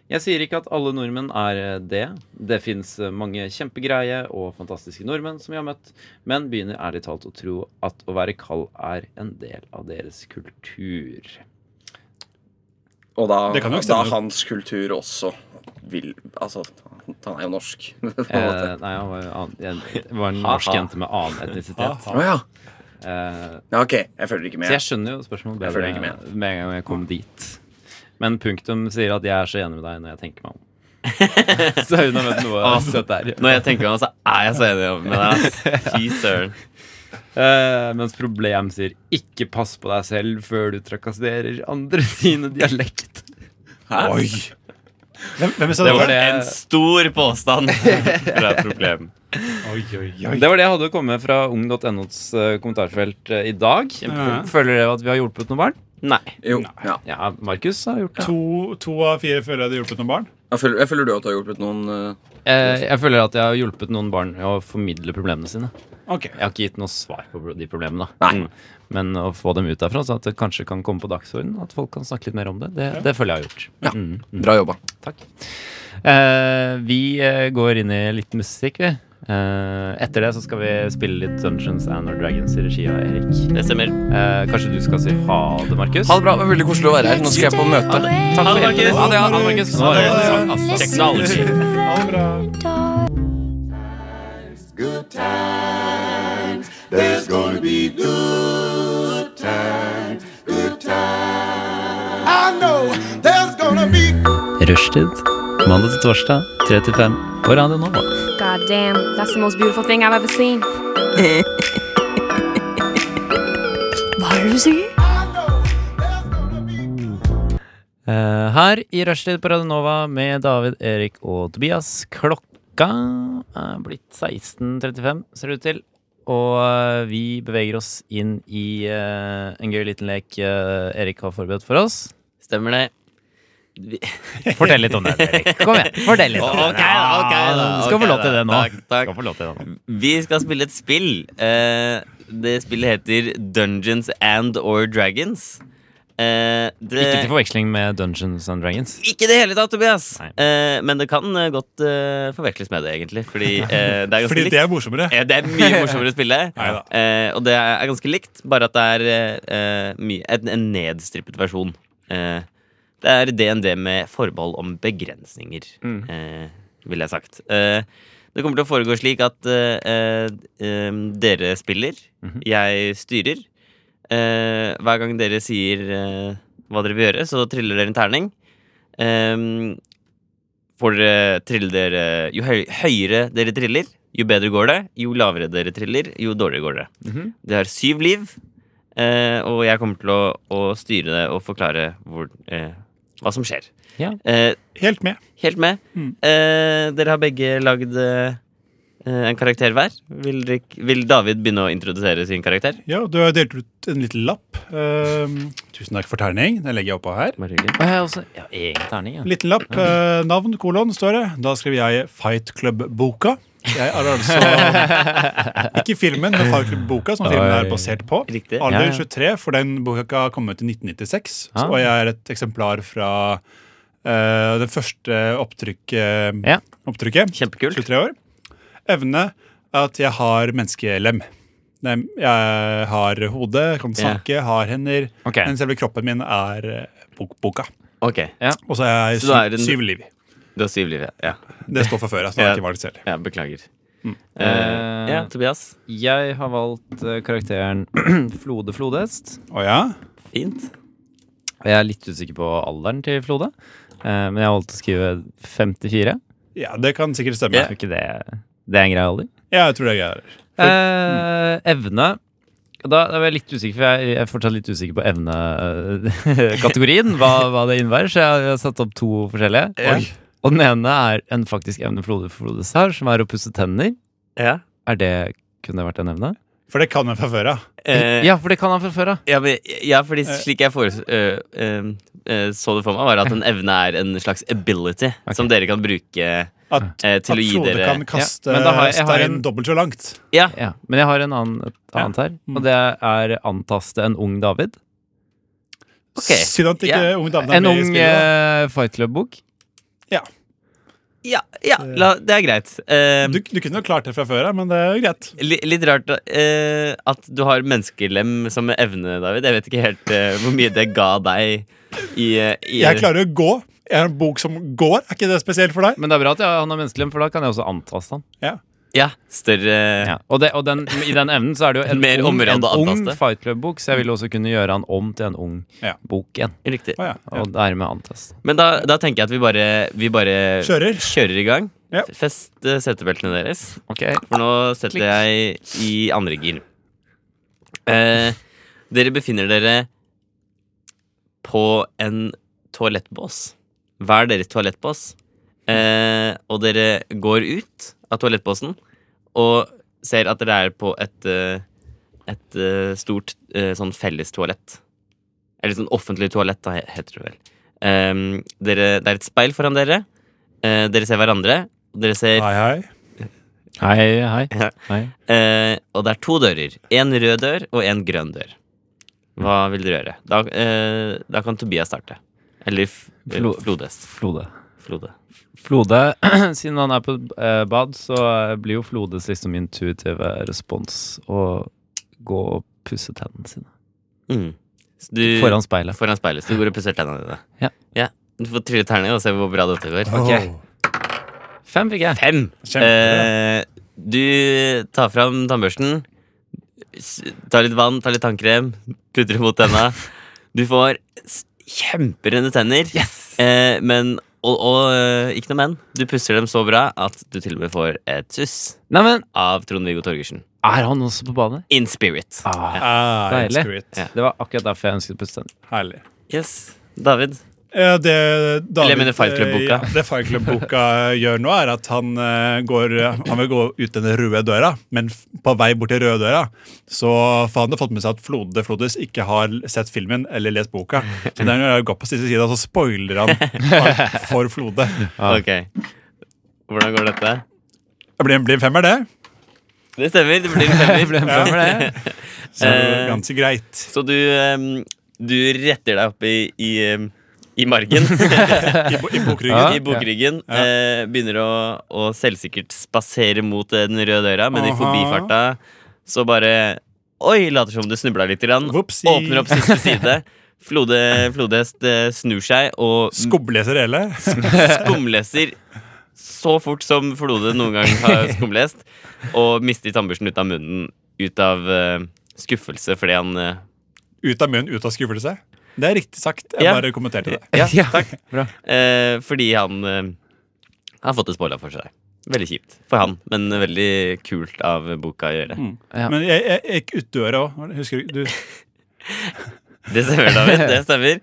[SPEAKER 2] Jeg sier ikke at alle nordmenn er eh, det. Det fins mange kjempegreie og fantastiske nordmenn som jeg har møtt, men begynner ærlig talt å tro at å være kald er en del av deres kultur.
[SPEAKER 1] Og da,
[SPEAKER 3] Det kan jo ikke
[SPEAKER 1] da
[SPEAKER 3] stemme.
[SPEAKER 1] hans kultur også vil Altså, han han er jo norsk. På en
[SPEAKER 2] Eh,
[SPEAKER 1] måte.
[SPEAKER 2] nei, han var, jo annen- en- var en norsk
[SPEAKER 1] Ha-ha.
[SPEAKER 2] jente med annen etnisitet.
[SPEAKER 1] Å ja.
[SPEAKER 2] Eh,
[SPEAKER 1] ja. Ok, jeg følger ikke
[SPEAKER 2] Så
[SPEAKER 1] med.
[SPEAKER 2] jeg skjønner jo spørsmålet
[SPEAKER 1] Jeg
[SPEAKER 2] bedre
[SPEAKER 1] følger ikke med.
[SPEAKER 2] med. en gang jeg kom dit. Men punktum sier at jeg er så enig med deg når jeg tenker meg om. så hun har møtt noe
[SPEAKER 4] Å,
[SPEAKER 2] søtt der.
[SPEAKER 4] Når jeg tenker meg om, så er jeg så enig med deg. ass. Fy søren.
[SPEAKER 2] Eh, mens problem sier 'ikke pass på deg selv før du trakasserer andre sine dialekt'.
[SPEAKER 1] Hæ?
[SPEAKER 3] Oi! Hvem, hvem sa
[SPEAKER 2] Det var
[SPEAKER 3] dette?
[SPEAKER 2] det,
[SPEAKER 4] En stor påstand fra problem.
[SPEAKER 3] Oi, oi, oi.
[SPEAKER 2] det var det jeg hadde å komme med fra ung.nos eh, kommentarfelt eh, i dag.
[SPEAKER 3] Ja.
[SPEAKER 2] Føler dere at vi har hjulpet noe barn?
[SPEAKER 4] Nei.
[SPEAKER 7] Jo.
[SPEAKER 3] Nei.
[SPEAKER 7] Ja.
[SPEAKER 2] Ja, Markus har gjort det.
[SPEAKER 3] To, to av fire føler jeg hadde hjulpet noen barn.
[SPEAKER 7] Jeg, føler, jeg føler du at du har hjulpet noen eh,
[SPEAKER 2] Eh, jeg føler at jeg har hjulpet noen barn å formidle problemene sine.
[SPEAKER 3] Ok.
[SPEAKER 2] Jeg har ikke gitt noe svar på de problemene, da.
[SPEAKER 7] Nei.
[SPEAKER 2] Mm. men å få dem ut derfra, så at det kanskje kan komme på dagsordenen, at folk kan snakke litt mer om det, det, det føler jeg har gjort.
[SPEAKER 7] Ja.
[SPEAKER 2] Mm.
[SPEAKER 7] Bra jobba.
[SPEAKER 2] Takk. Eh, vi eh, går inn i litt musikk, vi. Eh, etter det så skal vi spille litt Dungeons and Dragons i regi av Erik.
[SPEAKER 4] Det stemmer.
[SPEAKER 2] Eh, kanskje du skal si ha det, Markus?
[SPEAKER 1] Ha det bra. Det var veldig koselig å være her. Nå skal jeg på møte.
[SPEAKER 2] Takk for hjelpen.
[SPEAKER 4] Markus.
[SPEAKER 2] Ha det, ha det, Markus. Nå er det sånn, altså,
[SPEAKER 4] Teknologi.
[SPEAKER 3] Ha det bra.
[SPEAKER 2] Rushtid. Mandag til torsdag, 3 til 5 på Radio Nova.
[SPEAKER 8] God damn, that's the most beautiful thing I've ever seen.
[SPEAKER 2] Eh, her i Rushtid på Radio Nova med David, Erik og Tobias. Klokka er blitt 16.35, ser det ut til. Og eh, vi beveger oss inn i eh, en gøy liten lek eh, Erik har forberedt for oss.
[SPEAKER 4] Stemmer det.
[SPEAKER 2] Fortell litt om den, Erik. Kom igjen, fortell litt om den.
[SPEAKER 4] Ok, da, ok, da,
[SPEAKER 2] Du skal
[SPEAKER 4] ok,
[SPEAKER 2] få lov til
[SPEAKER 4] da.
[SPEAKER 2] det nå.
[SPEAKER 4] Takk, takk.
[SPEAKER 2] Du Skal få lov til det nå.
[SPEAKER 4] Vi skal spille et spill. Eh, det spillet heter Dungeons and or Dragons. Eh, det,
[SPEAKER 2] Ikke til forveksling med Dungeons and Dragons.
[SPEAKER 4] Ikke i det hele tatt, Tobias!
[SPEAKER 2] Nei.
[SPEAKER 4] Eh, men det kan eh, godt eh, forveksles med det, egentlig. Fordi eh, det er ganske
[SPEAKER 3] Fordi
[SPEAKER 4] likt.
[SPEAKER 3] det er morsommere.
[SPEAKER 4] Eh, Det er mye morsommere å spille.
[SPEAKER 3] Neida.
[SPEAKER 4] Eh, og det er ganske likt, bare at det er eh, mye, en, en nedstrippet versjon. Eh, det er DND med forbehold om begrensninger,
[SPEAKER 3] Mm.
[SPEAKER 4] eh, ville jeg sagt. Eh, det kommer til å foregå slik at eh, eh, em, dere spiller,
[SPEAKER 3] Mhm.
[SPEAKER 4] jeg styrer. Eh, hver gang dere sier eh, hva dere vil gjøre, så triller dere en terning. Eh, Em, får dere trille eh, dere Jo høy, høyere dere triller, jo bedre går det. Jo lavere dere triller, jo dårligere går det.
[SPEAKER 2] Mhm.
[SPEAKER 4] Det har syv liv, eh, og jeg kommer til å, å styre det og forklare hvor, eh, hva som skjer.
[SPEAKER 2] Ja. Mm.
[SPEAKER 4] Eh,
[SPEAKER 3] Helt med.
[SPEAKER 4] helt med. Eh, dere har begge lagd eh, en karakter hver. Vil, dere ikke- vil David begynne å introdusere sin karakter?
[SPEAKER 3] Ja, du har delt ut en liten lapp. Ehm, tusen takk for terning. Den legger jeg oppå her.
[SPEAKER 4] Bare hyggelig.
[SPEAKER 2] Og jeg har også ja, egen terning, ja.
[SPEAKER 3] Liten lapp. eh, navn, kolon, står det. Da skriver jeg Fight Club-boka. Jeg er altså Ikke filmen, men Fight Club-boka, som filmen er basert på.
[SPEAKER 4] Riktig.
[SPEAKER 2] Ja,
[SPEAKER 3] Alder
[SPEAKER 2] ja.
[SPEAKER 3] 23, for den boka kom ut i 1996.
[SPEAKER 2] Ah.
[SPEAKER 3] Og jeg er et eksemplar fra eh, det første opptrykket.
[SPEAKER 2] Ja.
[SPEAKER 3] opptrykket.
[SPEAKER 4] Kjempekult.
[SPEAKER 3] 23 år. Evne er at jeg har menneskelem. Nei, Jeg har hode, kan snakke, har hender.
[SPEAKER 2] Ok.
[SPEAKER 3] Men selve kroppen min er eh, bok boka.
[SPEAKER 4] Ok,
[SPEAKER 3] Og så er jeg
[SPEAKER 4] Så du er
[SPEAKER 3] syv,
[SPEAKER 4] en-
[SPEAKER 3] syv liv.
[SPEAKER 4] Du har syv liv, ja. ja.
[SPEAKER 3] Det står fra før. Altså, det
[SPEAKER 4] Ja.
[SPEAKER 3] er ikke valgt selv.
[SPEAKER 4] ja beklager.
[SPEAKER 2] Eh,
[SPEAKER 4] Eh, ja, Tobias.
[SPEAKER 2] Jeg har valgt eh, karakteren Flode Flodhest.
[SPEAKER 3] Å ja?
[SPEAKER 4] Fint.
[SPEAKER 2] Og jeg er litt usikker på alderen til Flode. eh, Men jeg har valgt å skrive 54.
[SPEAKER 3] ja, det kan sikkert stemme.
[SPEAKER 2] Jeg tror ikke det, det er en grei alder.
[SPEAKER 3] Ja, jeg tror det er greier. Mm.
[SPEAKER 2] Eh, evne da, da var jeg litt usikker, for jeg, jeg er fortsatt litt usikker på evne-kategorien. hva, hva det innebærer. Så jeg har satt opp to forskjellige.
[SPEAKER 3] Oi.
[SPEAKER 2] Og den ene er en faktisk evne Flode Flodes har, som er å pusse tenner.
[SPEAKER 4] Ja.
[SPEAKER 2] Er det kunne det vært en evne?
[SPEAKER 3] For det kan jeg fra før av.
[SPEAKER 4] Eh,
[SPEAKER 2] ja, for det kan han fra før av.
[SPEAKER 4] Ja, men, ja fordi
[SPEAKER 3] Eh.
[SPEAKER 4] slik jeg fores- øh, øh, øh, så det for meg, var at en evne er en slags ability som dere kan bruke
[SPEAKER 3] At,
[SPEAKER 4] eh,
[SPEAKER 3] at
[SPEAKER 4] til å gi
[SPEAKER 3] Frode
[SPEAKER 4] dere
[SPEAKER 3] kan kaste
[SPEAKER 2] men da har jeg- jeg har
[SPEAKER 3] stein
[SPEAKER 2] en-
[SPEAKER 3] dobbelt så langt.
[SPEAKER 4] Ja,
[SPEAKER 2] Ja, men jeg har en annen, et
[SPEAKER 3] Ja. Mm.
[SPEAKER 2] annet her, og det er antaste en ung David.
[SPEAKER 4] ok.
[SPEAKER 3] Synd at ikke
[SPEAKER 4] Ja.
[SPEAKER 3] unge damene
[SPEAKER 2] En
[SPEAKER 3] er med
[SPEAKER 2] ung
[SPEAKER 3] i spillet.
[SPEAKER 2] eh, Fight Club-bok.
[SPEAKER 4] ja, ja la, det er greit. Eh,
[SPEAKER 3] da. Du, du kunne jo klart det fra før av, men det er jo greit.
[SPEAKER 4] li, litt rart eh, at du har menneskelem som evne, David. Jeg vet ikke helt eh, hvor mye det ga deg i, eh, i
[SPEAKER 3] Jeg klarer å gå. Jeg har en bok som går. Er ikke det spesielt for deg?
[SPEAKER 2] Men det er bra at jeg, han har menneskelem, for da kan jeg også antaste han.
[SPEAKER 4] Ja, større
[SPEAKER 2] Ja. Og, det, og den, i den evnen så er det jo en
[SPEAKER 4] Mer
[SPEAKER 2] ung,
[SPEAKER 4] område
[SPEAKER 2] en
[SPEAKER 4] å
[SPEAKER 2] ung
[SPEAKER 4] antaste.
[SPEAKER 2] Fight Club-bok, så jeg vil jo også kunne gjøre han om til en ung
[SPEAKER 3] Ja.
[SPEAKER 2] bok igjen.
[SPEAKER 4] Riktig.
[SPEAKER 3] Å, ja.
[SPEAKER 2] Og dermed antaste.
[SPEAKER 4] Men da, da tenker jeg at vi bare, vi bare
[SPEAKER 3] Kjører.
[SPEAKER 4] kjører i gang.
[SPEAKER 3] Ja.
[SPEAKER 4] Fest eh, setebeltene deres.
[SPEAKER 2] Ok,
[SPEAKER 4] For nå setter
[SPEAKER 2] Klikk.
[SPEAKER 4] jeg i andre gir. Eh, dere befinner dere på en toalettbås. Hver deres toalettbås. Eh, og dere går ut av toalettbåsen og ser at dere er på et, eh, et eh, stort eh, sånn fellestoalett. Jeg Eller sånn offentlig toalett, da he- heter det vel. Ehm, dere, det er et speil foran dere. Eh, dere ser hverandre. Og dere ser
[SPEAKER 3] Hei, hei.
[SPEAKER 2] Hei, hei.
[SPEAKER 4] Ja.
[SPEAKER 2] hei.
[SPEAKER 4] Eh, og det er to dører. En rød dør og en grønn dør. Hva vil dere gjøre? Da, eh, da kan Tobias starte. Eller f
[SPEAKER 2] Flo-
[SPEAKER 4] Flodes.
[SPEAKER 2] Flode.
[SPEAKER 4] Flode.
[SPEAKER 2] Flode, siden han er på eh, bad, så eh, blir jo Flodes liksom intuitive respons å gå og pusse tennene sine
[SPEAKER 4] Mm. Så du,
[SPEAKER 2] foran speilet.
[SPEAKER 4] foran speilet. Så du går og pusser tennene dine.
[SPEAKER 2] Ja.
[SPEAKER 4] Du får trille terning og se hvor bra dette går.
[SPEAKER 3] Åh,
[SPEAKER 2] Fem fikk jeg.
[SPEAKER 4] Fem!
[SPEAKER 3] Kjempebra.
[SPEAKER 4] Eh, du tar fram tannbørsten, s- tar litt vann, tar litt tannkrem, putter det mot tenna. Du får s- kjemperønne tenner, eh, men, og, og eh, ikke noe men. Du pusser dem så bra at du til og med får et suss
[SPEAKER 2] Neimen,
[SPEAKER 4] av Trond-Viggo Torgersen.
[SPEAKER 2] er han også på badet?
[SPEAKER 4] In spirit.
[SPEAKER 2] Ah,
[SPEAKER 3] Ah,
[SPEAKER 2] Deilig.
[SPEAKER 3] it's great.
[SPEAKER 4] Ja.
[SPEAKER 2] det var akkurat derfor jeg ønsket å pusse tennene.
[SPEAKER 3] Herlig.
[SPEAKER 4] Yes. David.
[SPEAKER 3] Ja, det David,
[SPEAKER 4] Eller jeg mener Fight Club-boka.
[SPEAKER 3] eh, ja, Det Fight Club-boka gjør nå, er at han, eh, går, han vil gå ut den røde døra, men f- på vei bort til røde døra Så for han har fått med seg at Flode Flodes ikke har sett filmen eller lest boka. Så når han går på siste side, så spoiler han alt for Flode.
[SPEAKER 4] Ok. Hvordan går dette?
[SPEAKER 3] Det blir, blir en femmer, det.
[SPEAKER 4] Det stemmer. Det blir en femmer.
[SPEAKER 3] Så
[SPEAKER 4] Eh.
[SPEAKER 3] ganske greit.
[SPEAKER 4] Så du, em, du retter deg opp i, i, em, i margen.
[SPEAKER 3] I, bo- i
[SPEAKER 2] Ja.
[SPEAKER 3] bokryggen.
[SPEAKER 4] I bokryggen.
[SPEAKER 3] Ja.
[SPEAKER 4] Eh, begynner å, å selvsikkert spasere mot eh, den røde døra, men i
[SPEAKER 3] Aha.
[SPEAKER 4] forbifarta så bare Oi! Later som det snubla litt. Grann.
[SPEAKER 3] Whoopsie.
[SPEAKER 4] Åpner opp siste side. Flode, flodhest eh, snur seg og
[SPEAKER 3] Skobleser hele.
[SPEAKER 4] skumleser så fort som Flode noen gang har skumlest, og mister tannbørsten ut av munnen ut av eh, skuffelse fordi han eh,
[SPEAKER 3] Ut av munnen, ut av skuffelse. Det er riktig sagt. Jeg
[SPEAKER 4] Ja.
[SPEAKER 3] bare kommenterte det.
[SPEAKER 4] Ja,
[SPEAKER 2] Ja,
[SPEAKER 4] takk.
[SPEAKER 2] bra.
[SPEAKER 4] Eh, fordi han eh, har fått det spoila for seg. Veldig kjipt for han, men veldig kult av boka å gjøre.
[SPEAKER 2] Ja.
[SPEAKER 3] Men jeg, jeg, jeg gikk ut døra òg. Husker du? du
[SPEAKER 4] Det stemmer, David. det stemmer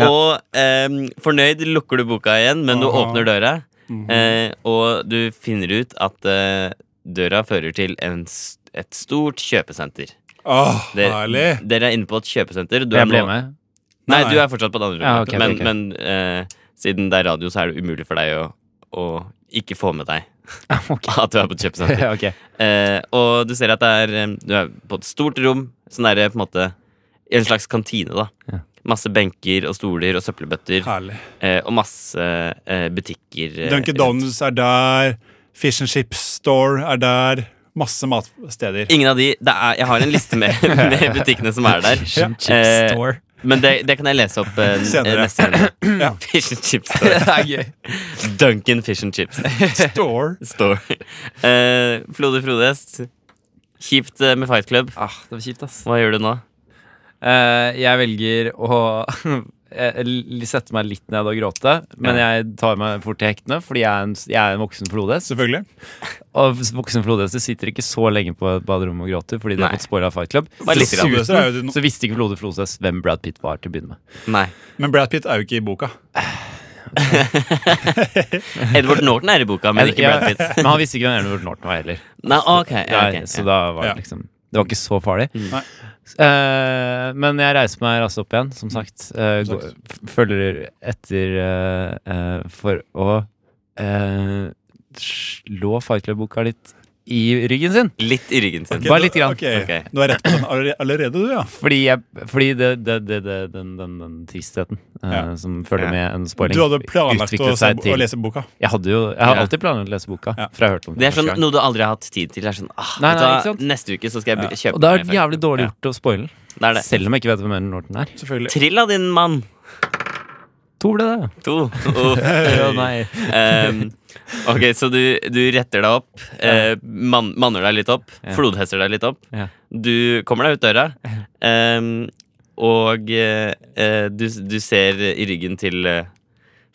[SPEAKER 4] Og eh, fornøyd lukker du boka igjen, men du
[SPEAKER 3] Aha.
[SPEAKER 4] åpner døra,
[SPEAKER 2] Mhm.
[SPEAKER 4] eh, og du finner ut at eh, døra fører til en, s- et stort kjøpesenter.
[SPEAKER 3] Åh,
[SPEAKER 4] Det-
[SPEAKER 3] herlig.
[SPEAKER 4] Dere er inne på et kjøpesenter. Du er
[SPEAKER 2] Jeg ble
[SPEAKER 4] nå-
[SPEAKER 2] med.
[SPEAKER 4] Nei,
[SPEAKER 3] Nei.
[SPEAKER 4] du er fortsatt på det andre
[SPEAKER 2] Ja,
[SPEAKER 4] rommet.
[SPEAKER 2] ok,
[SPEAKER 4] men
[SPEAKER 2] ok.
[SPEAKER 4] men eh, siden det er radio, så er det umulig for deg å, å ikke få med deg
[SPEAKER 2] Ok.
[SPEAKER 4] at du er på et kjøpesenter.
[SPEAKER 2] Ja, ok.
[SPEAKER 4] Eh, og du ser at det er eh, Du er på et stort rom. Sånn er det på en måte i en slags kantine, da.
[SPEAKER 2] Ja.
[SPEAKER 4] Masse benker og stoler og søppelbøtter.
[SPEAKER 3] Herlig.
[SPEAKER 4] eh, og masse eh, butikker. eh,
[SPEAKER 3] Dunkin'
[SPEAKER 4] rundt.
[SPEAKER 3] Donuts er der. Fish and Chips Store er der. Masse matsteder.
[SPEAKER 4] Ingen av de det er, Jeg har en liste med, med butikkene som er der.
[SPEAKER 3] Ja.
[SPEAKER 4] Eh, men det, det kan jeg lese opp eh,
[SPEAKER 3] Senere.
[SPEAKER 4] neste gang.
[SPEAKER 3] Ja.
[SPEAKER 4] Fish and chips store.
[SPEAKER 2] er gøy.
[SPEAKER 4] Duncan fish and chips
[SPEAKER 3] Store.
[SPEAKER 4] store. Eh, Flode Frodest, kjipt eh, med Fight Club.
[SPEAKER 2] Ah, det var kjipt, ass.
[SPEAKER 4] Hva gjør du nå?
[SPEAKER 2] Eh, jeg velger å eh, l- sette meg litt ned og gråte, men jeg tar meg fort til hektene, fordi jeg er en, jeg er en voksen flodhest.
[SPEAKER 3] Selvfølgelig.
[SPEAKER 2] Og s- voksen flodhester sitter ikke så lenge på et baderom og gråter fordi de har
[SPEAKER 4] Nei.
[SPEAKER 2] fått spoila Fight Club.
[SPEAKER 4] Bare litt grann.
[SPEAKER 3] Flodhester er jo
[SPEAKER 2] Dessuten
[SPEAKER 3] no-
[SPEAKER 2] så visste ikke Flode Flodhest hvem Brad Pitt var til å begynne med.
[SPEAKER 4] Nei.
[SPEAKER 3] Men Brad Pitt er jo ikke i boka.
[SPEAKER 4] Edward Norton er i boka, men ikke Brad Pitt.
[SPEAKER 2] men han visste ikke hvem Edward Norton var heller.
[SPEAKER 4] Nei, ok, ja,
[SPEAKER 2] Nei,
[SPEAKER 4] ok,
[SPEAKER 2] så
[SPEAKER 4] ja. Mm.
[SPEAKER 2] da var
[SPEAKER 3] Ja.
[SPEAKER 2] det liksom Det var ikke så farlig.
[SPEAKER 3] Nei.
[SPEAKER 2] Eh, men jeg reiser meg raskt opp igjen,
[SPEAKER 4] Mm.
[SPEAKER 2] som sagt. Eh,
[SPEAKER 3] Som
[SPEAKER 2] går- f- følger etter eh, eh, for å eh, slå Fight Club-boka litt i ryggen sin.
[SPEAKER 4] Litt i ryggen sin.
[SPEAKER 3] Ok,
[SPEAKER 2] Bare
[SPEAKER 3] du-
[SPEAKER 2] litt grann.
[SPEAKER 3] ok.
[SPEAKER 4] Ok.
[SPEAKER 3] Du er rett på den allerede, allerede du, ja.
[SPEAKER 2] Fordi, jeg, fordi det, det, det, det, den, den, den tristheten eh,
[SPEAKER 3] Ja.
[SPEAKER 2] som følger
[SPEAKER 4] Ja.
[SPEAKER 2] med en spoiling,
[SPEAKER 3] Du hadde planlagt å,
[SPEAKER 2] utviklet
[SPEAKER 3] se-
[SPEAKER 2] seg
[SPEAKER 3] å
[SPEAKER 2] til
[SPEAKER 3] lese boka.
[SPEAKER 2] Jeg hadde jo Jeg har
[SPEAKER 4] Ja.
[SPEAKER 2] alltid planlagt å lese boka,
[SPEAKER 3] Ja.
[SPEAKER 2] for jeg har hørt om den
[SPEAKER 4] Det er sånn
[SPEAKER 2] første gang.
[SPEAKER 4] noe du aldri har hatt tid til. Det er sånn, ah,
[SPEAKER 2] Nei,
[SPEAKER 4] vet
[SPEAKER 2] nei,
[SPEAKER 4] du hva,
[SPEAKER 2] ikke sant?
[SPEAKER 4] Neste uke så skal jeg be- kjøpe
[SPEAKER 2] Og det er
[SPEAKER 4] meg
[SPEAKER 2] jævlig dårlig
[SPEAKER 3] Ja.
[SPEAKER 2] gjort å spoile,
[SPEAKER 4] Fight Club. Det er det.
[SPEAKER 2] selv om jeg ikke vet hvem Ellen Norton er.
[SPEAKER 3] Selvfølgelig.
[SPEAKER 4] Trill av din mann.
[SPEAKER 2] To ble det.
[SPEAKER 4] To. Uff.
[SPEAKER 2] Ja, nei.
[SPEAKER 4] Ehm, ok, så du, du retter deg opp. eh, man, manner deg litt opp.
[SPEAKER 2] Ja.
[SPEAKER 4] Flodhester deg litt opp.
[SPEAKER 2] Ja.
[SPEAKER 4] Du kommer deg ut døra. ehm, og eh, eh, du, du ser i ryggen til eh,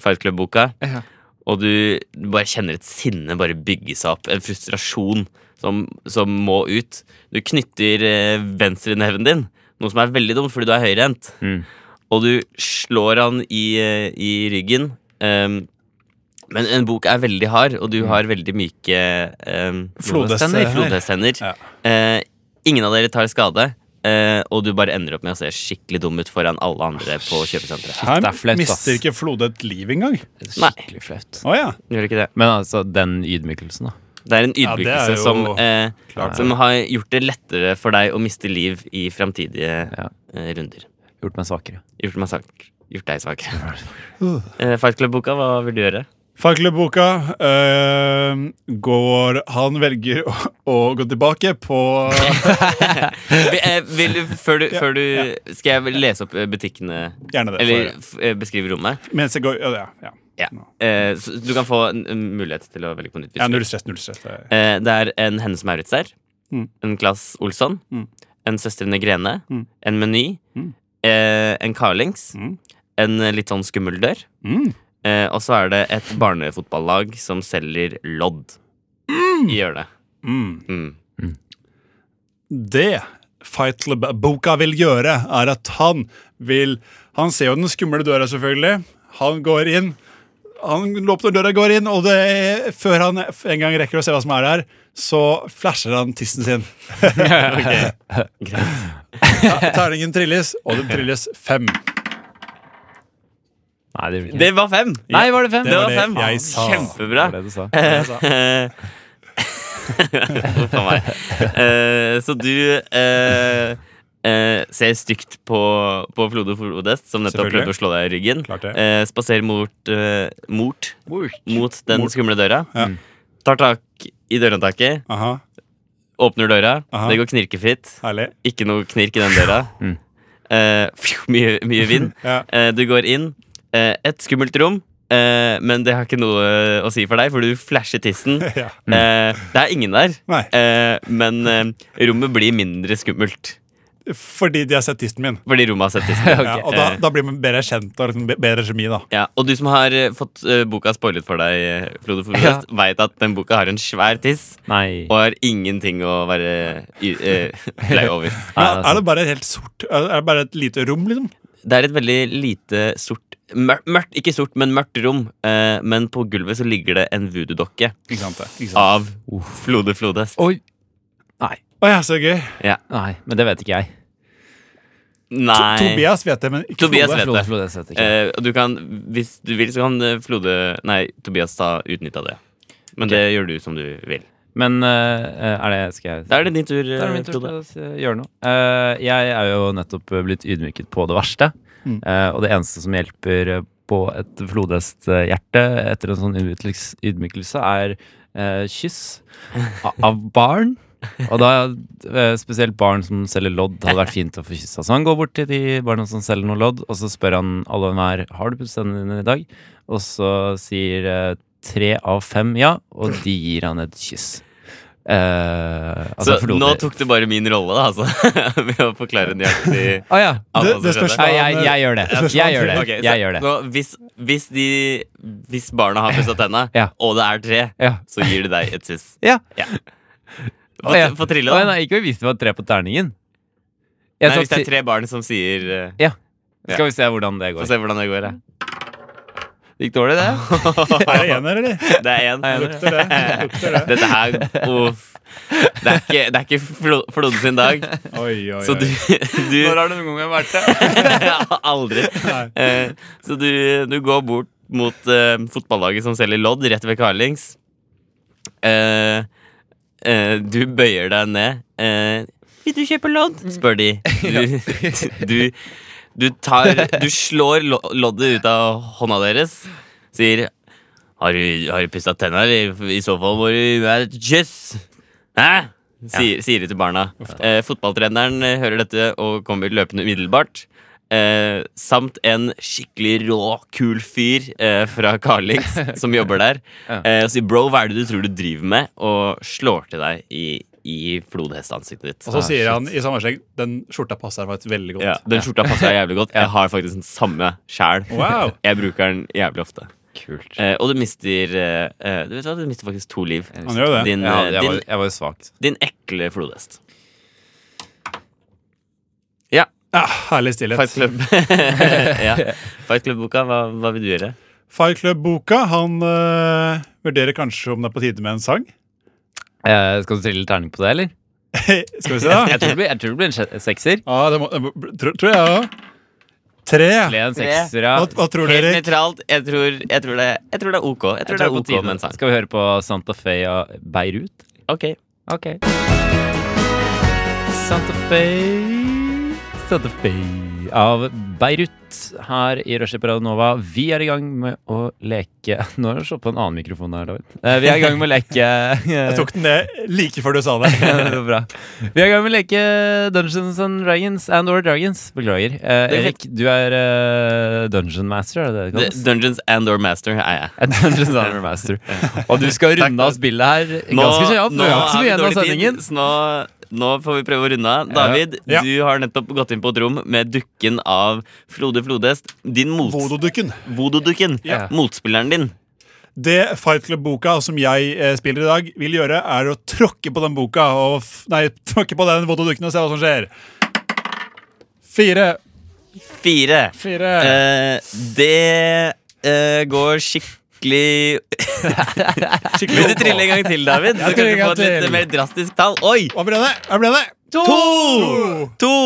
[SPEAKER 4] Fight Club-boka,
[SPEAKER 2] Ja.
[SPEAKER 4] og du, du bare kjenner et sinne bare bygge seg opp. En frustrasjon som, som må ut. Du knytter eh, venstreneven din, noe som er veldig dumt fordi du er høyrehendt.
[SPEAKER 2] Mm.
[SPEAKER 4] Og du slår han i, eh, i ryggen. ehm, men en bok er veldig hard, og du har veldig myke um,
[SPEAKER 3] Flodhester.
[SPEAKER 4] flodhesthender.
[SPEAKER 3] Ja.
[SPEAKER 4] Eh, ingen av dere tar skade, eh, og du bare ender opp med å se skikkelig dum ut foran alle andre på kjøpesenteret.
[SPEAKER 3] Her
[SPEAKER 2] det er flaut, ass.
[SPEAKER 3] mister ikke Flode et liv engang.
[SPEAKER 4] Nei.
[SPEAKER 2] Skikkelig flaut.
[SPEAKER 3] Å ja.
[SPEAKER 4] Gjør det ikke det?
[SPEAKER 2] Men altså, den ydmykelsen, da.
[SPEAKER 4] Det er en
[SPEAKER 3] Ja, det
[SPEAKER 4] ydmykelse
[SPEAKER 3] er jo
[SPEAKER 4] som, eh,
[SPEAKER 3] klart.
[SPEAKER 4] som har gjort det lettere for deg å miste liv i framtidige
[SPEAKER 2] Ja.
[SPEAKER 4] eh, runder.
[SPEAKER 2] Gjort meg svakere.
[SPEAKER 4] Gjort, meg sak, gjort deg svak. Eh, Fight Club-boka, hva vil du gjøre?
[SPEAKER 3] Farkleboka eh, går Han velger å, å gå tilbake på
[SPEAKER 4] Vi- eh, Vil du, før du, før du Skal jeg lese opp eh, butikkene
[SPEAKER 3] Gjerne det.
[SPEAKER 4] Eller
[SPEAKER 3] for-
[SPEAKER 4] f- eh, beskrive rommet?
[SPEAKER 3] Mens jeg går Ja. ja.
[SPEAKER 4] Ja. Eh, så du kan få en, en mulighet til å velge på nytt. hvis
[SPEAKER 3] ja
[SPEAKER 4] du vil.
[SPEAKER 3] null stress, null stress. Det er-
[SPEAKER 4] Eh, det er en Hennes Maurits der.
[SPEAKER 3] Mm.
[SPEAKER 4] En Claes Olsson.
[SPEAKER 3] Mm.
[SPEAKER 4] En Søstrene Grene.
[SPEAKER 3] Mm.
[SPEAKER 4] En Meny.
[SPEAKER 3] Mm.
[SPEAKER 4] Eh, en Carlings.
[SPEAKER 3] Mm.
[SPEAKER 4] En eh, litt sånn skummel dør.
[SPEAKER 3] Mm.
[SPEAKER 4] Eh, og så er det et barnefotballag som selger lodd i hjørnet.
[SPEAKER 3] Mm.
[SPEAKER 4] Mm.
[SPEAKER 3] det Fightleb-boka vil gjøre, er at han vil Han ser jo den skumle døra, selvfølgelig. Han går inn. Han åpner døra, går inn, og det, før han en gang rekker å se hva som er der, så flasher han tissen sin.
[SPEAKER 4] Greit.
[SPEAKER 3] Ja, terningen trilles, og den trilles fem.
[SPEAKER 2] Nei, det gjør det ikke.
[SPEAKER 4] Det var fem!
[SPEAKER 2] Nei, var det fem?
[SPEAKER 4] Det var
[SPEAKER 3] det
[SPEAKER 4] fem.
[SPEAKER 3] jeg sa.
[SPEAKER 4] Kjempebra.
[SPEAKER 2] Det var det du sa.
[SPEAKER 4] Huff a Eh, meg. Eh, så du eh, eh, ser stygt på, på Flode Flodhest, som nettopp
[SPEAKER 3] Selvfølgelig.
[SPEAKER 4] prøvde å slå deg i ryggen.
[SPEAKER 3] Klart det.
[SPEAKER 4] Eh, Spaserer mot, eh, mort, mot den skumle døra. Mm.
[SPEAKER 3] Ja.
[SPEAKER 4] Tar tak i dørhåndtaket,
[SPEAKER 3] Aha,
[SPEAKER 4] åpner døra.
[SPEAKER 3] Aha.
[SPEAKER 4] Det går knirkefritt.
[SPEAKER 3] herlig.
[SPEAKER 4] Ikke noe knirk i den døra.
[SPEAKER 2] Mm.
[SPEAKER 4] Eh, phew, mye, mye vind.
[SPEAKER 3] Ja.
[SPEAKER 4] Eh, du går inn. Eh, et skummelt rom, eh, men det har ikke noe å si for deg, for du flasher tissen.
[SPEAKER 3] Ja.
[SPEAKER 4] Eh, det er ingen der,
[SPEAKER 3] Mm. Nei,
[SPEAKER 4] eh, men eh, rommet blir mindre skummelt.
[SPEAKER 3] fordi de har sett tissen min.
[SPEAKER 4] Fordi rommet har sett tissen.
[SPEAKER 3] Ja, og da, da blir man bedre kjent og liksom be- bedre kjemi, da.
[SPEAKER 4] Ja, og du som har eh, fått eh, boka spoilet for deg, eh, Frode Forfest, vet veit at den boka har en svær tiss
[SPEAKER 2] Nei.
[SPEAKER 4] og har ingenting å være y- eh, flau over.
[SPEAKER 2] Nei,
[SPEAKER 3] Men
[SPEAKER 2] det
[SPEAKER 3] er
[SPEAKER 2] er
[SPEAKER 3] det bare et helt sort Er det bare et lite rom, liksom?
[SPEAKER 4] Det er et veldig lite sort mør- Mørkt, ikke sort, men mørkt rom. Eh, men på gulvet så ligger det en voodoo-dokke
[SPEAKER 3] Ikke sant det. Ikke sant.
[SPEAKER 4] av Flode Flodhest.
[SPEAKER 2] Oi.
[SPEAKER 3] Å ja, så gøy.
[SPEAKER 2] Nei, men det vet ikke jeg.
[SPEAKER 4] Nei.
[SPEAKER 3] To- Tobias vet det, men ikke
[SPEAKER 4] Tobias
[SPEAKER 3] Frode.
[SPEAKER 4] vet
[SPEAKER 2] Flode
[SPEAKER 4] det.
[SPEAKER 2] Flodhest vet ikke.
[SPEAKER 4] Eh, og du kan, hvis du vil, så kan eh, Flode Nei, Tobias ta utnytta det. Men det gjør du som du vil.
[SPEAKER 2] Men eh, er det Skal jeg
[SPEAKER 4] Da er det din tur,
[SPEAKER 2] Da er
[SPEAKER 4] eh,
[SPEAKER 2] det min tur til
[SPEAKER 4] Frode.
[SPEAKER 2] å si- gjøre noe. Eh, jeg er jo nettopp blitt ydmyket på det verste.
[SPEAKER 3] Mm.
[SPEAKER 2] Eh, og det eneste som hjelper eh, på et flodhesthjerte etter en sånn ydmykelse, ydmykelse er eh, kyss a- av barn. Og da eh, spesielt barn som selger lodd, hadde vært fint å få kyssa. Så han går bort til de barna som selger noe lodd, og så spør han alle og enhver har du pusset tennene dine i dag. Og så sier eh, tre av fem ja, og de gir han et kyss. Eh, altså,
[SPEAKER 4] så
[SPEAKER 2] forlod-
[SPEAKER 4] nå tok du bare min rolle, da, altså. Med å forklare nøyaktig
[SPEAKER 2] Å ja.
[SPEAKER 4] alt
[SPEAKER 3] Det,
[SPEAKER 4] som
[SPEAKER 3] det
[SPEAKER 4] skjedde.
[SPEAKER 3] spørs
[SPEAKER 2] Nei, jeg, jeg gjør det. Jeg gjør det.
[SPEAKER 4] Ok, så
[SPEAKER 2] Jeg gjør det.
[SPEAKER 4] Nå, hvis, hvis, de, hvis barna har pussa tenna,
[SPEAKER 2] Ja.
[SPEAKER 4] og det er tre,
[SPEAKER 2] Ja.
[SPEAKER 4] så gir de deg et kyss.
[SPEAKER 2] Ja.
[SPEAKER 4] Få,
[SPEAKER 2] Å, ja.
[SPEAKER 4] få trille,
[SPEAKER 2] Å, ja,
[SPEAKER 4] da.
[SPEAKER 2] nei, ikke hvis det var tre på terningen. Jeg
[SPEAKER 4] Nei,
[SPEAKER 2] sa
[SPEAKER 4] hvis det
[SPEAKER 2] ti-
[SPEAKER 4] er tre barn som sier eh,
[SPEAKER 2] Skal vi se hvordan det
[SPEAKER 4] Få
[SPEAKER 2] går.
[SPEAKER 4] se hvordan det går, jeg.
[SPEAKER 2] Gikk dårlig, det?
[SPEAKER 3] Er det en, eller?
[SPEAKER 4] Det er én.
[SPEAKER 3] Lukter det. Lukter det.
[SPEAKER 4] Dette her Uff. Det er ikke, det er ikke Flo- Flode sin dag.
[SPEAKER 3] Oi, oi, oi.
[SPEAKER 4] Så du, du
[SPEAKER 2] har det noen gang vært det?
[SPEAKER 4] Aldri.
[SPEAKER 3] Nei.
[SPEAKER 4] Eh, så du, du går bort mot eh, fotballaget som selger lodd, rett ved Carlings. Eh, eh, du bøyer deg ned. Eh, vil du kjøpe lodd? Mm. spør de. Du, du, du, tar, du slår lo- loddet ut av hånda deres, sier Har du, har du pussa tenna, eller? I så fall må du gi meg et kyss. Hæ? Sier, sier de til barna. Eh, fotballtreneren eh, hører dette og kommer løpende umiddelbart. Eh, samt en skikkelig rå, kul fyr eh, fra Carlings som jobber der.
[SPEAKER 2] Ja.
[SPEAKER 4] Eh, og sier 'bro, hva er det du tror du driver med?' og slår til deg i, i flodhestansiktet ditt.
[SPEAKER 3] Og så sier han i samme sleng den skjorta passer faktisk veldig godt.
[SPEAKER 4] ja, den skjorta passer deg jævlig godt. Jeg har faktisk den samme sjæl.
[SPEAKER 3] Wow.
[SPEAKER 4] Jeg bruker den jævlig ofte.
[SPEAKER 2] Kult.
[SPEAKER 4] Eh, og du mister eh, eh, Du vet hva, du mister faktisk to liv.
[SPEAKER 3] Han gjør jo det.
[SPEAKER 4] Din,
[SPEAKER 2] Ja,
[SPEAKER 4] eh,
[SPEAKER 2] jeg, var,
[SPEAKER 4] din,
[SPEAKER 2] jeg var jo svak.
[SPEAKER 4] din ekle flodhest.
[SPEAKER 3] Ja, herlig stillhet.
[SPEAKER 4] Fight Club. ja. Fight Club-boka, hva, hva vil du gjøre?
[SPEAKER 3] Fight Club-boka, han eh, øh, vurderer kanskje om det er på tide med en sang.
[SPEAKER 2] Eh, skal du trille terning på det, eller?
[SPEAKER 3] Skal vi se, da.
[SPEAKER 2] Jeg tror det blir, jeg tror det blir en se- sekser.
[SPEAKER 3] Ja, det må, tror, tror jeg òg.
[SPEAKER 2] Det
[SPEAKER 3] Tre.
[SPEAKER 2] blir en sekser, ja.
[SPEAKER 3] Hva, hva tror du,
[SPEAKER 4] Helt
[SPEAKER 3] Erik?
[SPEAKER 4] nøytralt. Jeg tror, jeg, tror det, jeg tror det er ok. Jeg tror det er
[SPEAKER 2] på
[SPEAKER 4] ok
[SPEAKER 2] tide.
[SPEAKER 4] med en sang.
[SPEAKER 2] Skal vi høre på Santa Fe av Beirut?
[SPEAKER 4] Ok.
[SPEAKER 2] Ok. Santa Fe Santa Fe av Beirut her i Rushdie på Radio Nova. Vi er i gang med å leke Nå har du slått på en annen mikrofon her, David. Eh, Vi er i gang med å leke
[SPEAKER 3] Jeg tok den ned like før du sa det.
[SPEAKER 2] det var bra. Vi er i gang med å leke Dungeons and Dragons and or Dragons. Beklager. Eh,
[SPEAKER 4] Det er
[SPEAKER 2] Erik, du er eh, dungeon master, er det det det
[SPEAKER 4] The
[SPEAKER 2] kalles?
[SPEAKER 4] Dungeons and or Master er jeg.
[SPEAKER 2] Eh, Dungeons and master. Og du skal runde av spillet her
[SPEAKER 4] Nå,
[SPEAKER 2] ganske kjapt.
[SPEAKER 4] nå
[SPEAKER 2] Det er ikke så
[SPEAKER 4] har
[SPEAKER 2] mye
[SPEAKER 4] vi
[SPEAKER 2] igjen av
[SPEAKER 4] dårlig tid,
[SPEAKER 2] sendingen.
[SPEAKER 4] så nå, nå får vi prøve å runde av. David,
[SPEAKER 3] Ja.
[SPEAKER 4] du har nettopp gått inn på et rom med dukken av Frode Flodhest. Din mots...
[SPEAKER 3] Vododukken.
[SPEAKER 4] Vododukken.
[SPEAKER 2] Ja.
[SPEAKER 4] Motspilleren din.
[SPEAKER 3] Det Fight Club-boka som jeg eh, spiller i dag, vil gjøre, er å tråkke på den boka og f Nei, tråkke på den vododukken og se hva som skjer. Fire.
[SPEAKER 4] Fire.
[SPEAKER 3] Fire.
[SPEAKER 4] Eh, det eh, går skikkelig Vil du trille en gang til, David? Så
[SPEAKER 3] Jeg
[SPEAKER 4] kan
[SPEAKER 3] triller
[SPEAKER 4] du
[SPEAKER 3] en
[SPEAKER 4] få
[SPEAKER 3] gang
[SPEAKER 4] et litt
[SPEAKER 3] til.
[SPEAKER 4] mer drastisk tall. Oi!
[SPEAKER 3] Hva ble det? Hva ble det?
[SPEAKER 4] To! To!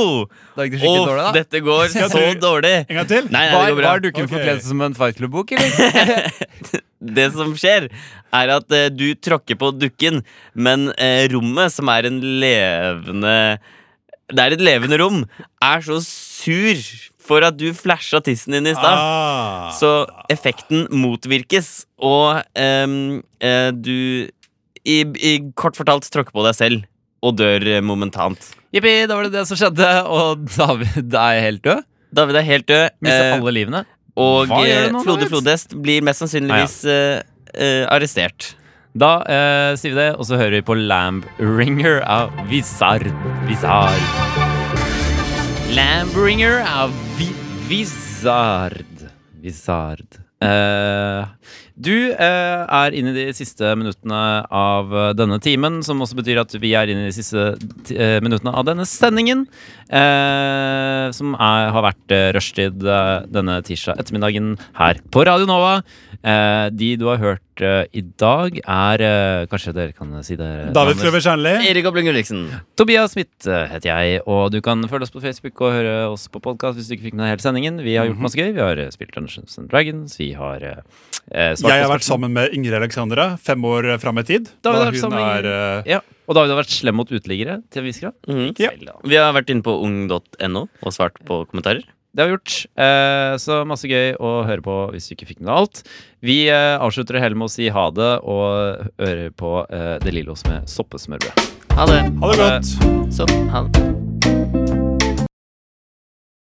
[SPEAKER 2] Da gikk det
[SPEAKER 4] Åh,
[SPEAKER 2] skikkelig dårlig, da.
[SPEAKER 4] dette går
[SPEAKER 3] Skal jeg
[SPEAKER 4] så
[SPEAKER 3] trykke-
[SPEAKER 4] dårlig.
[SPEAKER 3] En gang til?
[SPEAKER 4] Nei, nei, det
[SPEAKER 2] Var,
[SPEAKER 4] går bra.
[SPEAKER 2] var dukken
[SPEAKER 3] Ok.
[SPEAKER 2] forkledd som en Fight Club-bok, eller?
[SPEAKER 4] Det som skjer, er at eh, du tråkker på dukken, men eh, rommet, som er en levende Det er et levende rom, er så sur for at du flasha tissen din i stad.
[SPEAKER 3] Ah.
[SPEAKER 4] Så effekten motvirkes, og ehm, eh, du i, i kort fortalt tråkker på deg selv og dør eh, momentant.
[SPEAKER 2] Jippi, da var det det som skjedde, og David er helt død.
[SPEAKER 4] David er helt død,
[SPEAKER 2] Mister
[SPEAKER 4] eh,
[SPEAKER 2] alle livene.
[SPEAKER 4] og
[SPEAKER 2] Hva gjør
[SPEAKER 4] eh,
[SPEAKER 2] du nå,
[SPEAKER 4] Frode
[SPEAKER 2] David?
[SPEAKER 4] Flodhest blir mest sannsynligvis eh, eh, arrestert.
[SPEAKER 2] Da eh, sier vi det, og så hører vi på Lamb Ringer av Visar. Visar. Lamb Ringer av vi Visard. Visard. Eh, du eh, er inne i de siste minuttene av eh, denne timen, som også betyr at vi er inne i de siste ti- eh, minuttene av denne sendingen, eh, som er, har vært eh, rushtid eh, denne tirsdag ettermiddagen her på Radio Nova. Eh, de du har hørt eh, i dag, er eh, Kanskje dere kan si det?
[SPEAKER 3] David
[SPEAKER 2] Anders?
[SPEAKER 3] Kløver Kjernli.
[SPEAKER 4] Erik Obling Ulriksen.
[SPEAKER 2] Tobias Smith eh, heter jeg, og du kan følge oss på Facebook og høre oss på podkast hvis du ikke fikk med deg hele sendingen. Vi har gjort
[SPEAKER 3] Mhm.
[SPEAKER 2] masse gøy. Vi har eh, spilt Dungeons and Dragons. Vi har eh, eh, svart
[SPEAKER 3] Jeg har
[SPEAKER 2] på
[SPEAKER 3] vært
[SPEAKER 2] spørsmål.
[SPEAKER 3] sammen med Ingrid Alexandra fem år fram i tid.
[SPEAKER 2] Da har vi vært
[SPEAKER 3] hun
[SPEAKER 2] sammen med
[SPEAKER 3] er eh,
[SPEAKER 2] Ja. Og David har vært slem mot uteliggere til en viss grad.
[SPEAKER 4] Mhm.
[SPEAKER 3] Ja.
[SPEAKER 2] Vel, da.
[SPEAKER 4] Vi har vært inne på ung.no og svart på kommentarer.
[SPEAKER 2] Det har vi gjort. Eh, så masse gøy å høre på hvis du ikke fikk med deg alt. Vi eh, avslutter det hele med å si ha det, og høre på eh, De Lillos med soppesmørbrød.
[SPEAKER 4] Ha det.
[SPEAKER 3] Ha det
[SPEAKER 2] Ha det.
[SPEAKER 3] godt.
[SPEAKER 4] Så, ha det.